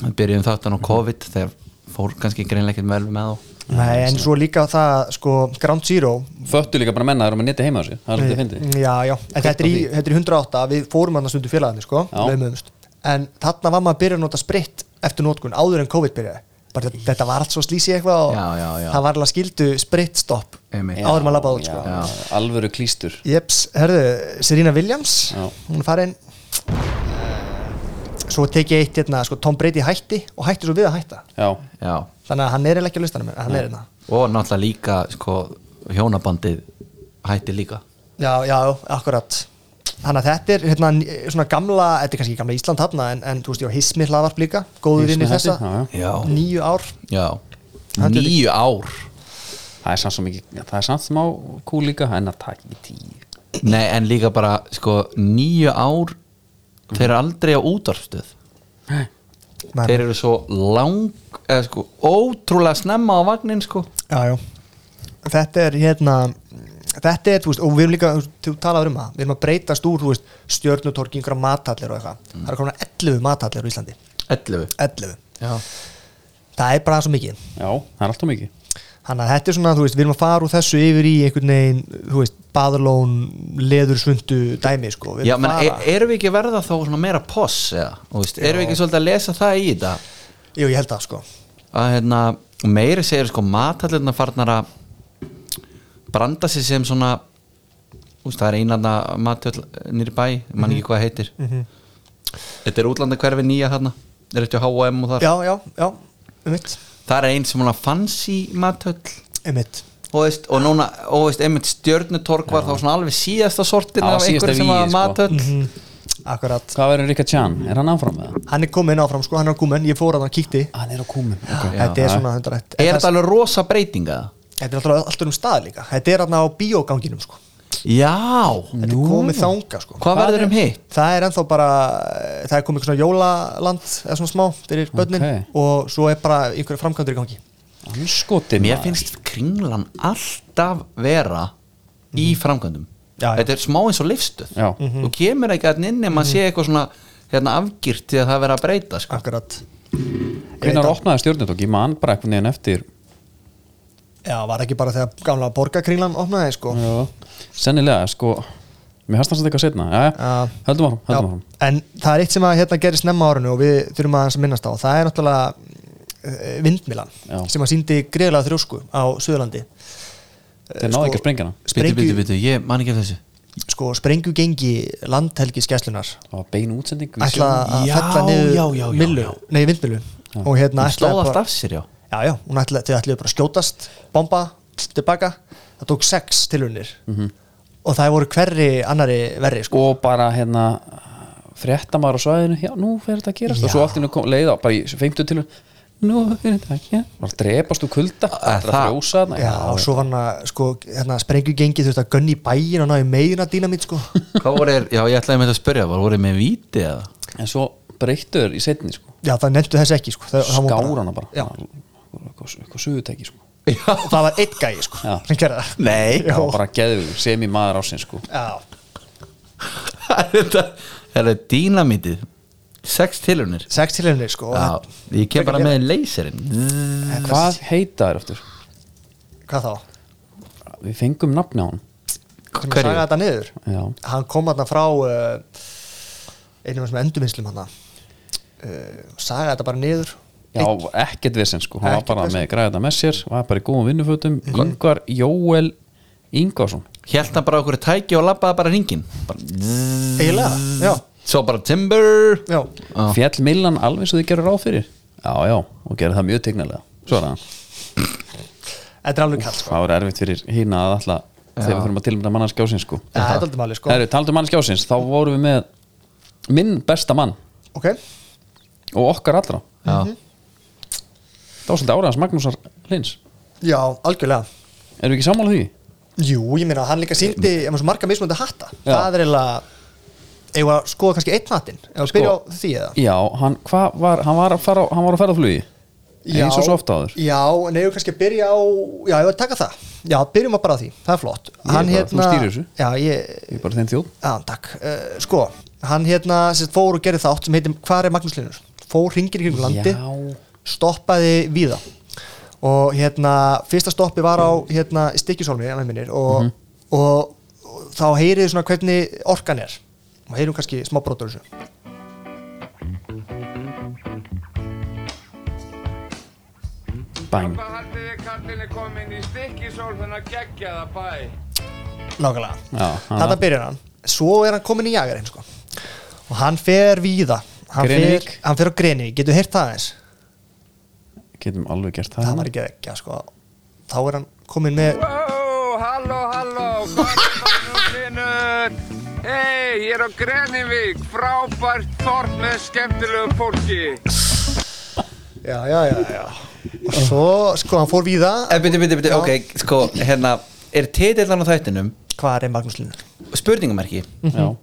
[SPEAKER 3] við byrjuðum
[SPEAKER 4] Mhm.
[SPEAKER 3] þáttan á COVID þegar fór kannski greinleikitt vel með þá
[SPEAKER 4] Nei, en svo líka það sko Ground Zero
[SPEAKER 2] Föttu líka bara menna það eru með neti heima á sig Það er svolítið fyndið
[SPEAKER 4] já, já, en þetta er, í, þetta er í 108 við fórum hann að stundu félagandi sko laumuðumst. en þarna var maður að byrja að nota spritt eftir nótkun áður en COVID byrjaði bara þetta, þetta var allt svo slísi eitthvað og
[SPEAKER 2] Já, já, já.
[SPEAKER 4] það var alveg skildu spritt stopp áður en maður labbaði út sko.
[SPEAKER 2] sko Alvöru klístur
[SPEAKER 4] Jeps, herðu, Serena Williams hún er farin svo tek ég eitt hérna, sko, Tom Brady hætti og hætti svo við að hætta
[SPEAKER 2] Já,
[SPEAKER 3] Já.
[SPEAKER 4] þannig að hann er eiginlega ekki að lustanum hann er hérna
[SPEAKER 3] og náttúrulega líka sko hjónabandið hætti líka
[SPEAKER 4] Já, já, akkurat Þannig að þetta er hérna, n- svona gamla þetta er kannski gamla Ísland hafna en, en þú veist, já, Hismi hlaðvarp líka, góður inn í
[SPEAKER 2] Hismi
[SPEAKER 4] þessa
[SPEAKER 2] hætti, já, já. Já.
[SPEAKER 4] Níu ár
[SPEAKER 3] Já,
[SPEAKER 4] Þetta er
[SPEAKER 3] níu ár
[SPEAKER 2] Það er samt svo mikið Það er samt smá kú líka En það takk ekki tíu
[SPEAKER 3] Nei, en líka bara sko níu ár
[SPEAKER 4] Mhm.
[SPEAKER 3] þeir eru aldrei á útvarfstöð
[SPEAKER 2] Nei.
[SPEAKER 3] Þeir eru svo lang eða sko ótrúlega snemma á vagnin sko
[SPEAKER 4] Já, já Þetta er hérna Þetta er, þú veist, og við erum líka, þú veist, þú talaður um það við erum að breytast úr, þú veist, stjörnutorki yngra matallir og eitthvað
[SPEAKER 3] Mm.
[SPEAKER 4] Það er komin 11 matallir á Íslandi
[SPEAKER 3] 11
[SPEAKER 4] 11
[SPEAKER 3] Já.
[SPEAKER 4] Það er bara svo mikið
[SPEAKER 2] Já, það er alltaf mikið
[SPEAKER 4] Þannig að þetta er svona, þú veist, við erum að fara úr þessu yfir í einhvern veginn, þú veist, baðurlón, leður, svundu, dæmi, sko. Við
[SPEAKER 3] Já,
[SPEAKER 4] erum
[SPEAKER 3] menn, e-
[SPEAKER 4] að
[SPEAKER 3] er,
[SPEAKER 4] fara-
[SPEAKER 3] erum við ekki að verða þá svona meira poss eða, þú veist, erum við ekki svolítið að lesa það í þetta e-
[SPEAKER 4] Jú, ég held það, sko.
[SPEAKER 3] að hérna, og meiri segir sko matallirna farnar að branda sig sem svona úst, það er einanda matöll nýri bæ, mann ekki hvað það heitir
[SPEAKER 4] Mhm.
[SPEAKER 3] þetta er útlanda hverfi nýja þarna er eftir H&M og þar
[SPEAKER 4] Já, já, já, einmitt.
[SPEAKER 3] það er einn sem hún að fancy matöll
[SPEAKER 4] Einmitt.
[SPEAKER 3] og veist, og núna, og veist, einmitt stjörnutorg var þá svona alveg síðasta Mhm. sortin
[SPEAKER 2] Já,
[SPEAKER 3] af
[SPEAKER 2] síðasta
[SPEAKER 3] einhverju sem
[SPEAKER 2] vígi,
[SPEAKER 3] var
[SPEAKER 2] sko.
[SPEAKER 3] matöll
[SPEAKER 4] Akkurat.
[SPEAKER 2] Hvað verður Rika Chan? Er hann áfram með það?
[SPEAKER 4] Hann er komin áfram, sko, hann er á kúmen, ég fór að hann kíkti.
[SPEAKER 2] Hann er á kúmen, ok.
[SPEAKER 4] Þetta er
[SPEAKER 2] Já.
[SPEAKER 4] svona, þetta er þetta.
[SPEAKER 3] er þetta alveg rosa breytinga?
[SPEAKER 4] Þetta er alltaf alltaf um stað líka. Þetta er alltaf á bíóganginum, sko.
[SPEAKER 3] Já,
[SPEAKER 4] Þetta er komið þanga, sko.
[SPEAKER 3] Hvað verður um hitt?
[SPEAKER 4] Það er ennþá bara, það er komið svona jólaland, eða svona smá, fyrir börnin
[SPEAKER 3] Ok.
[SPEAKER 4] og svo er bara einhverja framkvæmdur í gangi.
[SPEAKER 2] Skotin
[SPEAKER 3] Mér finnst kringlan alltaf vera í framkvæmdum Þetta er smá eins og lifstuð
[SPEAKER 2] Já.
[SPEAKER 4] Mhm.
[SPEAKER 3] Þú kemur ekki að nynni maður sé eitthvað svona hérna, afgýrt til að það vera að breyta sko.
[SPEAKER 4] Akkurat
[SPEAKER 2] Hvernig opnaði stjórnutók? Ég man bara einhvern veginn eftir
[SPEAKER 4] Já, var ekki bara þegar gamla borgarkringlan opnaði, sko.
[SPEAKER 2] Já. Sennilega, sko Mér hastar þetta eitthvað setna Já, já, höldum áfram, höldum áfram
[SPEAKER 4] en það er eitt sem að hérna gerist nefna árinu og við þurfum að hans að minnast á það er náttúrulega vindmilan
[SPEAKER 2] Já.
[SPEAKER 4] sem að síndi greiðlega þrjósku á Suðurlandi
[SPEAKER 2] Þeir náðu ekki að sprengja hana.
[SPEAKER 3] Bitu,
[SPEAKER 4] sprengju,
[SPEAKER 3] bitu, bitu, ég man ekki af þessu
[SPEAKER 4] sko, sprengju gengi landhelgiskeslunar
[SPEAKER 2] Það var bein útsending
[SPEAKER 4] ætla að
[SPEAKER 3] Já,
[SPEAKER 4] fella
[SPEAKER 3] já, já, já,
[SPEAKER 4] niður millu, nei vindmilu
[SPEAKER 3] Já.
[SPEAKER 4] og hérna
[SPEAKER 3] Hún sló
[SPEAKER 4] ætlaði
[SPEAKER 3] allt
[SPEAKER 4] bara-
[SPEAKER 3] af sér, já.
[SPEAKER 4] já, já, hún ætla, þau ætlaði bara að skjótast bomba, tilbaka það tók sex tilunir
[SPEAKER 2] Mhm.
[SPEAKER 4] og það voru hverri annari verri sko.
[SPEAKER 2] og bara hérna fréttamaður á svæðinu já, nú fer þetta að gerast og svo allt í hennu kom leið á bara í 50 til nú fyrir dag, já var að drepast úr kulda að frjósa þarna.
[SPEAKER 4] já, og svo var hann að sko, hérna, sprengju gengið þú veist að gönni í bæin og náði meðina dýnamít sko
[SPEAKER 3] Hvað voru þeir, já ég ætlaði með þetta að spyrja var voru þeir með víti eða?
[SPEAKER 2] en svo breyttuður í setni sko.
[SPEAKER 4] já, það nefndu þess ekki sko það, það var
[SPEAKER 2] skára hana bara eitthvað eitthvað suðutæki sko.
[SPEAKER 4] það var eitt gæi sko
[SPEAKER 2] Já.
[SPEAKER 4] sem gerði það
[SPEAKER 3] Nei
[SPEAKER 2] það var bara geðugur sem í maður ásinn sko.
[SPEAKER 4] já,
[SPEAKER 3] Þetta er þetta dýnamítið Sex tilunir
[SPEAKER 4] sex til henni sko
[SPEAKER 3] Já, ég kem bara með leyserinn
[SPEAKER 4] Þetta-
[SPEAKER 2] hvað heita þér aftur?
[SPEAKER 4] hvað þá?
[SPEAKER 2] við fengum nafni á hann
[SPEAKER 4] sem að saga þetta niður
[SPEAKER 2] já,
[SPEAKER 4] hann kom þarna frá uh, einum af þessum endurvinnslum hann uh, saga þetta bara niður
[SPEAKER 2] já ekkert vissin sko. hann
[SPEAKER 4] Ekkert
[SPEAKER 2] var bara
[SPEAKER 4] vesen. Mhm.
[SPEAKER 2] með græða með sér var bara í góðum vinnufötum Yngvar Jóel Yngvarsson
[SPEAKER 3] Hjælt hann bara okkur tæki og labbaði bara hringin bara,
[SPEAKER 4] eiginlega, já,
[SPEAKER 3] Svo bara timber
[SPEAKER 4] já
[SPEAKER 3] Já.
[SPEAKER 2] fjall Millan alveg svo þið gerur ráð fyrir já, já, og gerði það mjög tegnilega svo er það,
[SPEAKER 4] þetta er alveg kall sko.
[SPEAKER 2] það var erfitt fyrir hína að alltaf þegar við þurfum að tilmynda mannarskjásins sko.
[SPEAKER 4] Já, þetta er aldrei máli sko
[SPEAKER 2] Herru, talandi um mann skjásins, þá vorum við með minn besta mann
[SPEAKER 4] ok,
[SPEAKER 2] og okkar allra
[SPEAKER 3] Já.
[SPEAKER 4] Mhm.
[SPEAKER 2] Það var svolítið áraðans Magnúsar Lins
[SPEAKER 4] já, algjörlega
[SPEAKER 2] Erum við ekki sammála því?
[SPEAKER 4] Jú, ég meina, hann líka síndi ég maður svo marga mismunandi hatta
[SPEAKER 2] Mm. Já.
[SPEAKER 4] það er eiginlega eigum við að skoða kannski einn hattinn ef við byrja á
[SPEAKER 2] Sko,
[SPEAKER 4] því eða
[SPEAKER 2] Já, hann, hvað var, hann, var að fara, á- hann var að ferða flugi eins og svo ofta áður
[SPEAKER 4] Já, en eigum við kannski að byrja á já, ég var að taka það, já, byrjum að bara á því það er flott hérna-
[SPEAKER 2] Ég bara- þú stýrir þessu.
[SPEAKER 4] Já, ég,
[SPEAKER 2] Ég er bara þeim þjóð
[SPEAKER 4] Já, takk. Uh, sko, hann hérna sérst, fór og gerði þátt sem heitir Hvar er Magnús Linus? Fór hringir í kringum landi, stoppaði víða og hérna, fyrsta stoppi var á hérna, stikkjusólmi, að með minnir og,
[SPEAKER 2] Mhm.
[SPEAKER 4] og, og, þá heyriði svona hvernig orkan er og heyriðum kannski smá brotur þessu
[SPEAKER 2] Bang
[SPEAKER 6] haldið þið kallinu komin í stikkisól þannig að gegja það bæ?
[SPEAKER 4] Nákvæmlega.
[SPEAKER 2] Já, hann-
[SPEAKER 4] Þetta byrjar hann. Svo er hann komin í jagarinn, sko. Og hann fer víða. Hann fer,
[SPEAKER 2] Grenivík.
[SPEAKER 4] hann fer á Grenivík. Getur heyrt það eins?
[SPEAKER 2] Getum alveg gert það
[SPEAKER 4] Það var ekki ekki, sko. Þá er hann komin með
[SPEAKER 6] Wow, halló, halló, hvað er Magnúslinur? Hei, ég er á Grenivík, frábært þorp með skemmtilegu fólki.
[SPEAKER 4] já, já, já, já. og svo, sko, hann fór víða
[SPEAKER 3] Eh, Bíti, bíti, bíti, ok, sko, hérna Er titillan á þættinum
[SPEAKER 4] hvað er Magnús Linur?
[SPEAKER 3] spurningamarki
[SPEAKER 2] Já,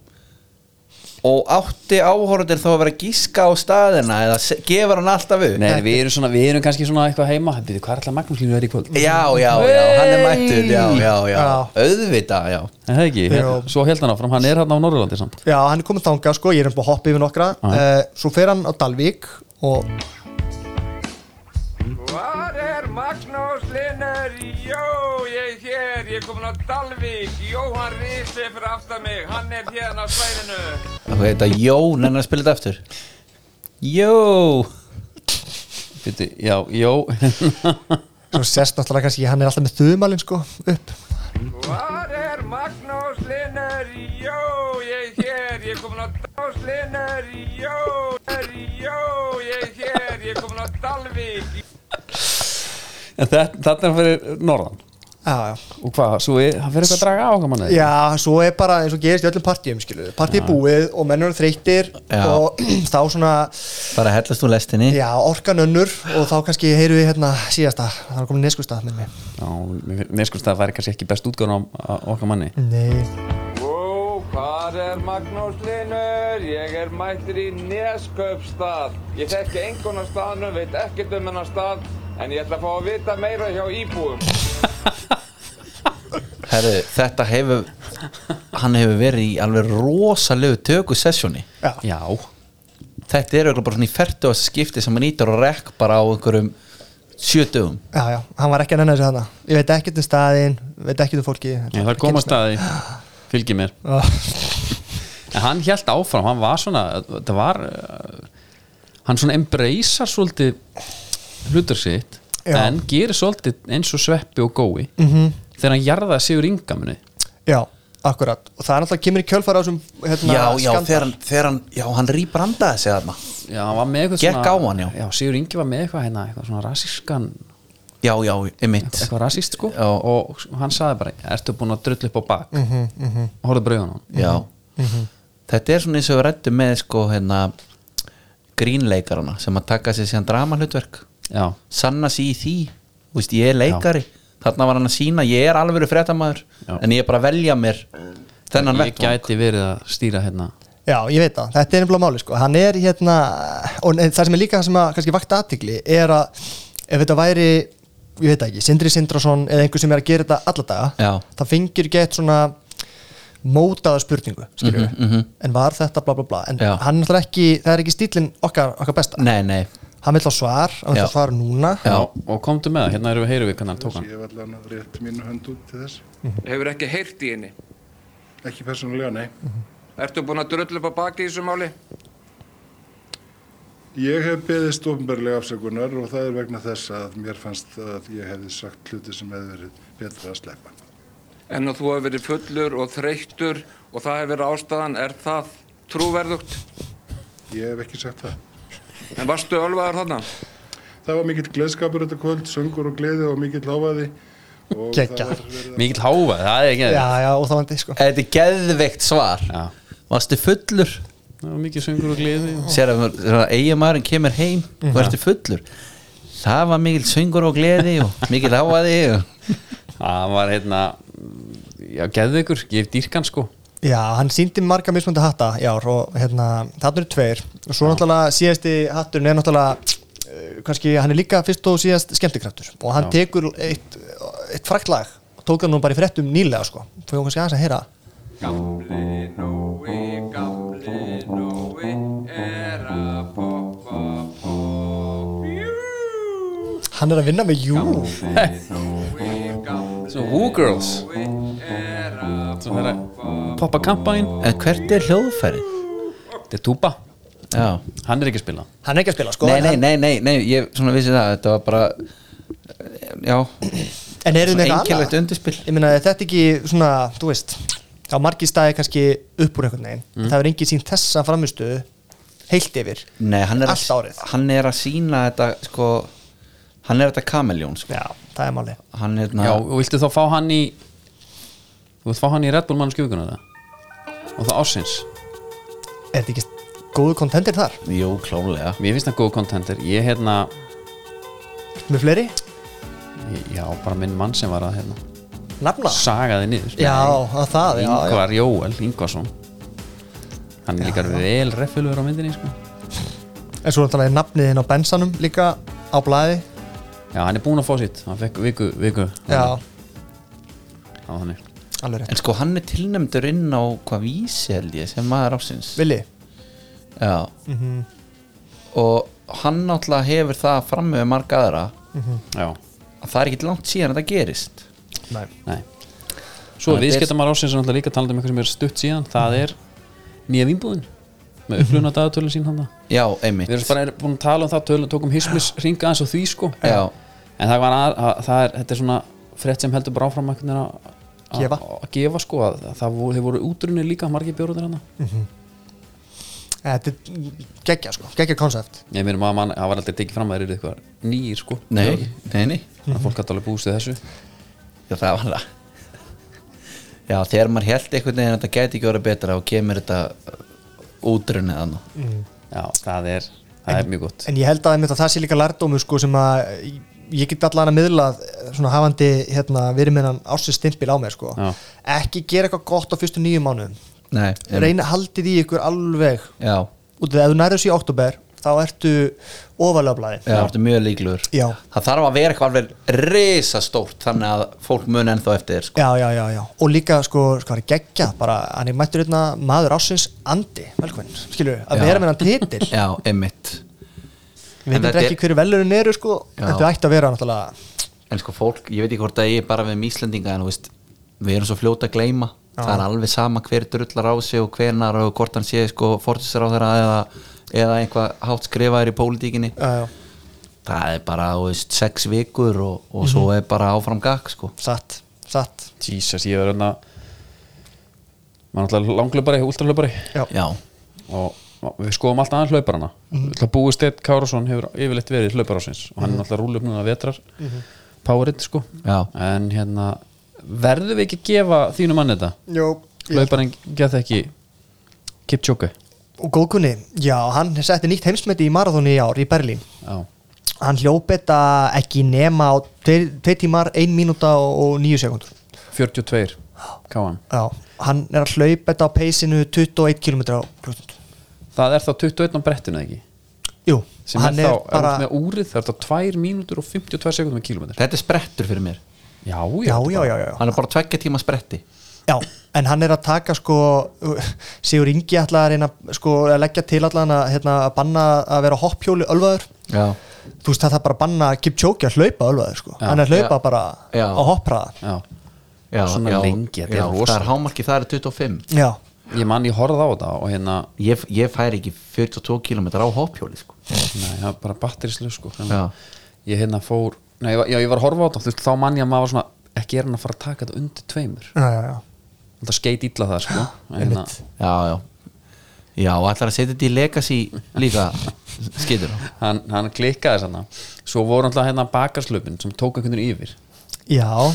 [SPEAKER 3] og átti áhorundir þá að vera að gíska á staðina eða se- gefur hann alltaf upp
[SPEAKER 2] Nei, við erum, svona, við erum kannski svona eitthvað heima Býtu, hvað er alltaf Magnús Línu er í kvöld?
[SPEAKER 3] Já, já, já, hann er mættur Já, já, já,
[SPEAKER 4] Já.
[SPEAKER 3] auðvita, já
[SPEAKER 2] En það ekki, Hérna,
[SPEAKER 4] Já.
[SPEAKER 2] svo held hann áfram, hann er hann á Norrlandi samt
[SPEAKER 4] já, hann er komin þangað, sko, ég er um búin að hoppa yfir nokkra
[SPEAKER 2] Já.
[SPEAKER 4] uh, svo fer hann á Dalvík og
[SPEAKER 6] Hvar er Magnús Linnar? Jó, ég er hér, ég er komin á Dalvík, Jóhann Rísi fyrir aftan mig, hann er hérna á svæðinu.
[SPEAKER 3] Það heita Jó, nennan að spila þetta aftur Jó
[SPEAKER 2] Býtu, já, já [laughs]
[SPEAKER 4] svo sérst náttúrulega kannski, hann er alltaf með þumalinn, sko, upp
[SPEAKER 6] Hvar er Magnús Linnar? Jó, ég er hér, ég er komin á Magnús Linnar, jó, er, jó, ég er hér, ég er komin á Dalvík.
[SPEAKER 2] Þetta er hann fyrir Norðan
[SPEAKER 4] já, já,
[SPEAKER 2] Og hvað, svo er, hann fyrir eitthvað að draga á okkar manni
[SPEAKER 4] já, svo er bara eins og gerist í öllum partíum, skilu, partíi er búið og mennur er þreyttir
[SPEAKER 3] Já.
[SPEAKER 4] og [clears throat] þá svona,
[SPEAKER 3] Bara hellast úr lestinni
[SPEAKER 4] já, orkan önnur og þá kannski heyrðu við hérna síðasta það er komin neskustað með mig
[SPEAKER 2] Já, mér- mér skulst það væri kannski ekki best útgáðan á á okkar manni
[SPEAKER 4] Nei.
[SPEAKER 6] Ó, hvar er Magnús Linnar? Ég er mættur í Neskaupstað. Ég þekki engun á staðnum, veit ekkert um hennar stað, en ég ætla að fá að vita meira hjá íbúum.
[SPEAKER 3] Herru, þetta hefur Hann hefur verið í alveg rosalegu töku sessjóni
[SPEAKER 2] Já,
[SPEAKER 3] Þetta er auðvitað bara svona í fertu að skipti sem hann ítur og rekk bara á einhverjum sjötugum
[SPEAKER 4] Já, já, hann var ekki að nenni þessu þarna Ég veit ekkert um staðinn, veit ekkert um Ah, fólki
[SPEAKER 2] Já, það kom að staði Fylgi mér
[SPEAKER 4] [laughs]
[SPEAKER 2] En hann hélt áfram, hann var svona Það var uh, Hann svona embracear svolítið hlutur sitt
[SPEAKER 4] Já. Mhm.
[SPEAKER 2] En gerir svolítið eins og sveppi og gói -hmm. Þegar hann jarðaði sigur yngamunni
[SPEAKER 4] Já, akkurat Og það er náttúrulega kemur í kjölfara á þessum hérna,
[SPEAKER 3] Já, já,
[SPEAKER 4] skandal.
[SPEAKER 3] þegar hann, þegar hann Já, hann rýbrandaði sig þarna
[SPEAKER 2] Já, hann var með eitthvað
[SPEAKER 3] Gekk á hann, já.
[SPEAKER 2] Já, sigur yngi var með eitthvað hérna Eitthvað svona rasískan
[SPEAKER 3] Já, já, emitt
[SPEAKER 2] Eitthvað rasíst sko
[SPEAKER 3] Já.
[SPEAKER 2] Og hann saði bara Ertu búin að drull upp á bak mm -hmm, mm -hmm. Hóruðu brauðan hann
[SPEAKER 3] Já
[SPEAKER 2] Mhm.
[SPEAKER 3] Þetta er svona eins og við rættum með sko hérna grínleikarana sem að taka sér síðan dramahlutverk
[SPEAKER 2] Já.
[SPEAKER 3] sanna sig í því Þú veist, ég er leikari þarna var hann að sína, ég er alveg fréttamaður en ég er bara að velja mér þennan
[SPEAKER 2] Ég gæti verið að stýra hérna
[SPEAKER 4] Já, ég veit það, þetta er nefnilega máli sko. hann er hérna, og nei, það sem er líka það sem að kannski vakta aðtikli er að ef þetta væri, ég veit það ekki Sindri Sindrason eða einhver sem er að gera þetta alla daga,
[SPEAKER 3] Já.
[SPEAKER 4] það fengir gett svona mótaða spurningu skilju,
[SPEAKER 3] Mhm, mhm.
[SPEAKER 4] en var þetta bla bla bla en
[SPEAKER 3] Já.
[SPEAKER 4] hann er náttúrulega ekki, það er ekki stílinn okkar, okkar besta,
[SPEAKER 3] nei, nei.
[SPEAKER 4] hann vil á svar hann vil
[SPEAKER 3] Já.
[SPEAKER 4] á svar núna
[SPEAKER 2] Já, og komdu með það, hérna erum við heyrum við hvernig hann tók hann
[SPEAKER 12] Ég hef allan að rétt mínu hönd út til þess.
[SPEAKER 6] Hefur ekki heyrt í henni?
[SPEAKER 12] Ekki persónulega, nei.
[SPEAKER 6] Ertu búin að dröll upp á baki í þessu máli?
[SPEAKER 12] Ég hef beðist ofnbarlega afsökunar og það er vegna þess að mér fannst að ég hefði sagt hluti sem hefði verið betra að sleppa.
[SPEAKER 6] En að þú hefur verið fullur og þreyttur og það hefur verið ástæðan, er það trúverðugt?
[SPEAKER 12] Ég hef ekki sagt það.
[SPEAKER 6] En varstu ölvaður þarna?
[SPEAKER 12] Það var mikill gleðskapur þetta kvöld, söngur og gleði og mikill hávaði. og það
[SPEAKER 4] Geggjað.
[SPEAKER 12] var verið að-
[SPEAKER 2] Mikill háfa, það er ekki
[SPEAKER 4] já, já, og það vandi sko
[SPEAKER 3] Þetta er geðveikt svar
[SPEAKER 2] Já.
[SPEAKER 3] Varstu fullur
[SPEAKER 2] Já, Mikið söngur og gleði og...
[SPEAKER 3] Sér að eiginmaðurinn kemur heim
[SPEAKER 2] Mhm.
[SPEAKER 3] Varstu fullur Það var mikil söngur og gleði og mikil háaði og...
[SPEAKER 2] Það var hérna Já, geðu ykkur, ég hef dýrkan sko
[SPEAKER 4] Já, hann síndi marga mismunandi hatta í ár og hérna, þarna eru tveir og svo náttúrulega síðasti hatturinn er náttúrulega uh, kannski, hann er líka fyrst og síðast skemmtikraftur og hann
[SPEAKER 2] Já.
[SPEAKER 4] tekur eitt, eitt fræktlag og tók hann nú bara í fréttum nýlega sko, fóðum kannski aðeins að heyra
[SPEAKER 6] Gamli Nói, gamli Nói er að poppa popp.
[SPEAKER 4] hann er að vinna með jú
[SPEAKER 2] Svo Who Girls Svo þeirra Poppa Kampain
[SPEAKER 3] En hvert er hljóðfærið?
[SPEAKER 2] Þetta er Tuba
[SPEAKER 3] Já.
[SPEAKER 2] Hann er ekki að spila
[SPEAKER 4] Hann er ekki að spila sko
[SPEAKER 3] nei,
[SPEAKER 4] en
[SPEAKER 3] nei,
[SPEAKER 4] hann-
[SPEAKER 3] nei, nei, nei, ég svona vissi það Þetta var bara Já
[SPEAKER 4] En er þið með
[SPEAKER 3] Svona
[SPEAKER 4] eitthvað
[SPEAKER 3] einkennilegt undirspil
[SPEAKER 4] Ég meina, er þetta ekki svona, þú veist á margi staði kannski upp úr einhvern veginn
[SPEAKER 3] Mm.
[SPEAKER 4] það er engin sín þessa framistuðu heilt yfir
[SPEAKER 3] Nei, hann er,
[SPEAKER 4] Allt
[SPEAKER 3] að, hann er að sína þetta sko, Hann er þetta kameljón sko.
[SPEAKER 4] Já, það er máli
[SPEAKER 3] Hann er hérna-
[SPEAKER 2] Já, og viltu þá fá hann í Þú vilt fá hann í Red Bull mannsku vikuna það Og það ársins
[SPEAKER 4] Er þetta ekki góðu kontentir þar?
[SPEAKER 3] Jú, klálega
[SPEAKER 2] Mér finnst það góð kontenter Ég hérna,
[SPEAKER 4] Með fleiri?
[SPEAKER 2] ég- já, bara minn mann sem var að hérna
[SPEAKER 4] Nafna?
[SPEAKER 2] Sagaði niður
[SPEAKER 4] Já, að það, já, já.
[SPEAKER 2] Ingvar Jóel, Ingvarsson Hann er líka vel reffilur á myndinni sko.
[SPEAKER 4] En svo náttúrulega er nafnið hinn á bensanum líka á blæði
[SPEAKER 2] Já, hann er búinn að fá sitt Hann fekk viku, viku
[SPEAKER 4] Já.
[SPEAKER 2] Já, þannig
[SPEAKER 4] Alveg rétt.
[SPEAKER 3] En sko hann er tilnæmdur inn á hvað vísi held ég sem maður ásins
[SPEAKER 4] Vili Mhm.
[SPEAKER 3] Já Og hann náttúrulega hefur það fram með marga aðra
[SPEAKER 4] Mhm.
[SPEAKER 2] Já
[SPEAKER 3] að það er ekkit langt síðan að það gerist
[SPEAKER 4] Nei,
[SPEAKER 2] Nei. Svo
[SPEAKER 3] Þannig að
[SPEAKER 2] viðskiptamar ásins er náttúrulega líka að tala um eitthvað sem er stutt síðan Það er nýja vínbúðin Með upplunna dagatölun sín hann
[SPEAKER 3] Já, einmitt
[SPEAKER 2] Við erum bara er- búin að tala um það tölun Tókum hismis ringa aðeins og því sko
[SPEAKER 3] Já.
[SPEAKER 2] En það var að, að það er, þetta er svona Frett sem heldur bara áfram einhvern veginn að að-
[SPEAKER 4] Gefa.
[SPEAKER 2] Að gefa sko að, að það voru, þeir voru útrunni líka margir bjóruðir hann
[SPEAKER 4] Þetta er geggja sko, geggja konsept
[SPEAKER 2] Ég meina maður, mann- það var aldrei tekið fram að þeir eru eitthvað nýjir sko
[SPEAKER 3] Nei, nei, nei
[SPEAKER 2] Þannig að fólk gæti alveg búist við þessu
[SPEAKER 3] Já, það var það Já, þegar maður held einhvern veginn að þetta gæti ekki orðið betra og kemur þetta uh, útrunnið hann
[SPEAKER 4] Mm.
[SPEAKER 2] Já, það er, það er mjög gott
[SPEAKER 4] En ég held að einmitt að það sé líka lærdómu sko sem að ég get allan að miðla eh, svona hafandi hérna verið með hann ásins stimpil á mér sko
[SPEAKER 3] Já.
[SPEAKER 4] Ekki gera eitthvað gott á fyrstu nýju mánuðum
[SPEAKER 3] Nei, einmitt.
[SPEAKER 4] Reyna haldið í ykkur alveg
[SPEAKER 3] Já,
[SPEAKER 4] Út af því að ef þú nærður sér í oktober þá ertu ofalega blæði
[SPEAKER 3] það ertu mjög líklegur
[SPEAKER 4] Já.
[SPEAKER 3] Það þarf að vera eitthvað alveg risastórt þannig að fólk mun ennþá eftir þér, sko.
[SPEAKER 4] Já, já, já, já, og líka sko, sko hann er geggjað, bara hann er mættur einna maður ásins andi, velkvæm skilur, að
[SPEAKER 3] Já.
[SPEAKER 4] vera með hann
[SPEAKER 3] [laughs]
[SPEAKER 4] titil
[SPEAKER 3] Já, einmitt
[SPEAKER 4] við
[SPEAKER 3] En
[SPEAKER 4] veitum
[SPEAKER 3] þetta er-
[SPEAKER 4] ekki hverju velurinn eru sko
[SPEAKER 3] Já.
[SPEAKER 4] þetta ætti að vera náttúrulega
[SPEAKER 3] En sko fólk, ég veit ekki hvort að ég er bara við Íslandinga en þú veist, við erum svo fljóta að gleyma
[SPEAKER 4] Já.
[SPEAKER 3] það er alveg sama hver drullar á sig og hvenar og hvort hann sé sko fórtisar á þeirra eða, eða einhvað hátt skrifaður í pólitíkinni
[SPEAKER 4] Já, já.
[SPEAKER 3] það er bara, þú veist, sex vikur og, og svo
[SPEAKER 2] Mhm.
[SPEAKER 3] er bara áfram gakk sko
[SPEAKER 4] Satt, satt
[SPEAKER 2] Jesus, ég verður hann að maður er alltaf langlöpari, últralöpari
[SPEAKER 4] Já.
[SPEAKER 3] Já.
[SPEAKER 2] og og við skoðum alltaf aðeins hlauparana mm
[SPEAKER 4] Mhm.
[SPEAKER 2] -hmm. Búi Steinn Kárasson hefur yfirleitt verið hlauparásins og hann er alltaf rúlöp núna vetrar mm
[SPEAKER 4] Mhm.
[SPEAKER 2] powerinn sko
[SPEAKER 3] Já.
[SPEAKER 2] en hérna, verðum við ekki að gefa þínu mann þetta?
[SPEAKER 4] Jó, ég-
[SPEAKER 2] Hlauparinn getur ekki Kipchoge
[SPEAKER 4] og góðkunni, já, hann setti nýtt heimsmeti í marathóni í ár í Berlín
[SPEAKER 2] Já.
[SPEAKER 4] hann hljóp þetta ekki nema á tveir, tveir tímar, ein mínúta og, og níu sekundur
[SPEAKER 2] 42 káan
[SPEAKER 4] Já, hann er að hlaupa þetta á peysinu 21 km á klukkund
[SPEAKER 2] Það er þá 21 á brettinu eða ekki?
[SPEAKER 4] Jú,
[SPEAKER 2] sem
[SPEAKER 4] hann
[SPEAKER 2] er
[SPEAKER 4] er
[SPEAKER 2] þá, bara...
[SPEAKER 4] bara-
[SPEAKER 2] með úrið, það er þá 2 mínútur og 52 sekundum í kilometr
[SPEAKER 3] Þetta er sprettur fyrir mér
[SPEAKER 2] Já,
[SPEAKER 4] Já, já, já, já.
[SPEAKER 3] Hann er bara tveggja tíma spretti
[SPEAKER 4] Já, en hann er að taka sko Sigur Ingi ætla að reyna sko að leggja til allan að, hérna, að banna að vera á hoppjóli ölvaður
[SPEAKER 3] Já.
[SPEAKER 4] þú veist það er bara að banna Kipchoge að hlaupa ölvaður sko,
[SPEAKER 3] Já.
[SPEAKER 4] hann er að hlaupa
[SPEAKER 3] Já.
[SPEAKER 4] bara
[SPEAKER 3] Já.
[SPEAKER 4] á hoppraða
[SPEAKER 2] Já,
[SPEAKER 3] já
[SPEAKER 2] Svona
[SPEAKER 3] já,
[SPEAKER 2] lengi, þetta er
[SPEAKER 3] já,
[SPEAKER 2] rosalegt.
[SPEAKER 3] Það er hámarki, það er 25
[SPEAKER 4] Já.
[SPEAKER 2] Ég man ég horfði á þetta og hérna
[SPEAKER 3] Ég, ég fær ekki 42 km á hoppjóli sko.
[SPEAKER 2] Nei, það er bara batterislu sko
[SPEAKER 3] Já.
[SPEAKER 2] Þannig, að Ég hérna fór, nei, ég var- já, ég var að horfa á þetta þú veist, Þá man ég að maður var svona, ekki er hann að fara að taka þetta undir tveimur
[SPEAKER 4] Já, já, já.
[SPEAKER 2] Það skeit illa það sko En hérna,
[SPEAKER 3] Já, já Já, og ætlar að setja þetta í legacy líka Skitur
[SPEAKER 2] hann, hann klikkaði sann Svo voru alltaf hérna bakarslöpin sem tók einhvern veginn yfir
[SPEAKER 4] Já,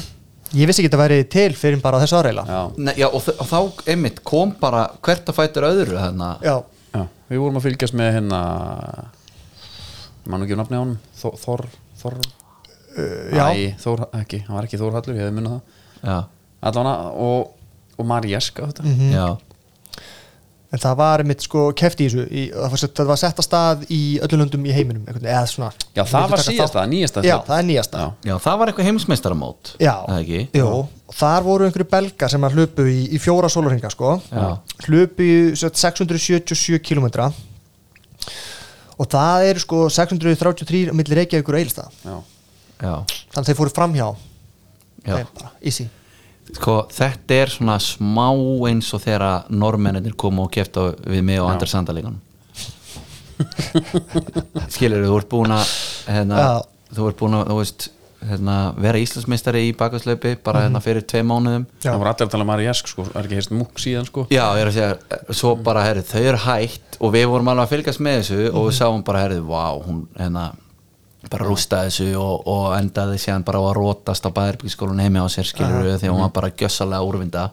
[SPEAKER 4] ég vissi ekki að það væri til fyrir bara á þessu áreila
[SPEAKER 2] Já,
[SPEAKER 3] Nei, já og, þ- og þá einmitt kom bara hvert að fætur öðru þarna
[SPEAKER 4] já.
[SPEAKER 2] já Við vorum að fylgjast með hérna Mann og gefur nafni á hann Þor, Þor, Þor
[SPEAKER 4] já.
[SPEAKER 2] Æ, Þór, ekki, hann var ekki Þór Hallur, ég hefði munnað það
[SPEAKER 3] Já.
[SPEAKER 2] Allána, og, og Marieska þetta.
[SPEAKER 4] Mhm.
[SPEAKER 3] Já.
[SPEAKER 4] en það var mitt sko kefti í þessu í, það, var sett, það var sett að stað í öllum löndum í heiminum einhvern, eða svona
[SPEAKER 2] Já, það var
[SPEAKER 4] Vildu taka
[SPEAKER 2] síðasta,
[SPEAKER 4] þátt?
[SPEAKER 2] nýjasta
[SPEAKER 4] Já,
[SPEAKER 2] hlaup.
[SPEAKER 4] það er nýjasta
[SPEAKER 2] Já.
[SPEAKER 3] Já, það var eitthvað heimsmeistaramót
[SPEAKER 4] Já.
[SPEAKER 3] eða ekki?
[SPEAKER 4] Jú, og þar voru einhverju belgar sem að hlupu í, í fjóra sólarhinga sko
[SPEAKER 3] Já.
[SPEAKER 4] hlupu í sem sagt, 677 km og það eru sko 633 á milli Reykjavíkur og Eilsta
[SPEAKER 2] Já.
[SPEAKER 3] Já.
[SPEAKER 4] þannig að þeir fóru framhjá
[SPEAKER 3] Já.
[SPEAKER 4] Þeir bara, easy
[SPEAKER 3] Sko, þetta er svona smá eins og þegar normenninir komu og kefta við mig og
[SPEAKER 2] Já.
[SPEAKER 3] Andri [laughs] Sandalíkan Skilur, þú ert búin að hérna,
[SPEAKER 4] Já.
[SPEAKER 3] þú ert búin að, þú veist hérna, vera Íslandsmeistari í bakaslaupi
[SPEAKER 4] Mhm.
[SPEAKER 3] bara hérna fyrir tvei mánuðum
[SPEAKER 4] Já.
[SPEAKER 2] Það voru allir að tala um Mariesk, sko, er ekki heist múk síðan, sko
[SPEAKER 3] Já, ég er að segja, svo
[SPEAKER 2] Mm.
[SPEAKER 3] bara, herri, þau eru hætt og við vorum alveg að fylgjast með þessu og
[SPEAKER 2] Mhm.
[SPEAKER 3] við sáum bara, herri, vá, hún hérna, bara rústaði þessu og, og endaði síðan bara á að rótast á bæðarbyggiskólan heimi á sér skilur
[SPEAKER 2] Ah.
[SPEAKER 3] við því að hún
[SPEAKER 2] Mhm.
[SPEAKER 3] var bara gjössalega úrvinda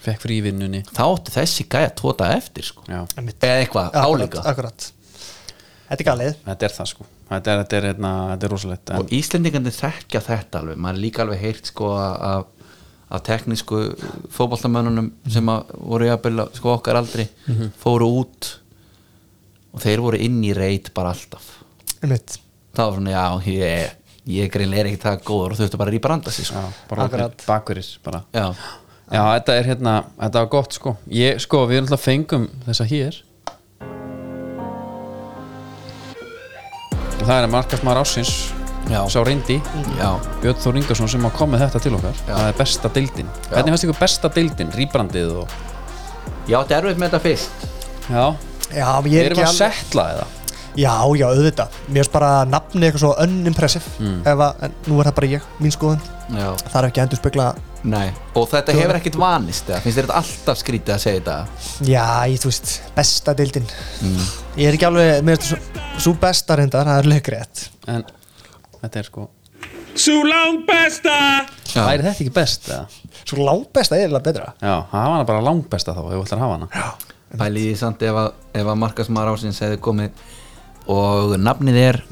[SPEAKER 2] Fekk frí í vinnunni
[SPEAKER 3] þá átti þessi gæja tóta eftir sko.
[SPEAKER 2] Já,
[SPEAKER 3] eða eitthvað,
[SPEAKER 4] akkurat,
[SPEAKER 3] álíka
[SPEAKER 4] akkurat Þetta er galið
[SPEAKER 2] þetta er það, sko Þetta er, þetta er, hérna, þetta er rosalegt en,
[SPEAKER 3] og Íslendingandi þekkja þetta alveg maður er líka alveg heyrt sko að að teknísku fótboltamönnunum sem að voru jafnvel sko okkar aldri fóru út og þeir voru inn í reit bara alltaf
[SPEAKER 4] Einmitt.
[SPEAKER 3] það var svona já ég, ég greinlega er ekki það góður og þurftu bara að rýpa randa sig sko.
[SPEAKER 2] Já, bara
[SPEAKER 4] Akkurat.
[SPEAKER 2] orðnir bakverðir, bara
[SPEAKER 3] já,
[SPEAKER 2] Já, þetta er, hérna, þetta var gott, sko Ég, sko, við erum alltaf fengum þessa hér Og Það er markasmaður ásins
[SPEAKER 3] Já.
[SPEAKER 2] Sá reyndi
[SPEAKER 4] Mm.
[SPEAKER 3] já,
[SPEAKER 2] Björn Þór Ingarsson sem að koma með þetta til okkar
[SPEAKER 3] Já.
[SPEAKER 2] það er besta deildin hvernig fannst ykkur besta deildin, rýbrandið og
[SPEAKER 3] ég átti erfitt með þetta fyrst
[SPEAKER 2] já,
[SPEAKER 4] Já, ég er
[SPEAKER 2] við
[SPEAKER 4] ekki
[SPEAKER 2] erum að
[SPEAKER 4] alveg-
[SPEAKER 2] setla eða
[SPEAKER 4] Já, já, auðvitað Mér finnst bara nafni eitthvað svo unimpressive
[SPEAKER 3] Mm.
[SPEAKER 4] ef að, en nú er það bara ég, mín skoðun
[SPEAKER 3] já.
[SPEAKER 4] Það er ekki að endur spekla
[SPEAKER 3] Nei. og þetta hefur ekkit vanist eða? finnst þér þetta alltaf skrítið að segja þetta
[SPEAKER 4] Já, ég, þú veist, besta deildin
[SPEAKER 3] Mm.
[SPEAKER 4] Ég er ekki alveg, mér finnst svo, svo besta reyndar, það er leikrétt
[SPEAKER 2] en þetta er sko
[SPEAKER 7] Sú langt besta
[SPEAKER 3] Já.
[SPEAKER 2] væri þetta ekki best eða
[SPEAKER 4] Svo langbesta er eiginlega betra
[SPEAKER 2] já, hafa hana bara langbesta þá ef þú ætlar að hafa hana já,
[SPEAKER 3] Pæliði samt ef að, ef að markasmaður ásins hefði komið og nafnið er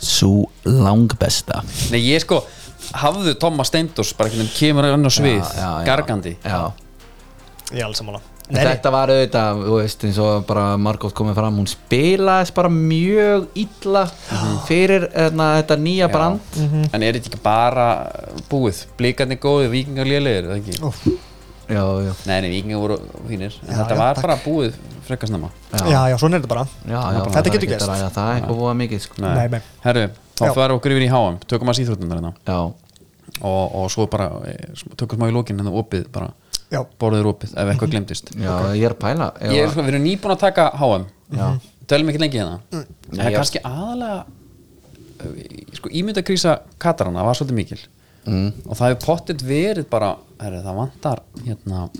[SPEAKER 3] Sú langbesta
[SPEAKER 2] nei ég sko hafðu Thomas Steindors bara einhvern veginn kemur hann á svið
[SPEAKER 3] Já, já, já.
[SPEAKER 2] gargandi
[SPEAKER 3] Já,
[SPEAKER 4] Ég er alveg sammála
[SPEAKER 3] En
[SPEAKER 4] Nei, nei,
[SPEAKER 3] þetta var auðvitað, þú veist, eins og bara Margot komið fram, hún spilaðist bara mjög illa fyrir eðna, þetta nýja
[SPEAKER 2] Já.
[SPEAKER 3] brand
[SPEAKER 4] Mhm.
[SPEAKER 2] en er þetta ekki bara búið blíkarnir góði, vikingar lélegir eða ekki?
[SPEAKER 3] Já, já,
[SPEAKER 2] nei, nei, vikingar voru fínir en
[SPEAKER 4] Já,
[SPEAKER 2] þetta
[SPEAKER 4] já,
[SPEAKER 2] var
[SPEAKER 4] takk.
[SPEAKER 2] bara búið frekastnama
[SPEAKER 4] já, já, svona er þetta bara
[SPEAKER 3] já, já
[SPEAKER 4] Þetta
[SPEAKER 3] það er
[SPEAKER 4] getur
[SPEAKER 3] ekkert
[SPEAKER 4] gerst.
[SPEAKER 3] að ræða Það er eitthvað búið mikið, sko
[SPEAKER 4] Nei, nei.
[SPEAKER 2] herru, þá
[SPEAKER 4] Já.
[SPEAKER 2] fyrir okkur yfir í HM tökum að síþrótundar hérna
[SPEAKER 3] Já,
[SPEAKER 2] og, og svo bara eh, sm- tökum smá í lókin hérna opið bara,
[SPEAKER 4] Já,
[SPEAKER 2] borðið er opið ef eitthvað glemdist
[SPEAKER 3] Mhm. já ég er að pæla ef
[SPEAKER 2] ég er
[SPEAKER 3] að-
[SPEAKER 2] sko, við erum nýbúin að taka HM
[SPEAKER 3] Já.
[SPEAKER 2] tölum ekki lengi hérna það
[SPEAKER 3] Nei,
[SPEAKER 2] er
[SPEAKER 3] já.
[SPEAKER 2] kannski aðalega eh, sko, ímyndakrísa Katarana var svolítið mikil
[SPEAKER 3] Mm.
[SPEAKER 2] og það hefur pottitt verið bara herri, það vantar hérna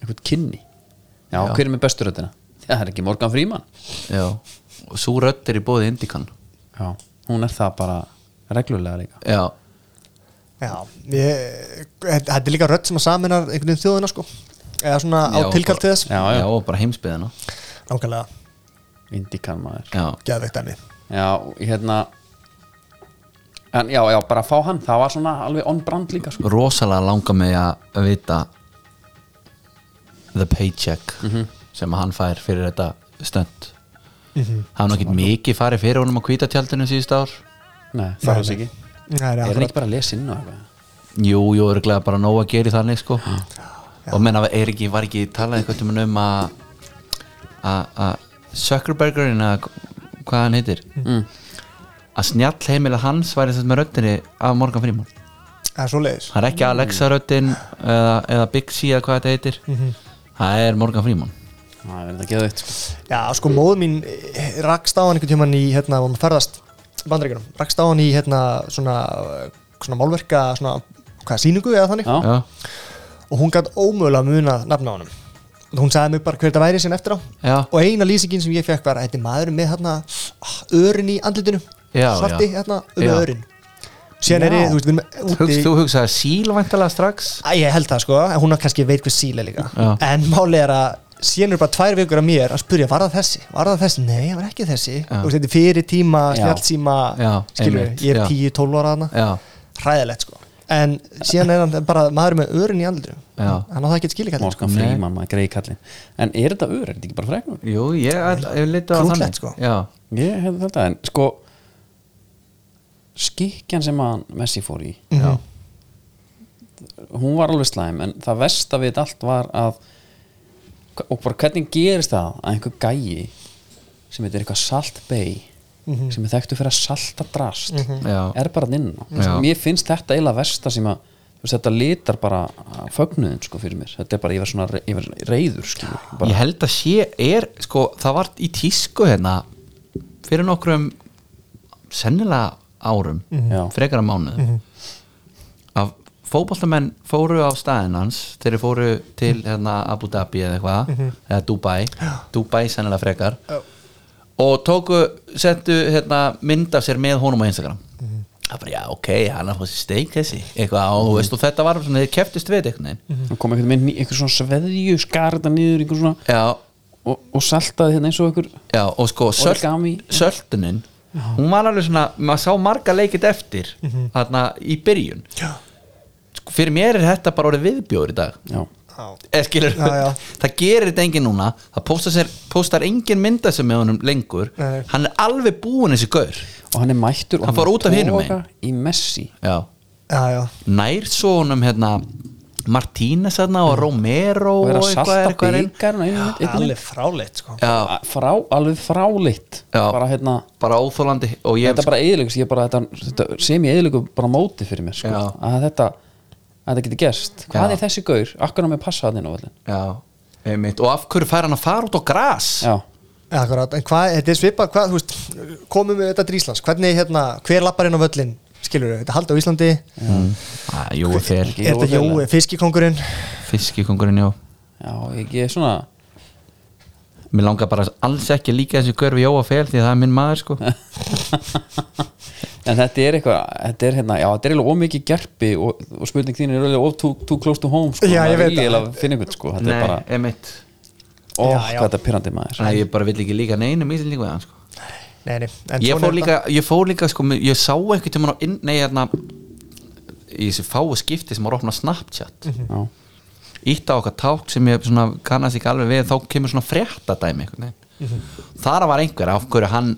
[SPEAKER 2] eitthvað kynni já,
[SPEAKER 3] Já.
[SPEAKER 2] hver er með besturöðina? það er ekki Morgan Fríman
[SPEAKER 3] Já, og Sú rödd er í bóði Indikan
[SPEAKER 2] já, hún er það bara reglulega líka
[SPEAKER 3] Já,
[SPEAKER 4] já ég, Þetta er líka rödd sem að saminar einhvern veginn þjóðina, sko Eða svona á
[SPEAKER 3] Já, sko.
[SPEAKER 4] tilkall til þess
[SPEAKER 2] já, já,
[SPEAKER 3] já og bara heimsbyðina
[SPEAKER 4] Nákvæmlega,
[SPEAKER 2] Indikan maður
[SPEAKER 3] Já,
[SPEAKER 4] geðveikt enni
[SPEAKER 2] Já, hérna En já, já, bara að fá hann Það var svona alveg on brand líka sko.
[SPEAKER 3] rosalega langa mig að vita the paycheck sem hann fær fyrir þetta stönd
[SPEAKER 4] Mhm.
[SPEAKER 3] hann er ekki mikið farið fyrir honum á kvítatjaldinu síðust ár
[SPEAKER 2] Nei, það er alls
[SPEAKER 4] nei.
[SPEAKER 2] ekki
[SPEAKER 4] Nei, nei,
[SPEAKER 2] Er hann
[SPEAKER 4] akkurat.
[SPEAKER 2] ekki bara að lesa inn á eitthvað?
[SPEAKER 3] jú, jú, örglega bara nóg að gera í þannig sko. og menna, er ekki, var ekki talað einhvern tímann um að að- að Zuckerbergerinn að hvað hann heitir
[SPEAKER 2] Mm.
[SPEAKER 3] að snjall heimila hans væri þetta með röddinni af Morgan Freeman
[SPEAKER 4] Það er svo leiðis
[SPEAKER 3] Það er ekki Alexa röddinn eða, eða Big C eða hvað þetta heitir
[SPEAKER 4] Mhm.
[SPEAKER 3] Það er Morgan Freeman
[SPEAKER 2] Það er þetta geðvægt sko.
[SPEAKER 4] Já, sko, móð mín eh, rakst á hann einhvern tímann í, hérna, hún ferðast bandaríkjunum, rakst á hann í, hérna, svona eh, svona málverka, svona hvað, sýningu eða þannig
[SPEAKER 2] Já. Já.
[SPEAKER 4] og hún gætt ómögulega að muna nafna á honum og hún sagði mig bara hver þetta væri sín eftir á
[SPEAKER 3] Já.
[SPEAKER 4] og eina lýsingin sem ég fekk var þetta er maðurinn með hérna örin í andlitinu
[SPEAKER 3] Já,
[SPEAKER 4] svarti
[SPEAKER 3] já.
[SPEAKER 4] hérna um
[SPEAKER 3] Já.
[SPEAKER 4] örin síðan er ég, þú veist, við erum úti
[SPEAKER 3] Hugst, Þú hugsaði síl væntalega strax
[SPEAKER 4] Æ, ég held það sko, en hún er kannski veit hver síla líka
[SPEAKER 3] Já.
[SPEAKER 4] en máli er að síðan eru bara tvær vikur af mér að spyrja, var það þessi? Var það þessi? Nei, það var ekki þessi
[SPEAKER 3] Já.
[SPEAKER 4] og þetta er fyrir tíma,
[SPEAKER 3] Já.
[SPEAKER 4] snjallsíma
[SPEAKER 3] Já,
[SPEAKER 4] skilur,
[SPEAKER 3] einmitt,
[SPEAKER 4] ég er
[SPEAKER 3] já.
[SPEAKER 4] 10-12 ára hana
[SPEAKER 3] Já.
[SPEAKER 4] hræðilegt sko en síðan er hann bara maður með örin í andlum
[SPEAKER 2] Já.
[SPEAKER 4] hann á það ekki skilja kallt
[SPEAKER 2] Morgan Freeman, maður greiði kallinn En er þetta öður, er þetta ekki bara freknur?
[SPEAKER 3] Jú, ég, all- ég lítið á
[SPEAKER 4] Krútlegt,
[SPEAKER 3] þannig
[SPEAKER 4] sko.
[SPEAKER 3] Já,
[SPEAKER 2] Ég hefði þetta, en sko skikjan sem að Messi fór í
[SPEAKER 4] Já.
[SPEAKER 2] hún var alveg slæm en það versta við þetta allt var að og bara hvernig gerist það að einhver gæi sem heitir eitthvað Salt Bay
[SPEAKER 4] Mhm.
[SPEAKER 2] sem er þekktu fyrir að salta drast
[SPEAKER 4] Mhm.
[SPEAKER 3] Já.
[SPEAKER 2] er bara þarna inn á
[SPEAKER 3] Já.
[SPEAKER 2] mér finnst þetta eiginlega versta sem að þú veist, þetta litar bara fögnuðin sko fyrir mér þetta er bara, ég var svona, re- ég var svona reyður skilur, bara,
[SPEAKER 3] ég held að sé er, sko, það var í tísku hérna fyrir nokkrum sennilega árum
[SPEAKER 2] Mhm. Já.
[SPEAKER 3] frekara mánuð
[SPEAKER 2] Mhm.
[SPEAKER 3] að fótballtamenn fóru á staðinn hans þeir fóru til hérna, Abu Dhabi eða eitthvað
[SPEAKER 11] Mhm.
[SPEAKER 3] eða Dubai, Dubai sennilega frekar og tóku settu hérna, mynd af sér með honum á Instagram
[SPEAKER 2] Mhm.
[SPEAKER 3] það bara já ok, hann er að fá sér steik þessi eitthvað á, þú veist, og þetta var svona þeir keftist við eitthvað neginn
[SPEAKER 4] Mhm.
[SPEAKER 2] það kom einhvern veginn einhver svona sveðju skarða niður einhver svona
[SPEAKER 3] Já.
[SPEAKER 2] og, og saltaði hérna eins og einhver
[SPEAKER 3] Já, og sko sölt,
[SPEAKER 2] Origami.
[SPEAKER 3] söltunin hún var alveg svona, maður sá marga leikit eftir
[SPEAKER 2] Mhm.
[SPEAKER 3] þarna í byrjun
[SPEAKER 4] Já.
[SPEAKER 3] sko, fyrir mér er þetta bara orðið viðbjóður í dag
[SPEAKER 2] Já.
[SPEAKER 3] eða skilur,
[SPEAKER 4] Já, já.
[SPEAKER 3] [laughs] það gerir þetta enginn núna það póstar, sér, póstar enginn mynda sem með honum lengur
[SPEAKER 2] Nei.
[SPEAKER 3] hann er alveg búin þessi gaur
[SPEAKER 2] og hann er mættur og
[SPEAKER 3] Hann fór
[SPEAKER 2] er
[SPEAKER 3] út af hinum
[SPEAKER 2] toga í Messi
[SPEAKER 3] já.
[SPEAKER 4] Já, já.
[SPEAKER 3] nær svo honum hérna Martínez þarna og Romero
[SPEAKER 2] Mhm. og er að
[SPEAKER 3] eitthvað
[SPEAKER 2] salta
[SPEAKER 3] eitthvað er inn.
[SPEAKER 2] byggar alveg
[SPEAKER 4] fráleitt sko.
[SPEAKER 3] Já.
[SPEAKER 2] Frá, alveg fráleitt
[SPEAKER 3] Já. sko-
[SPEAKER 2] bara hérna
[SPEAKER 3] bara óþólandi og ég
[SPEAKER 2] þetta bara eðilegs ég bara, þetta, þetta, sem ég eðilegu bara móti fyrir mér sko,
[SPEAKER 3] Já.
[SPEAKER 2] að þetta að þetta geti gerst hvað
[SPEAKER 3] Já.
[SPEAKER 2] er þessi gaur, akkur á mig passa hann inn á völlin
[SPEAKER 3] já, einmitt og af hverju fær hann að fara út á gras
[SPEAKER 2] já,
[SPEAKER 4] Akkurat, en hvað, þetta er svipað, hvað, þú veist, komum við þetta til Íslands, hvernig, hérna, hver lappar inn á völlin, skilur við, þetta er haldið á Íslandi,
[SPEAKER 3] mm. ah, Jói fer
[SPEAKER 4] er þetta Jói, fiskikongurinn,
[SPEAKER 3] fiskikongurinn Jó
[SPEAKER 2] já, ég er svona
[SPEAKER 3] mér langar bara alls ekki að líka þessu görfi Jóa fer því að það er minn maður sko
[SPEAKER 2] en þetta er eitthvað, þetta er hérna já, þetta er eiginlega ómikið gerpi og, og spurning þín er eiginlega of too, too close to home sko,
[SPEAKER 4] Já, ég
[SPEAKER 2] maður
[SPEAKER 4] veit
[SPEAKER 2] vilji
[SPEAKER 4] það.
[SPEAKER 2] eiginlega finna einhvern sko, þetta
[SPEAKER 3] Nei,
[SPEAKER 2] er bara
[SPEAKER 3] einmitt
[SPEAKER 2] ó,
[SPEAKER 4] Já, já.
[SPEAKER 2] hvað þetta er pirrandi maður
[SPEAKER 3] Nei, ég bara vill ekki líka neinum íslendingu við hann sko.
[SPEAKER 4] nei, nei, en
[SPEAKER 3] ég,
[SPEAKER 4] svona
[SPEAKER 3] fór
[SPEAKER 4] er
[SPEAKER 3] líka, ég fór líka sko, mér- ég sá einhvern tímann á inn nei, hérna í þessu fáu skipti sem var opnað Snapchat mm
[SPEAKER 2] Já.
[SPEAKER 3] ítt á okkar ták sem ég svona, kannast ekki alveg við þá kemur svona fréttadæmi einhvern veginn þar var einhver af hverju hann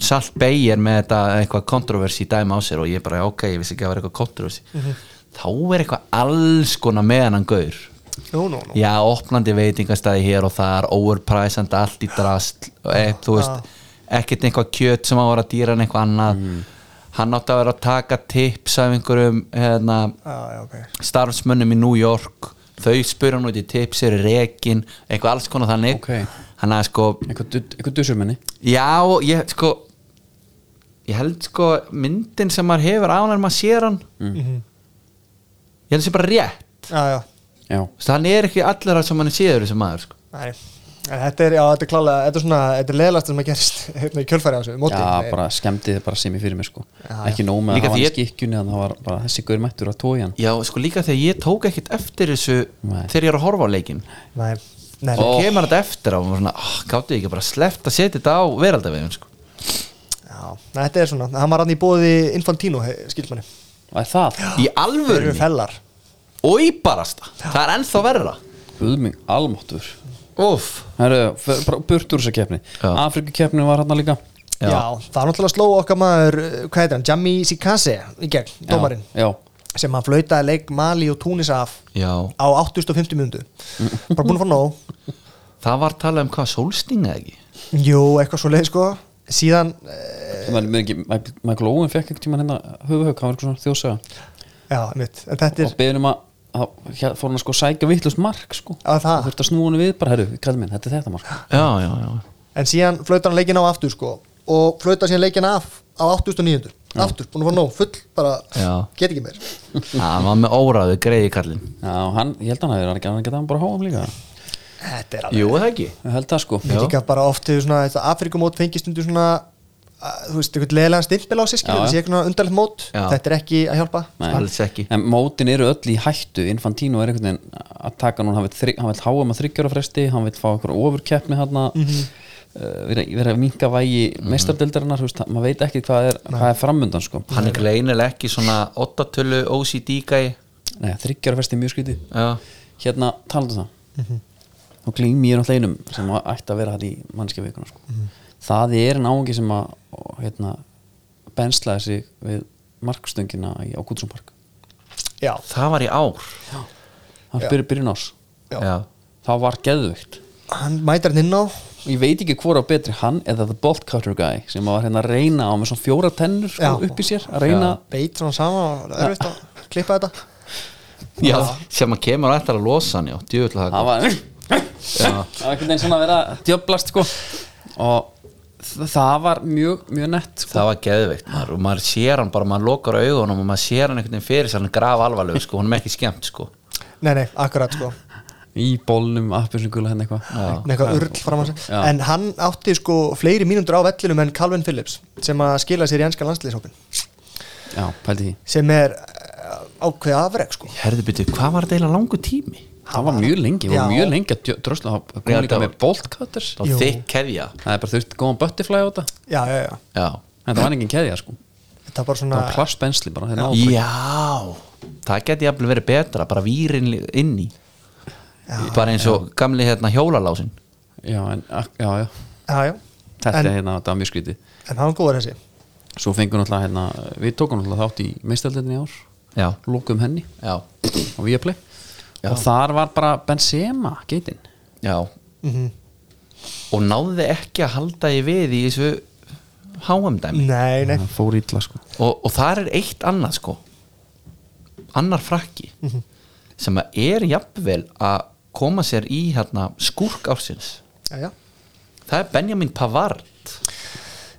[SPEAKER 3] Salt Bay er með þetta eitthvað kontroversi dæmi á sér og ég bara ok, ég vissi ekki að það var eitthvað kontroversi
[SPEAKER 4] Mhm.
[SPEAKER 3] þá er eitthvað alls konar með hann gaur
[SPEAKER 4] þetta- Nú, nú, nú,
[SPEAKER 3] já, opnandi veitingastæði hér og þar overpræsandi allt í drast e, þú veist, ekkert einhvað kjöt sem á að vera dýra en eitthvað annað hann átti að vera að taka tips af einhverjum hérna,
[SPEAKER 4] Ah, já, já, ok,
[SPEAKER 3] starfsmönnum í New York þau spurði hann út í tips eru rekin, eitthvað alls konar þannig okay. hann að sko
[SPEAKER 2] eitthvað dusurmenni
[SPEAKER 3] Já, ég sko ég held sko myndin sem maður hefur á hann en maður sér hann
[SPEAKER 4] Mhm.
[SPEAKER 3] ég held sem bara rétt
[SPEAKER 4] já, já,
[SPEAKER 2] já,
[SPEAKER 3] Þessi, hann er ekki allara sem hann er séður þessi maður sko.
[SPEAKER 4] nei, en þetta er, já, þetta er klálega, þetta er svona, þetta er leðalast sem að gerist, [laughs] hérna, í kjölfæri á þessu, móti,
[SPEAKER 2] já,
[SPEAKER 4] Nei,
[SPEAKER 2] bara skemmti þið bara sem ég fyrir mig sko
[SPEAKER 4] Já,
[SPEAKER 2] ekki
[SPEAKER 4] já.
[SPEAKER 2] nóg með
[SPEAKER 3] Líka
[SPEAKER 2] að hafa
[SPEAKER 3] því
[SPEAKER 2] hann í
[SPEAKER 3] ég-
[SPEAKER 2] skikkjunni þannig að það var bara þessi gaur mættur að tója hann
[SPEAKER 3] Já, sko líka þegar ég tók ekkit eftir þessu
[SPEAKER 2] Nei.
[SPEAKER 3] þegar ég er að horfa á leikin
[SPEAKER 4] nei, nei,
[SPEAKER 3] og "Ah, kemur þetta eftir á og maður svona, oh, gáttu ekki bara sleppt að setja þetta á veraldavegum sko.
[SPEAKER 4] já, Nei, þetta er svona, hann var hann í bóði Infantino, skilmanni
[SPEAKER 2] Það er það?
[SPEAKER 3] Í alvörunni?
[SPEAKER 4] Þeir eru fellar
[SPEAKER 3] Og íbarasta, það er ennþá verra
[SPEAKER 2] Guðming, almáttur
[SPEAKER 3] Úf
[SPEAKER 2] Herru, burt úr þessa keppni Afrikakeppni var hann líka
[SPEAKER 4] Já. það var náttúrulega sló okkar maður, uh, hvað heitir hann, Jami Sikase í gegn, dómarinn
[SPEAKER 2] Já,
[SPEAKER 4] sem hann flautaði leik Mali og Túnis af
[SPEAKER 3] Já
[SPEAKER 4] á 850 minútu bara búin að fá nóg
[SPEAKER 3] Það var talað um hvað sólstinga ekki
[SPEAKER 4] Jú, eitthvað svo leið sko síðan, eh,
[SPEAKER 2] sem er með ekki Michael Michael Owen fekk ekki tíma hérna höfuhögg, hann var eitthvað svona þjóðsaga
[SPEAKER 4] já, mitt en þetta er,
[SPEAKER 2] og beðin um að að- hér- fór hann að sko sækja vittlust mark sko
[SPEAKER 4] að það
[SPEAKER 2] og þurfti að snúa hann við bara, herru, kallið minn, þetta er þetta mark
[SPEAKER 3] Já, já, já
[SPEAKER 4] en síðan flautar hann leikin á aftur sko og flautar síðan leikin af á 8.900 aftur, búin að fá nóg, full bara
[SPEAKER 3] Já
[SPEAKER 4] get ekki meir
[SPEAKER 3] Það var með óraðu greiði kallinn
[SPEAKER 2] Já, hann, ég held að hann hefur hann geta hann bara háam líka
[SPEAKER 4] þetta er alveg
[SPEAKER 3] Jú, er það ekki
[SPEAKER 2] Ég held það sko
[SPEAKER 4] Mér líka bara oft hefur svona þetta Afrikumót fengið stundu svona að, þú veist, einhvern leðilegan stimpil á sig skilur,
[SPEAKER 2] Já, já.
[SPEAKER 4] þessi eitthvað undarlegt mót
[SPEAKER 2] Já.
[SPEAKER 4] þetta er ekki að hjálpa
[SPEAKER 2] Nei.
[SPEAKER 3] Alls ekki.
[SPEAKER 2] En mótin eru öll í hættu Infantino er einhvern veginn að taka núna hann vill þri- hann vill háa maður þryggjara fresti hann vill fá einhverja ofurkeppni hann mm
[SPEAKER 4] Mhm.
[SPEAKER 2] vera, vera að minka vægi mm -hmm. meistardildarinnar, maður veit ekki hvað er, hvað er framundan sko
[SPEAKER 3] Hann er greinilega ekki svona 8-tölu OCD-gæi
[SPEAKER 2] Nei, þryggjara fresti er mjög skríti
[SPEAKER 3] Já.
[SPEAKER 2] Hérna, talaðu það
[SPEAKER 4] Mhm.
[SPEAKER 2] og glými ég náttúrulega einum sem að- ætti að vera hann í mannskjavíkuna sko.
[SPEAKER 4] Mhm.
[SPEAKER 2] það er náungi sem að ó, hérna, benslaði sig við markstöngina í, á Gútsumpark
[SPEAKER 4] Já.
[SPEAKER 3] Það var í ár
[SPEAKER 2] hann
[SPEAKER 4] Já.
[SPEAKER 2] byrja byrjun ás
[SPEAKER 4] Já.
[SPEAKER 3] Já.
[SPEAKER 2] það var geðvögt
[SPEAKER 4] hann mætir hann inn á
[SPEAKER 2] og ég veit ekki hvora betri hann eða the bolt cutter guy sem var hérna að reyna á með svona fjóra tennur sko,
[SPEAKER 4] Já.
[SPEAKER 2] upp í sér að reyna
[SPEAKER 4] beit svona saman og erfitt að klippa þetta
[SPEAKER 3] Já, sem að kemur eftir að losa hann, já, djöfull að
[SPEAKER 2] það
[SPEAKER 3] það
[SPEAKER 2] var það var einhvern veginn svona að vera að djöblast sko. og þ- það var mjög, mjög nett sko.
[SPEAKER 3] Það var geðveikt maður, og maður sér hann bara, maður lokar augunum og maður sér hann einhvern veginn fyrir sér, hann er graf alvarlegu sko, hann er ekki skemmt sko
[SPEAKER 4] nei, nei, akkurat sko
[SPEAKER 2] í bólnum, appelsingula henni eitthvað
[SPEAKER 4] Með eitthvað url fram að sig
[SPEAKER 2] Já.
[SPEAKER 4] en hann átti sko fleiri mínútur á vellinum en Calvin Phillips sem að skila sér í ennska landsliðshópin
[SPEAKER 2] já, pældi því
[SPEAKER 4] sem er eh, ákveðið afreg sko
[SPEAKER 3] Herðu byrju, hvað var þetta eiginlega langur tími?
[SPEAKER 2] það var mjög lengi, það var
[SPEAKER 4] Já.
[SPEAKER 2] mjög lengi að djö- drösla það kom
[SPEAKER 3] Já,
[SPEAKER 2] líka
[SPEAKER 3] það var-
[SPEAKER 2] með bolt cutters
[SPEAKER 3] Það var þykk keðja
[SPEAKER 2] það er bara þurft góðan butterfly á þetta
[SPEAKER 4] já, já, já,
[SPEAKER 3] Já,
[SPEAKER 2] en það var engin keðja sko
[SPEAKER 4] þetta var bara
[SPEAKER 2] það
[SPEAKER 4] svona
[SPEAKER 2] var plastbensli bara hérna þeir náðu bara ekki-
[SPEAKER 3] já það geti jafnvel verið betra, bara vírin li- inn í Bara eins og gamli hérna hjólalásin
[SPEAKER 2] já, en, já, já,
[SPEAKER 4] já, já.
[SPEAKER 2] þetta
[SPEAKER 4] En-
[SPEAKER 2] er hérna, þetta var mjög skrítið
[SPEAKER 4] en hann var góður þessi
[SPEAKER 2] svo fengum náttúrulega hérna, við tókum náttúrulega þátt í meistaldinni í ár,
[SPEAKER 3] Já,
[SPEAKER 2] lókum henni
[SPEAKER 3] já,
[SPEAKER 2] og við að play og þar var bara Benzema geitinn
[SPEAKER 3] já
[SPEAKER 4] Mhm.
[SPEAKER 3] Og náði ekki að halda í við í þessu háumdæmi
[SPEAKER 4] nei, nei,
[SPEAKER 3] Mhm.
[SPEAKER 2] það fór ítla sko
[SPEAKER 3] og, og þar er eitt annað sko annar frakki sem að er jafnvel að koma sér í hérna skúrk ársins
[SPEAKER 4] já, já
[SPEAKER 3] það er Benjamin Pavard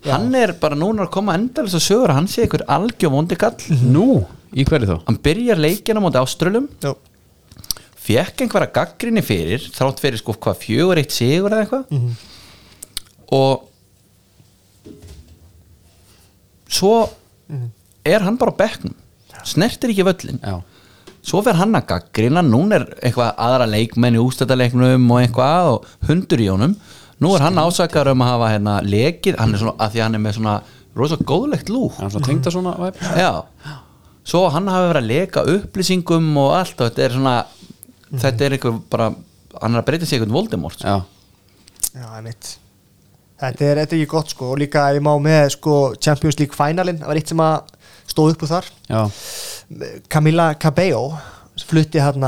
[SPEAKER 3] hann er bara núna að koma endalins og sögur að hann sé einhver algjör vondigall
[SPEAKER 2] nú, í hverju þá?
[SPEAKER 3] hann byrjar leikina móti áströlum
[SPEAKER 4] Já.
[SPEAKER 3] fekk einhverja gaggrinni fyrir þrátt fyrir sko hvað fjögur eitt sigur eða eitthvað og svo er hann bara á bekknum snertir ekki völlin
[SPEAKER 2] já,
[SPEAKER 3] svo fer hann að gaggrina núna er eitthvað aðra leikmenn í ústættaleiknum og eitthvað og hundur í honum nú er hann ásakar um að hafa hérna lekið hann er svona, að því að hann er með svona rosa góðlegt lúk
[SPEAKER 2] hann svo tengda svona væp
[SPEAKER 3] Já, svo hann hafi verið að leka upplýsingum og allt og þetta er svona þetta er einhver bara hann er að breyta sig í einhvern Voldemort sko.
[SPEAKER 2] já,
[SPEAKER 4] Já, einmitt Þetta er, þetta er ekki gott sko og líka ef ég má með sko Champions League finalin, það var eitt sem að stóð upp úr þar
[SPEAKER 2] já,
[SPEAKER 4] Camila Cabello flutti hérna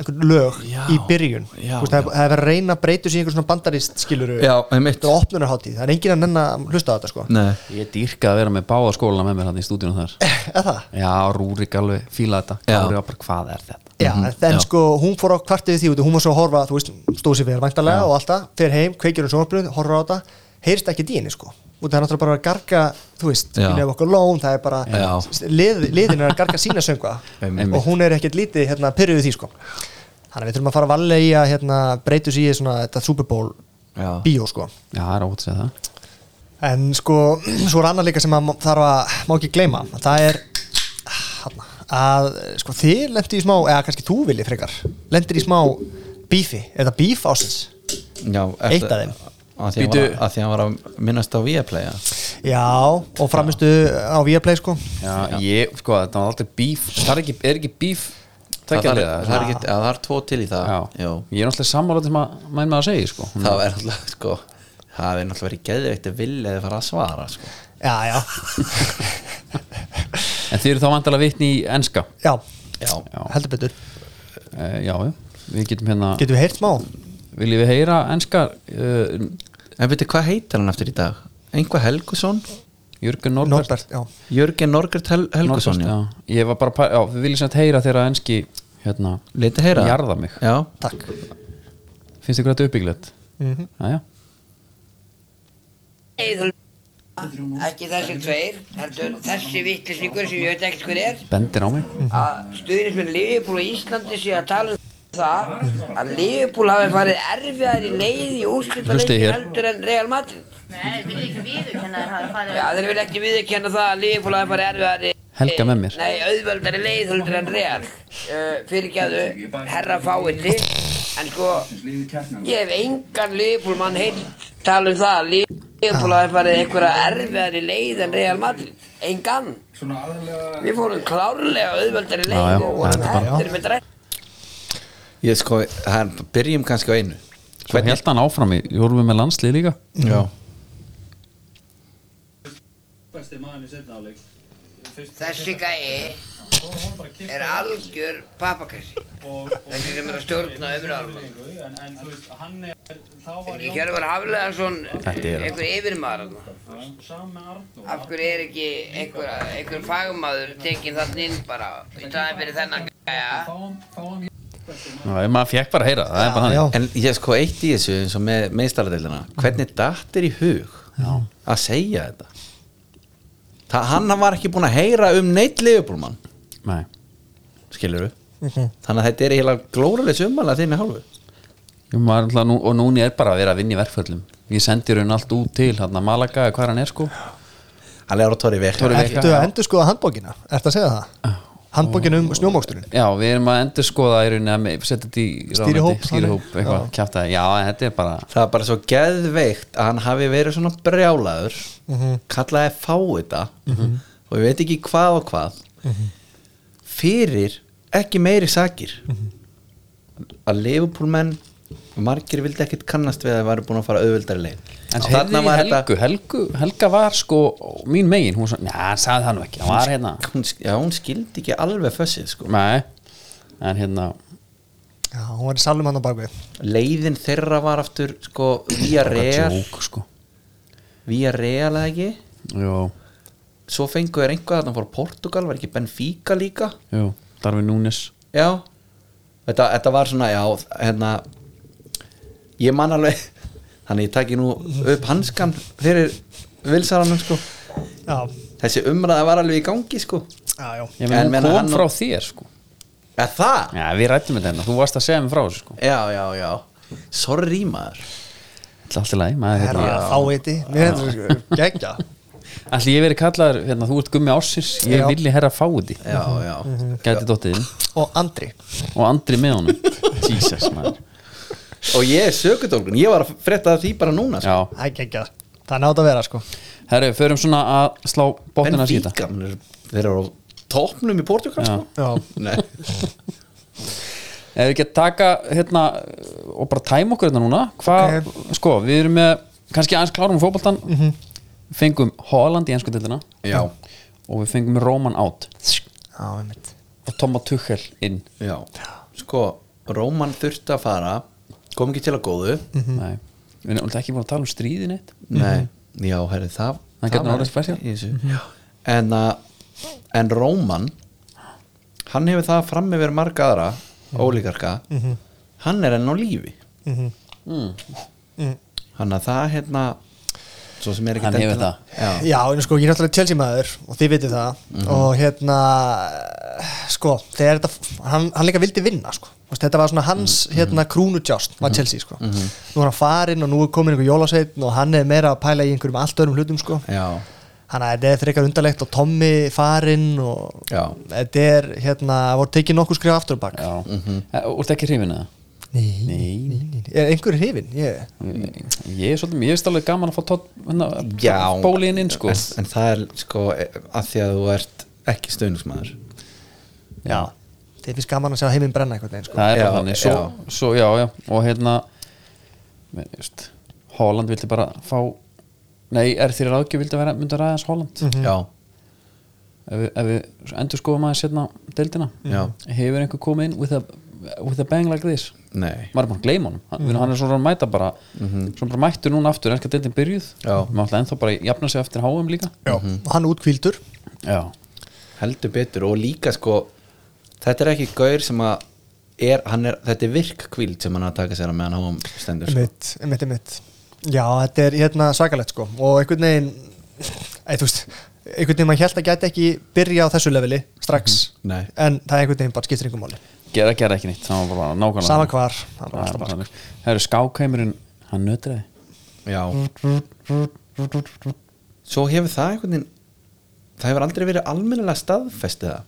[SPEAKER 4] einhvern lög
[SPEAKER 3] Já,
[SPEAKER 4] í byrjun
[SPEAKER 3] já,
[SPEAKER 4] Þú veist, það, það er verið að reyna að breyta sig í einhvern svona bandarist skiluru
[SPEAKER 3] Já, einmitt.
[SPEAKER 4] þetta var opnunarháttíð, það er enginn að nenna að hlusta á þetta sko
[SPEAKER 3] Nei.
[SPEAKER 2] ég dýrka að vera með báða skóla með mér hann í stúdíunum þar
[SPEAKER 4] Eða það?
[SPEAKER 2] já, Rúrik alveg fíla þetta
[SPEAKER 3] Já.
[SPEAKER 2] Kári var bara, hvað er þetta?
[SPEAKER 4] Já,
[SPEAKER 3] Mhm,
[SPEAKER 4] en
[SPEAKER 3] já.
[SPEAKER 4] sko hún fór á kvartið því út og hún var svo að horfa, þú veist, stóð sér fyrir væntalega og alltaf, fer heim, kveikir um sjónarbrun, horfur á þetta, heyrist ekki dýni sko og það er náttúrulega bara að garga, þú veist,
[SPEAKER 3] Já.
[SPEAKER 4] við nefum okkur lón, það er bara
[SPEAKER 3] Já.
[SPEAKER 4] lið, liðin er að garga sína sönga
[SPEAKER 3] [laughs] Einmitt.
[SPEAKER 4] og hún er ekkert lítið, hérna, pyrruðu því sko þannig að við þurfum að fara valega í að hérna, breytu sér í svona þetta Super Bowl
[SPEAKER 3] Já.
[SPEAKER 4] bíó sko
[SPEAKER 2] já, það er ótt að segja það
[SPEAKER 4] en sko, svo er annað líka sem að má- þarf að, má ekki gleyma það er hana, að sko þið lendir í smá, eða kannski þú vilji frekar lendir í smá bífi eða bíf ásins
[SPEAKER 3] Já,
[SPEAKER 4] Eitt af þeim.
[SPEAKER 3] að því, hann var,
[SPEAKER 2] Bíddu.
[SPEAKER 3] að- að því hann var að minnast á Viaplay ja.
[SPEAKER 4] Já, og framistu á Viaplay sko
[SPEAKER 2] Já, ég, sko, þetta var aldrei bíf Það er ekki, er ekki bíf
[SPEAKER 3] Það
[SPEAKER 2] tveggja
[SPEAKER 3] þarf-
[SPEAKER 2] liða,
[SPEAKER 3] það er
[SPEAKER 2] svona?
[SPEAKER 3] ekki- það er tvo til í það
[SPEAKER 2] Já.
[SPEAKER 3] Já.
[SPEAKER 2] Ég er náttúrulega sammála sem að mæn með að segja sko.
[SPEAKER 3] Það er náttúrulega sko Það er náttúrulega verið geðveikt að vilja þið fara að svara sko.
[SPEAKER 4] Já, já
[SPEAKER 2] En þið eru þá vandalega vitni í enska Eh,
[SPEAKER 4] Já,
[SPEAKER 3] já.
[SPEAKER 4] heldur betur
[SPEAKER 2] Já, já, við getum hérna
[SPEAKER 4] Getum við heyrt smá?
[SPEAKER 2] Viljum við heyra enska uh,
[SPEAKER 3] En veitir hvað heitir hann eftir í dag? Einhvað Helgusson?
[SPEAKER 2] Jörgen Norbert,
[SPEAKER 4] já
[SPEAKER 3] Jörgen Norgert Hel Helgusson
[SPEAKER 2] já. Ég var bara, að pæ- já, við viljum sem heyra þeirra enski hérna,
[SPEAKER 3] Leita heyra það.
[SPEAKER 2] Jarða mig
[SPEAKER 3] Já.
[SPEAKER 4] Takk
[SPEAKER 2] Finnst ykkur þetta uppbygglegt?
[SPEAKER 4] Mhm.
[SPEAKER 2] Jæja.
[SPEAKER 13] Eiður ekki þessi tveir heldur þessi vittlisíkur sem ég veit ekkert hver er
[SPEAKER 2] Bendir á mig
[SPEAKER 13] að stuðnismenn Liverpool og Íslandi sé að tala um það að Liverpool hafi farið erfiðar í leið í
[SPEAKER 2] Hlustið
[SPEAKER 13] úrslitaleikin
[SPEAKER 2] hér.
[SPEAKER 13] heldur en Real Madrid Nei, þeir vil ekki viðurkenna það að farið Já, þeir vil ekki viðurkenna það að Liverpool hafi farið erfiðar í
[SPEAKER 2] Helga með mér.
[SPEAKER 13] Nei, auðveldari leið heldur en Real uh, Fyrirgjáðu, herra fáiði En sko, ég hef engan Liverpool mann heil tala um það að Liverpool
[SPEAKER 2] Ah.
[SPEAKER 13] hafi farið einhverja erfiðari leið en Real Madrid Engan Við fórum klárlega auðveldari
[SPEAKER 2] Ah.
[SPEAKER 13] leið
[SPEAKER 3] Já, já, þetta
[SPEAKER 13] og vorum
[SPEAKER 3] bara-
[SPEAKER 13] hættir með drætt
[SPEAKER 3] Ég sko, hann, byrjum kannski á einu
[SPEAKER 2] Svo held hann áfram í, við vorum með landslið líka
[SPEAKER 3] Já.
[SPEAKER 14] besti maðurinn í setna áleik
[SPEAKER 13] Þessi gæi er algjör papakassi Þessi sem er að stjórna umræðum
[SPEAKER 14] en, en þú veist, hann er þá var
[SPEAKER 13] Ekki Hjörvar Hafleðarsson
[SPEAKER 2] Þetta er það.
[SPEAKER 13] einhver yfirmaður þarna. Af hverju er ekki einhver, einhver fagmaður tekin þannig inn bara í staðin fyrir þennan gæja
[SPEAKER 2] Já, maður fekk bara að heyra það, það er bara hann
[SPEAKER 3] En ég sko eitt í þessu eins og með meistaradeildina Hvernig datt er í hug já. að segja þetta Þa, Hann var ekki búin að heyra um neitt liðbúlmann
[SPEAKER 2] Nei.
[SPEAKER 3] Skilur
[SPEAKER 4] Mhm.
[SPEAKER 3] Þannig að þetta er eiginlega glórulega sumanlega þinni hálfu
[SPEAKER 2] Ég maður alltaf nú, og núni er bara að vera að vinna í verkföllum ég sendi raun allt út til hann að Malaga eða hvað hann er sko
[SPEAKER 3] hann er á Tori Vekka,
[SPEAKER 2] Torri
[SPEAKER 4] Ertu að endur skoða handbókina? Ertu að segja það? Handbókin um snjómóksturinn
[SPEAKER 2] Já, við erum að endur skoða í rauninni að me- setja þetta í
[SPEAKER 4] Stýrihóp,
[SPEAKER 2] ráðuneyti, stýrihóp,
[SPEAKER 4] þannig.
[SPEAKER 2] eitthvað,
[SPEAKER 4] Já.
[SPEAKER 2] kjátt að já, en þetta er bara
[SPEAKER 3] Það er bara svo geðveikt að hann hafi verið svona brjálaður
[SPEAKER 2] Mhm.
[SPEAKER 3] kallaði fá þetta og ég veit ekki hvað og hvað fyrir ekki meiri sakir að Liverpool menn margir vildi ekkit kannast við að það væri búin að fara auðvöldari leið
[SPEAKER 2] En heyrði ég Helgu, Helgu, Helga var sko mín megin, hún sagði, já, sagði það nú ekki, hann var hérna
[SPEAKER 3] hún, sk- Já, hún skildi ekki alveg fössið sko
[SPEAKER 2] Nei, en hérna
[SPEAKER 4] Já, hún var í salum hann á bakvið
[SPEAKER 3] leiðin þeirra var aftur sko via
[SPEAKER 2] Bara
[SPEAKER 3] real
[SPEAKER 2] djók, sko.
[SPEAKER 3] via real eða ekki
[SPEAKER 2] Jó,
[SPEAKER 3] svo fengu þér einhvað að hann fór Portugal var ekki Benfica líka
[SPEAKER 2] jú, Darfi Núnes
[SPEAKER 3] já þetta, þetta var svona, já, hérna ég man alveg [laughs] þannig ég taki nú upp hanskan fyrir vilsaranum sko
[SPEAKER 4] Já.
[SPEAKER 3] þessi umræða var alveg í gangi sko
[SPEAKER 4] Já, já
[SPEAKER 2] Ég meina, hún kom frá þér sko
[SPEAKER 3] Er það?
[SPEAKER 2] Já, við rættum þetta hérna, þú varst að segja mér frá þessu sko
[SPEAKER 3] Já, já, já, sorry maður
[SPEAKER 2] Þetta er hérna- alltaf læg, maður
[SPEAKER 4] Herra, fáiði. Mér er þetta sko, geggja.
[SPEAKER 2] Ætli ég verið kallaður, hérna, þú ert gummi ársins Ég
[SPEAKER 4] Já.
[SPEAKER 2] villi herra fáiði
[SPEAKER 3] Já, já. Mhm.
[SPEAKER 2] Gæti dottiðin
[SPEAKER 4] Og Andri
[SPEAKER 2] Og Andri með honum [laughs] Jesus, maður
[SPEAKER 3] og ég er sökudólgun, ég var að frétta af því bara núna
[SPEAKER 2] sko. Já,
[SPEAKER 4] Það er geggja Það er nátt að vera sko
[SPEAKER 2] herru, förum svona að slá botnina síta
[SPEAKER 3] Benfica, menn er- þeir eru á topnum í Portugal
[SPEAKER 2] Já.
[SPEAKER 3] sko Nei.
[SPEAKER 2] Ef við getum taka, hérna, og bara tæma okkur hérna núna Hvað, sko, við erum með, kannski aðeins klárum fótboltan mm Fengum Holland í ennsku dildina
[SPEAKER 3] Já.
[SPEAKER 2] Og við fengum Róman át
[SPEAKER 4] Já, við mitt
[SPEAKER 2] Og Toma Tuchel inn
[SPEAKER 3] Já, sko, Róman þurfti að fara kom ekki til að góðu
[SPEAKER 2] Nei, við erum alltaf ekki búin að tala um stríðin eitt
[SPEAKER 3] Nei, já, herri, það
[SPEAKER 2] Það Mhm. getur
[SPEAKER 3] var
[SPEAKER 2] orðið Mhm. spesial.
[SPEAKER 3] í þessu. En, að, en Róman hann hefur það fram yfir marga aðra ólíkarka
[SPEAKER 4] Mhm.
[SPEAKER 3] hann er enn á lífi
[SPEAKER 4] Mhm. Mm.
[SPEAKER 3] hann að það hérna svo sem er ekki
[SPEAKER 2] Hann hefur
[SPEAKER 3] Já.
[SPEAKER 4] Já, en sko, ég er náttúrulega Chelsea maður og þið vitið það
[SPEAKER 3] Mhm.
[SPEAKER 4] og hérna sko, þegar þetta, hann, hann líka vildi vinna sko. Þú veist, þetta var svona hans hérna krúnutjást var Chelsea sko.
[SPEAKER 3] Mhm.
[SPEAKER 4] nú er hann farinn og nú er komin einhver jólasveitn og hann er meira að pæla í einhverjum allt öðrum hlutum sko.
[SPEAKER 3] Já.
[SPEAKER 4] þannig að þetta er frekar undarlegt og Tommy farinn og
[SPEAKER 3] Já.
[SPEAKER 4] þetta er hérna, voru tekið nokkuð skrifa aftur á bak
[SPEAKER 3] Mhm.
[SPEAKER 2] Já, mm -hmm. úrstu Eh, ekki hrifin að það?
[SPEAKER 4] Nei,
[SPEAKER 2] nei,
[SPEAKER 4] nei. Er einhverju hrifin? Ég...
[SPEAKER 2] Ég er svolítið, mér finnst alveg gaman að fá tótt hérna,
[SPEAKER 3] Já,
[SPEAKER 2] bólin inn sko
[SPEAKER 3] en, en það er sko að því að þú ert ekki stöðnismæður
[SPEAKER 2] Já,
[SPEAKER 4] Þeir finnst gaman að sjá heiminn brenna einhvern veginn sko.
[SPEAKER 2] það er
[SPEAKER 3] Já,
[SPEAKER 2] bara þannig svo, já. svo, já, já, og hérna men, just, Holland vildi bara fá Nei, er þér ráðgjöf vildi vera myndi ræðast Holland
[SPEAKER 3] Mhm. Já.
[SPEAKER 2] Ef við, ef við endur skoðum aðeins hérna deildina
[SPEAKER 3] Já.
[SPEAKER 2] Hefur einhver komið inn with a, with a bang like this?
[SPEAKER 3] Nei.
[SPEAKER 2] Maður er
[SPEAKER 3] Mm.
[SPEAKER 2] bara að gleyma honum Hann, hann er svona að mæta bara
[SPEAKER 3] Mhm.
[SPEAKER 2] Svona bara mættur núna aftur, er ekki að deildin byrjuð
[SPEAKER 3] Já.
[SPEAKER 2] Maður ætla ennþá bara að jafna sig eftir háum líka
[SPEAKER 4] Já.
[SPEAKER 3] Mhm.
[SPEAKER 4] Og hann útkvíldur
[SPEAKER 2] Já.
[SPEAKER 3] heldur betur og líka sko þetta er ekki gaur sem að er, hann er, þetta er virk kvíld sem hann er að taka sér að meðan háum stendur sko.
[SPEAKER 4] Einmitt, einmitt, einmitt Já, þetta er hérna svakalegt sko og einhvern veginn eða þú veist, einhvern veginn maður held að gæti ekki byrja á þessu leveli strax
[SPEAKER 3] Mhm. Nei.
[SPEAKER 4] en það er einhvern veginn bara skiptir yngur máli
[SPEAKER 2] gera, gera ekki nýtt, það var bara nákvæmlega
[SPEAKER 4] Sama hvar, það var
[SPEAKER 2] það
[SPEAKER 4] alltaf
[SPEAKER 2] er
[SPEAKER 4] bara
[SPEAKER 2] bara það eru skákæmurinn, hann nötraði
[SPEAKER 3] já svo hefur það einhvern veginn það hefur aldrei verið almennilega staðfestið það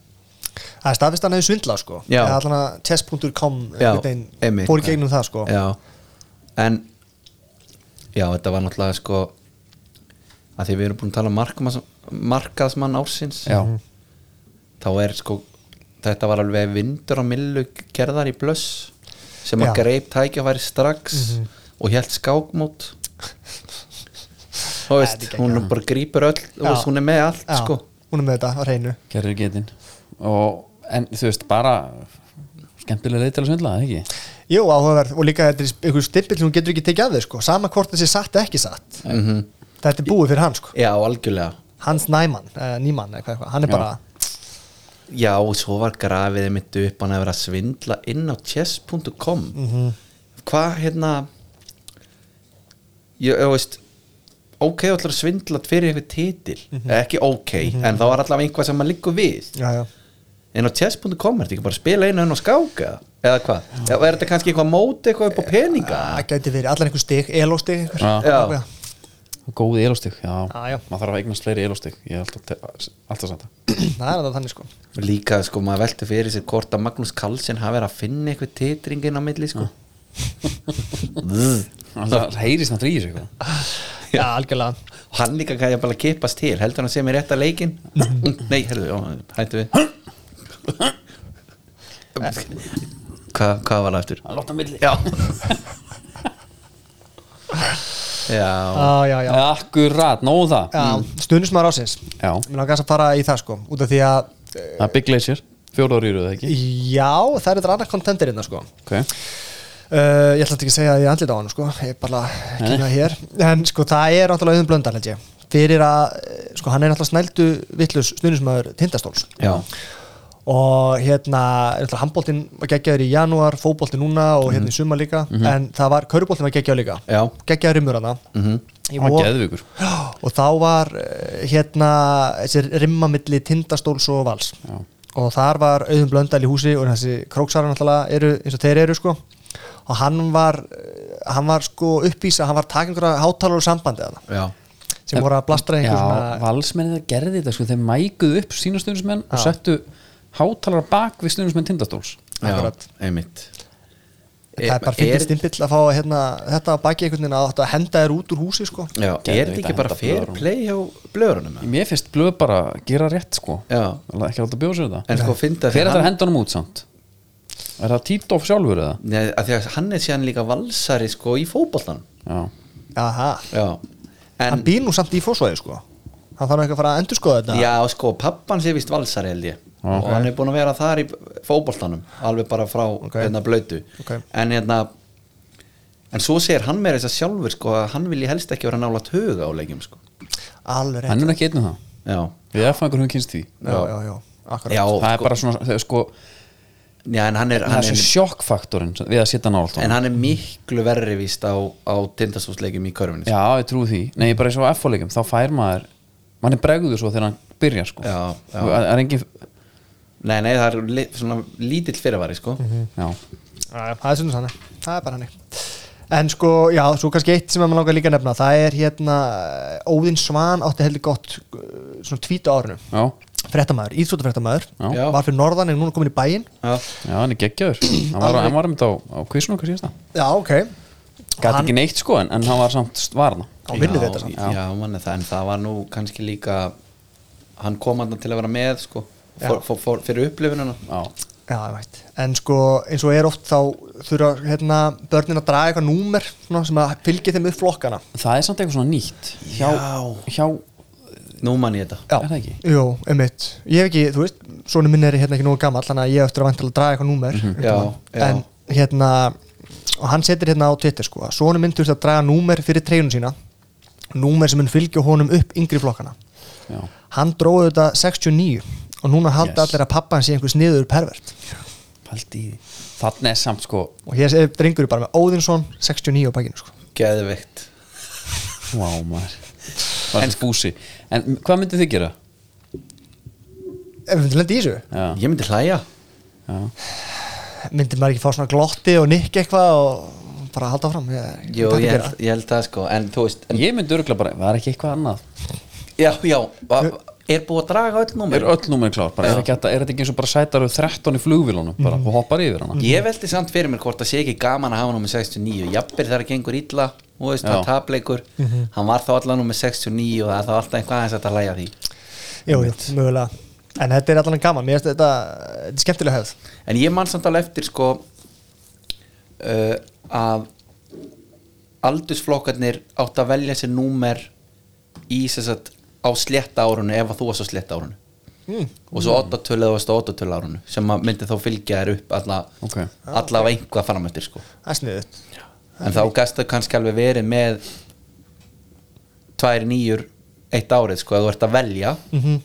[SPEAKER 4] Það er staðfist að hann hefur svindlað sko
[SPEAKER 3] Já.
[SPEAKER 4] eða allan að test.com einhvern veginn
[SPEAKER 3] einmitt.
[SPEAKER 4] fór í gegnum það sko
[SPEAKER 3] já. en já, þetta var náttúrulega sko að því við erum búin að tala um markmas, markaðsmann ársins
[SPEAKER 2] Já.
[SPEAKER 3] þá er sko þetta var alveg vindur á millu gerðar í blöss sem að
[SPEAKER 4] Já.
[SPEAKER 3] greip tækjafæri strax
[SPEAKER 4] Mhm.
[SPEAKER 3] og hélt
[SPEAKER 4] [laughs]
[SPEAKER 3] skákmót þú veist, hún bara grípur öll þú
[SPEAKER 4] Já.
[SPEAKER 3] veist, hún er með allt
[SPEAKER 4] Já,
[SPEAKER 3] sko
[SPEAKER 4] Hún er með þetta á hreinu
[SPEAKER 2] gerður getinn og en þú veist bara skemmtilega leið til að svindla, eða ekki?
[SPEAKER 4] Jú, áhugaverð og líka þetta er einhver stimpill sem hún getur ekki tekið að þig sko sama hvort þessi satt eða ekki satt
[SPEAKER 3] Mhm.
[SPEAKER 4] Þetta er búið fyrir hann sko
[SPEAKER 3] já, algjörlega
[SPEAKER 4] Hans Næman, eh, Nýman eða hvað, hvað, hann er
[SPEAKER 3] Já.
[SPEAKER 4] bara
[SPEAKER 3] Já, og svo var grafið mitt upp hann að vera að svindla inn á chess.com
[SPEAKER 4] Mhm.
[SPEAKER 3] Hvað hérna ég, ég veist ok, þú ætlar að svindla fyrir einhver titil
[SPEAKER 4] Mhm.
[SPEAKER 3] eða ekki ok,
[SPEAKER 4] Mhm.
[SPEAKER 3] en þá er allavega einhvað sem maður liggur við
[SPEAKER 4] já, já.
[SPEAKER 3] en á chess.com er þetta ekki bara að spila einu enn og skáka eða hvað, eða er þetta kannski eitthvað móti eitthvað upp á peninga
[SPEAKER 4] Það gæti verið allan einhver stig, elóstig einhver
[SPEAKER 3] Já.
[SPEAKER 2] góð elóstig, já,
[SPEAKER 4] Já, já.
[SPEAKER 2] maður þarf að eignast fleiri elóstig ég er alltaf, te- alltaf samt
[SPEAKER 4] Það er það þannig sko
[SPEAKER 3] líka sko, maður velti fyrir sér hvort að Magnús Karlsson hafi verið að finna eitthvað titringin á milli sko
[SPEAKER 2] það heyrist hann þrýr eitthvað
[SPEAKER 4] Já, algjörlega
[SPEAKER 3] og hann líka kannski bara kippast til heldur hann að sé mér rétt að leikin
[SPEAKER 4] [laughs]
[SPEAKER 3] nei, heldur, já, hættu við Hva, hvað var það eftir?
[SPEAKER 2] Hann látt á milli.
[SPEAKER 3] já [laughs] já,
[SPEAKER 4] Já, já, já.
[SPEAKER 2] akkurat, nóðu það
[SPEAKER 4] Já, stundismar ásins
[SPEAKER 2] Já.
[SPEAKER 4] Mér langar þess að fara í það sko Út af því að, eh,
[SPEAKER 2] það er Big Glacier, fjórar yfir það ekki
[SPEAKER 4] já, það er þetta annað kontentirinn sko
[SPEAKER 2] ok,
[SPEAKER 4] Uh, ég ætla ekki að segja að ég andlita á hann sko. ég bara
[SPEAKER 2] Nei.
[SPEAKER 4] kynna hér en sko það er náttúrulega auðum blöndar held ég fyrir að, eh, sko hann er náttúrulega snældu vittlus stuðnismæður tindastóls
[SPEAKER 3] Já.
[SPEAKER 4] og hérna náttúrulega handbóltin var geggjaður í janúar fótbóltin núna og hérna í sumar líka
[SPEAKER 2] Mhm.
[SPEAKER 4] en það var, körubóltin var geggjaður líka
[SPEAKER 3] Já.
[SPEAKER 4] geggjaður rimur hana
[SPEAKER 2] Mhm.
[SPEAKER 4] Í
[SPEAKER 2] Hann var
[SPEAKER 4] vor-
[SPEAKER 2] geðveikur.
[SPEAKER 4] Já, og þá var eh, hérna þessi rimma milli tindastóls og vals
[SPEAKER 2] Já.
[SPEAKER 4] og þar var auðum blöndal í húsi og þessi króksarar náttúrulega eru eins og þeir eru sko og hann var eh, hann var sko uppvísa, hann var takk einhverja hátalar og sambandi að
[SPEAKER 3] já
[SPEAKER 4] sem voru að blastra
[SPEAKER 2] já,
[SPEAKER 4] einhver svona
[SPEAKER 2] valsmennið gerði þetta sko, þeir mækuðu upp sína stundismenn og settu hátalara bak við stundismenn tindastóls
[SPEAKER 3] já, einmitt
[SPEAKER 4] það er bara fyrir stimpill að fá hérna, þetta að baki einhvern veginn að þetta henda þér út úr húsi sko
[SPEAKER 3] já, er þetta ekki bara fair play hjá blöðurunum eða?
[SPEAKER 2] Mér finnst blöð bara að gera rétt sko
[SPEAKER 3] Já.
[SPEAKER 2] Lá- Ekki láta bjóða sér um það
[SPEAKER 3] En sko, fyndi að
[SPEAKER 2] Hver er það
[SPEAKER 3] hann-
[SPEAKER 2] að henda honum út samt? Er það Títof sjálfur eða?
[SPEAKER 3] Nei, að því að hann er síðan líka valsari sko í fótboltan
[SPEAKER 2] Já,
[SPEAKER 4] Aha,
[SPEAKER 3] já, en
[SPEAKER 4] hann býr nú samt í fósvæði sko hann þarf nú ekki að fara að endurskoða þetta
[SPEAKER 3] Já, sko, pappan sé vist valsari held ég og hann er búin að vera þar í fótboltanum alveg bara frá hérna blötu
[SPEAKER 4] Ok.
[SPEAKER 3] en hérna en svo segir hann meira þess að sjálfur sko að hann vilji helst ekki vera nála töga á leikjum sko
[SPEAKER 4] alveg
[SPEAKER 2] Hann
[SPEAKER 4] rétt
[SPEAKER 2] er ekki einn um það
[SPEAKER 3] Já,
[SPEAKER 2] Við erum fangur hún kynst því
[SPEAKER 4] já, já, já, akkurat
[SPEAKER 3] já
[SPEAKER 2] Það er bara svona, þegar sko
[SPEAKER 3] Já, en hann er,
[SPEAKER 2] Það er
[SPEAKER 3] hann er,
[SPEAKER 2] svo sjokkfaktorinn sem- við að setja nált
[SPEAKER 3] en hann er miklu verri víst á, á tindastúsleikjum í sko. körfinu
[SPEAKER 2] Já, ég trúi því Nei, bara eins og F-fóleikum, þá fær maður Man er bregðuð svo þegar hann byrjar sko
[SPEAKER 3] Já, já.
[SPEAKER 2] Og Það er engin
[SPEAKER 3] Nei, nei, það er li, svona lítill fyrirvari sko
[SPEAKER 4] Mhm.
[SPEAKER 2] Já,
[SPEAKER 4] Já, já, það er svona þannig það er bara hannig en sko, já, svo kannski eitt sem að maður langar líka að nefna það er hérna, Óðinn Svan átti heldur gott uh, svona tvít eh, á árinu
[SPEAKER 2] já
[SPEAKER 4] frettamæður, íþróttafrettamæður var fyrir norðan en núna komin í bæinn
[SPEAKER 3] Já,
[SPEAKER 2] hann er geggjaður Hann var,
[SPEAKER 4] Alveg.
[SPEAKER 2] hann var um þetta á, á kvísun okkar síðasta
[SPEAKER 4] Já, ok
[SPEAKER 2] Gat ekki neitt sko en, en hann var samt varna
[SPEAKER 3] Já, já manni, það, en það var nú kannski líka Hann kom hann til að vera með sko, for,
[SPEAKER 4] Já.
[SPEAKER 3] for, for, Fyrir upplifununa
[SPEAKER 2] Já,
[SPEAKER 4] Já, ég veit. En sko, eins og er oft þá þurfa hérna, börnin að draga eitthvað númer svona, sem að fylgi þeim upp flokkana.
[SPEAKER 2] Það er samt eitthvað svona nýtt. Hjá, hjá
[SPEAKER 3] Nú mann ég þetta
[SPEAKER 4] Já,
[SPEAKER 2] Er það ekki?
[SPEAKER 4] Jú, einmitt. Ég hef ekki, þú veist, svona minn er hérna ekki nógu gammal, þannig að ég hef eftir að vantilega að draga eitthvað númer.
[SPEAKER 3] Mhm. Já, já.
[SPEAKER 4] En hérna, og hann setur hérna á Twitter sko, að svona minn þurfti að draga númer fyrir treyjun sína, númer sem mun fylgja honum upp yngri flokkana.
[SPEAKER 2] Já.
[SPEAKER 4] Hann dróði þetta 69 og núna halda
[SPEAKER 2] Yes.
[SPEAKER 4] allir að pappa hann sé einhvers niður pervert.
[SPEAKER 2] paldi Þannig er samt sko
[SPEAKER 4] Og hér er drengur bara með Óðinsson 69 á bakinu sko.
[SPEAKER 3] Geðveikt
[SPEAKER 2] Vá maður Var þetta búsi En hvað myndið þið gera?
[SPEAKER 4] Ef við lendi í þessu?
[SPEAKER 2] Já.
[SPEAKER 3] Ég myndi hlæja
[SPEAKER 2] Já.
[SPEAKER 4] myndir maður ekki fá svona glotti og nikk eitthvað og bara halda áfram ég,
[SPEAKER 3] Jú,
[SPEAKER 4] þetta
[SPEAKER 3] ég
[SPEAKER 4] gera.
[SPEAKER 3] held, ég held það sko En þú veist en,
[SPEAKER 2] Ég myndi örgulega bara, var ekki eitthvað annað
[SPEAKER 3] Já, já, va, er búið að draga öll númer?
[SPEAKER 2] Er öll númer klár? Bara, er, ekki, hægt að- er þetta ekki eins og bara sætar 13 í flugvílunum bara, og hoppar yfir hana?
[SPEAKER 3] Ég veldi samt fyrir mér hvort það sé ekki gaman að hafa hann með 69 Jafnir þar að gengur illa Þú veist,
[SPEAKER 2] Já.
[SPEAKER 3] það er tapleikur
[SPEAKER 4] Mhm.
[SPEAKER 3] Hann var þá allan með 69 og það er þá alltaf eitthvað aðeins hægt að hlæja að því
[SPEAKER 4] jú, jú, mögulega en þetta er allan gaman, mér finnst þetta, þetta er skemmtilega hefð
[SPEAKER 3] En ég man samt alveg eftir sko uh, að aldursflokkarnir átt að velja sér númer í þess að á slétta árunu ef að þú varst á slétta árunu
[SPEAKER 2] Hmm.
[SPEAKER 4] Mm.
[SPEAKER 3] og svo 8-tölu eða varst á 8-tölu árunu sem að myndi þá fylgja þér upp alla,
[SPEAKER 2] okay.
[SPEAKER 3] alla okay. einhvað framöftir sko
[SPEAKER 4] það er sniðið
[SPEAKER 3] en þá gæstu kannski alveg verið með tvær nýjur eitt árið sko, að þú ert að velja
[SPEAKER 2] Hmm.
[SPEAKER 4] Mhm.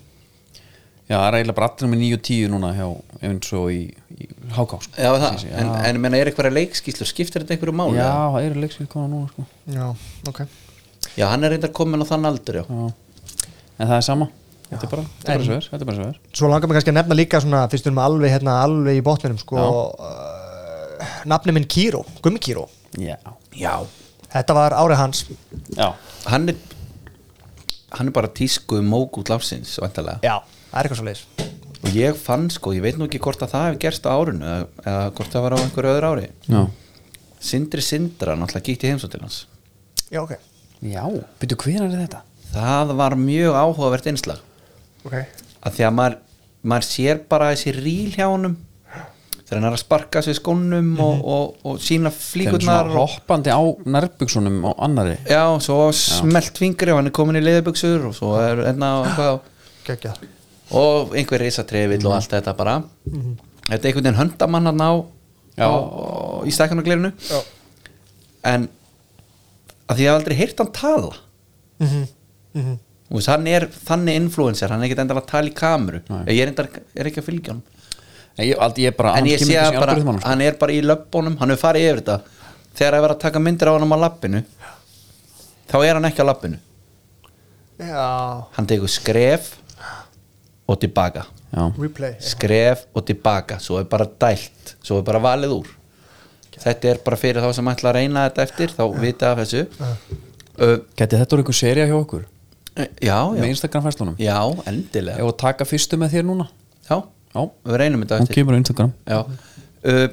[SPEAKER 2] Já, það er eiginlega bara allir með 9 og 10 núna hjá, eins og í, í háká sko.
[SPEAKER 3] Já, það,
[SPEAKER 2] Sí, sí,
[SPEAKER 3] en,
[SPEAKER 2] já.
[SPEAKER 3] en ég meina, er eitthvað leikskíslu, skiptir þetta einhverju máli?
[SPEAKER 2] Já,
[SPEAKER 3] eða?
[SPEAKER 2] það eru leikskil kona núna sko.
[SPEAKER 4] já, ok
[SPEAKER 3] já, hann er reyndar komin á þann aldur, já
[SPEAKER 2] En það er sama Þetta er bara, þetta er bara
[SPEAKER 4] En-
[SPEAKER 2] svo er, þetta er bara svo er
[SPEAKER 4] svo langar mig kannski að nefna líka svona fyrst við erum alveg, hérna, alveg í botninum sko, uh, nafni minn Kíró Gummi Kíró,
[SPEAKER 2] Já,
[SPEAKER 3] Já
[SPEAKER 4] þetta var árið hans
[SPEAKER 2] Já
[SPEAKER 3] Hann er Hann er bara tískuð mógút lafsins vantalega.
[SPEAKER 4] Já, það er eitthvað svo leis
[SPEAKER 3] Og ég fann sko, ég veit nú ekki hvort að það hef gerst á árinu eða, eða hvort það var á einhverju öðru ári
[SPEAKER 2] Já.
[SPEAKER 3] Sindri Sindra náttúrulega gíkt í heimsótt til hans
[SPEAKER 4] já, ok,
[SPEAKER 2] Já, byrju hvenar er þetta?
[SPEAKER 3] Það var mjög áhugavert einslag
[SPEAKER 4] ok
[SPEAKER 3] að því að maður, maður sér bara þessi ríl hjá honum þegar hann er að sparka sig skónum og, og, og sína
[SPEAKER 2] Þeir eru svona
[SPEAKER 3] flíkurnar og,
[SPEAKER 2] hoppandi á nærbuksunum á annari
[SPEAKER 3] Já, svo smelt fingri og hann er komin í leiðbuxur og svo er enna og eitthvað
[SPEAKER 4] Gekkja.
[SPEAKER 3] og einhver risatrefið
[SPEAKER 4] Mhm.
[SPEAKER 3] og allt þetta bara þetta er einhvern veginn höndamann að ná
[SPEAKER 2] Já.
[SPEAKER 3] á, á, í stækjanaglirinu en að því að ég hef aldrei heyrt hann tala
[SPEAKER 4] Mhm, mhm.
[SPEAKER 3] Þú veist, hann er þannig influencer, hann er ekkert endala að tala í kameru ég er, endar, er ekki að fylgja hann
[SPEAKER 2] En ég, aldrei, ég bara,
[SPEAKER 3] en ég
[SPEAKER 2] hann
[SPEAKER 3] sé
[SPEAKER 2] kemur
[SPEAKER 3] að
[SPEAKER 2] þessi
[SPEAKER 3] bara,
[SPEAKER 2] algoritmanum, sko.
[SPEAKER 3] hann er bara í löppunum hann hefur farið yfir þetta þegar að vera að taka myndir á hann á lappinu þá er hann ekki á lappinu
[SPEAKER 4] já,
[SPEAKER 3] hann tekur skref og tilbaka
[SPEAKER 2] Já.
[SPEAKER 4] replay
[SPEAKER 3] skref og tilbaka svo er bara dælt, svo er bara valið úr þetta er bara fyrir þá sem ætla að reyna þetta eftir, þá vita af þessu uh,
[SPEAKER 2] Gæti þetta voru einhver seria hjá okkur?
[SPEAKER 3] já, já,
[SPEAKER 2] Með Instagram fæslunum?
[SPEAKER 3] já, endilega
[SPEAKER 2] Ég var að taka fyrstu með þér núna
[SPEAKER 3] já,
[SPEAKER 2] Já,
[SPEAKER 3] við reynum þetta
[SPEAKER 2] hún
[SPEAKER 3] eftir
[SPEAKER 2] kemur á Instagram
[SPEAKER 3] já. Uh,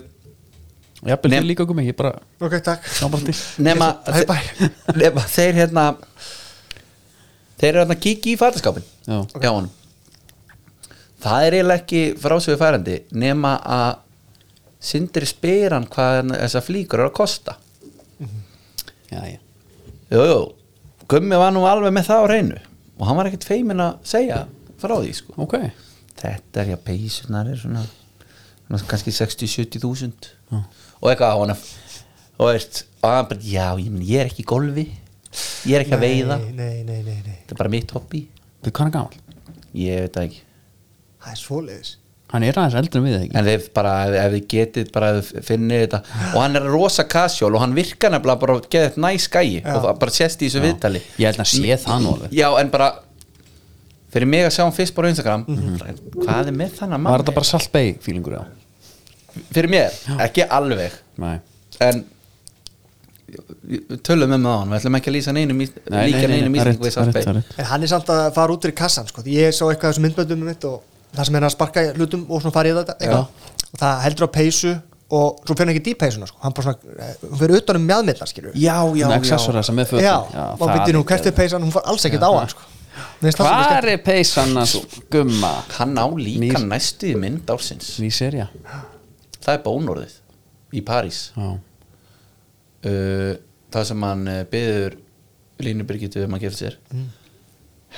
[SPEAKER 2] Jafnvel
[SPEAKER 3] Nem-
[SPEAKER 2] þið líka okkur mig, ég bara
[SPEAKER 4] ok, takk
[SPEAKER 2] Nábaldi
[SPEAKER 3] nema,
[SPEAKER 4] Bye, bye.
[SPEAKER 3] [laughs] nema þeir hérna þeir eru hérna að kíkja í fattaskapin
[SPEAKER 2] Já.
[SPEAKER 3] hjá honum það er eiginlega ekki frásögu færandi nema að Sindri spyr hann hvað þessar flíkur eru að kosta
[SPEAKER 2] Já, já
[SPEAKER 3] Jú, jú, Gummi var nú alveg með það á reynu og hann var ekkert feiminn að segja frá því sko
[SPEAKER 2] Ok
[SPEAKER 3] Þetta er já, peysunar er svona, svona kannski 60-70 þúsund
[SPEAKER 2] Já.
[SPEAKER 3] og eitthvað á hann og veist, og hann bara, já, ég, meni, ég er ekki í golfi ég er ekki að veiða
[SPEAKER 4] nei, nei, nei, nei, nei.
[SPEAKER 3] þetta er bara mitt hobby
[SPEAKER 2] Við hvað er hann gamall?
[SPEAKER 3] ég veit það ekki
[SPEAKER 4] það er svo leis
[SPEAKER 2] Hann er aðeins eldri en við ekki
[SPEAKER 3] en þið bara, ef, ef þið getið bara ef þið finnið þetta og hann er rosa casual og hann virkar nefnilega bara að geða þetta næs gæi og það bara sést í þessu viðtali
[SPEAKER 2] Ég held að sé það nú alveg
[SPEAKER 3] já, en bara fyrir mig að sjá hann fyrst bara á Instagram hvað er með þannig
[SPEAKER 2] Mhm. Var
[SPEAKER 3] mann
[SPEAKER 2] þetta bara saltbei fílingur á?
[SPEAKER 3] fyrir mér, ekki alveg
[SPEAKER 2] Nei
[SPEAKER 3] en við tölum um það á hann, við ætlum ekki að lýsa neinum íst-
[SPEAKER 2] Nei, nei,
[SPEAKER 3] líka
[SPEAKER 2] nei,
[SPEAKER 3] neinum
[SPEAKER 2] nei, það er rétt,
[SPEAKER 3] íslingu við
[SPEAKER 2] það er rétt, það er
[SPEAKER 3] Sarpei
[SPEAKER 2] rétt.
[SPEAKER 4] en hann er samt að fara út fyrir kassan sko. því ég sá eitthvað af þessum myndböndum um mitt og það sem er að sparka í hlutum og svona farið þetta eitthvað. og það heldur á peysu og svo fyrir hann ekki í peysuna sko. hann bara svona, hún fyrir utan um mjadmillar skilur
[SPEAKER 3] já, já,
[SPEAKER 2] Svona accessorar sem er fötin.
[SPEAKER 4] já,
[SPEAKER 2] Já,
[SPEAKER 4] og
[SPEAKER 2] það
[SPEAKER 4] býttir nú
[SPEAKER 2] er-
[SPEAKER 4] kæftu peysan, hún far alls ekkert á hann sko. Mér finnst það svolítið
[SPEAKER 2] Hvar er peysan hans gumma?
[SPEAKER 3] hann á líka næstu í mynd ársins
[SPEAKER 2] ný serja
[SPEAKER 3] það er bónorðið í París
[SPEAKER 2] Já.
[SPEAKER 3] uh, það sem hann byður Línu Birgitu um að gefa sér
[SPEAKER 2] Mm.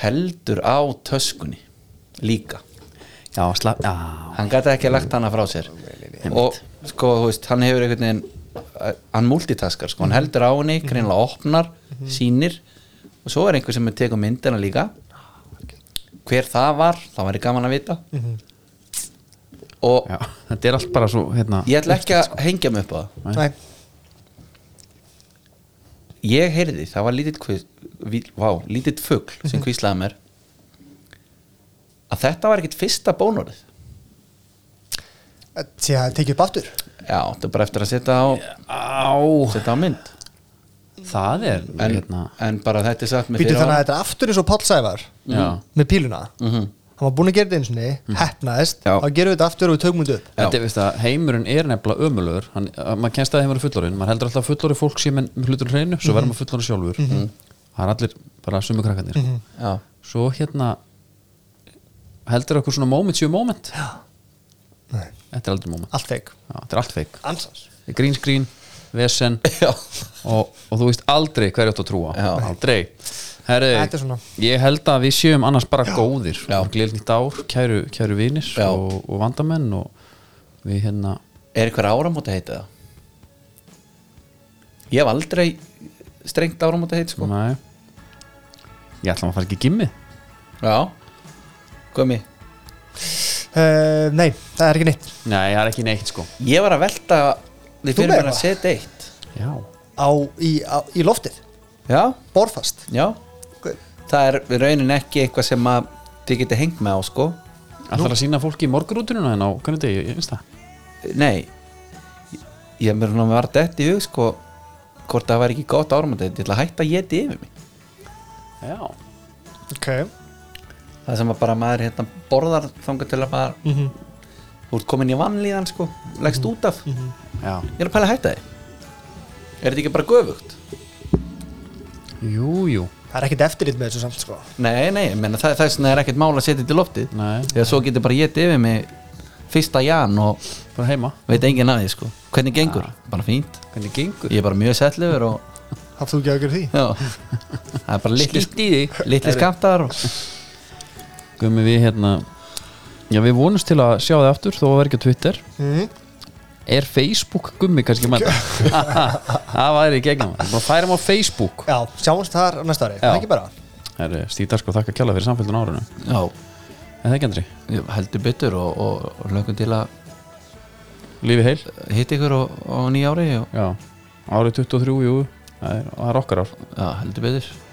[SPEAKER 3] heldur á töskunni líka
[SPEAKER 2] já, slapp, já
[SPEAKER 3] hann gæti ekki lagt hana frá sér og sko, þú veist, hann hefur einhvern veginn uh, hann multitaskar,
[SPEAKER 4] Mhm.
[SPEAKER 3] sko, hann heldur á henni greinlega opnar, sýnir og svo er einhver sem er tekið myndina líka hver það var það væri gaman að vita
[SPEAKER 4] Mhm.
[SPEAKER 3] og
[SPEAKER 2] Já, þetta er allt bara svo hérna,
[SPEAKER 3] ég ætla ekki að hengja mig upp á það
[SPEAKER 4] Nei.
[SPEAKER 3] ég heyrði, það var lítill kvis- ví- vá, lítill fugl sem
[SPEAKER 4] Mhm.
[SPEAKER 3] hvíslaði mér að þetta var ekkit fyrsta bónorðið
[SPEAKER 4] því að tekið upp aftur
[SPEAKER 3] já, þetta er bara eftir að setja á setja á mynd
[SPEAKER 2] það er hérna,
[SPEAKER 3] en, en bara þetta er sagt með
[SPEAKER 4] býttir Hérna.
[SPEAKER 3] fyrirvara.
[SPEAKER 4] þannig að þetta er aftur eins og Páll Sævar
[SPEAKER 3] Já.
[SPEAKER 4] með píluna
[SPEAKER 3] Mhm.
[SPEAKER 4] hann var búin að gera þetta eins og niður, hefnaðist þá gerum við þetta aftur og við tökum þetta upp
[SPEAKER 2] Þetta er, veist það, heimurinn er nefnilega ömulögur hann, að maður kennst að heimurinn er fullorinn maður heldur alltaf að fullorinn fólk sé með hlutur hreinu svo verður maður fullorinn sjálfur
[SPEAKER 3] Mhm.
[SPEAKER 2] það er allir bara sumu krakkarnir sko.
[SPEAKER 4] Mhm.
[SPEAKER 3] Já. [laughs]
[SPEAKER 2] svo hérna heldur okkur svona moment séu moment þetta er aldrei moment
[SPEAKER 4] allt feik
[SPEAKER 2] Já, þetta er allt feik
[SPEAKER 4] Ansans.
[SPEAKER 2] green screen, vesen og, og þú veist aldrei hverju átt að trúa Já. aldrei
[SPEAKER 4] Þetta er
[SPEAKER 2] Herri,
[SPEAKER 4] svona.
[SPEAKER 2] ég held að við séum annars bara góðir glilnýtt ár, kæru, kæru vinir og, og vandamenn og við hérna
[SPEAKER 3] er eitthvað áramóta heitið það? ég hef aldrei strengt áramóta heit sko
[SPEAKER 2] Nei. ég ætla að maður fara ekki í gimmi
[SPEAKER 3] já, komi
[SPEAKER 4] uh, nei, það er ekki neitt
[SPEAKER 2] nei, það er ekki neitt sko
[SPEAKER 3] ég var að velta því
[SPEAKER 4] Þú
[SPEAKER 3] fyrir
[SPEAKER 4] meira
[SPEAKER 3] mér að
[SPEAKER 4] það?
[SPEAKER 3] setja eitt
[SPEAKER 2] já,
[SPEAKER 4] á, í, á, í loftið,
[SPEAKER 3] já,
[SPEAKER 4] borfast
[SPEAKER 3] já það er í raunin ekki eitthvað sem að þið geti hengt með á sko
[SPEAKER 2] ætlar að sína fólki í morgunrútununa en á hvernig degi, ég finnst það
[SPEAKER 3] nei ég- ég mér svona var dætt í hug sko hvort það var ekki gott áramóta heit ég ætla að hætta að geti yfir mig
[SPEAKER 2] já,
[SPEAKER 4] ok
[SPEAKER 3] það sem að bara maður hérna borðar þangar til að maður
[SPEAKER 4] Mhm.
[SPEAKER 3] þú ert komin í vannlíðan sko leggst
[SPEAKER 2] Mhm.
[SPEAKER 3] út af
[SPEAKER 2] já.
[SPEAKER 3] ég er að pæla að hætta þig er þetta ekki bara göfugt?
[SPEAKER 2] jú, jú
[SPEAKER 4] það er ekkert eftirlit með þessu samt sko
[SPEAKER 3] nei, nei, menna, það, það er svona er ekkert mál að setja þetta í loftið
[SPEAKER 2] Nei.
[SPEAKER 3] því að svo getur bara getið yfir mig fyrsta jan og
[SPEAKER 2] bara heima
[SPEAKER 3] veit enginn að því sko hvernig gengur? bara fínt
[SPEAKER 2] Ah. hvernig gengur?
[SPEAKER 3] ég er bara mjög settlegur og
[SPEAKER 4] hafðu þú ekki að gera því
[SPEAKER 3] já, það er bara litli,
[SPEAKER 2] Skítt í þig.
[SPEAKER 3] litli
[SPEAKER 2] Herri.
[SPEAKER 3] skamtar og
[SPEAKER 2] gummi við hérna já, við vonumst til að sjá þið aftur þó að vera ekki á Twitter
[SPEAKER 4] Mhm.
[SPEAKER 2] er Facebook gummi kannski að [laughs] mæta það væri í gegnum bara færum á Facebook
[SPEAKER 4] já, sjáumst þar á næsta ári, það er ekki bara
[SPEAKER 2] Herri, Stíð Darsko, þakka kjalla fyrir samfélgdun árunu
[SPEAKER 3] já,
[SPEAKER 2] Er það ekki Andri?
[SPEAKER 3] Jú, heldur betur og, og, og lögum til að
[SPEAKER 2] Lífi heil
[SPEAKER 3] hitt ykkur á, á nýja ári og
[SPEAKER 2] Já, árið 23, jú, það er, það er okkar ár
[SPEAKER 3] já, heldur betur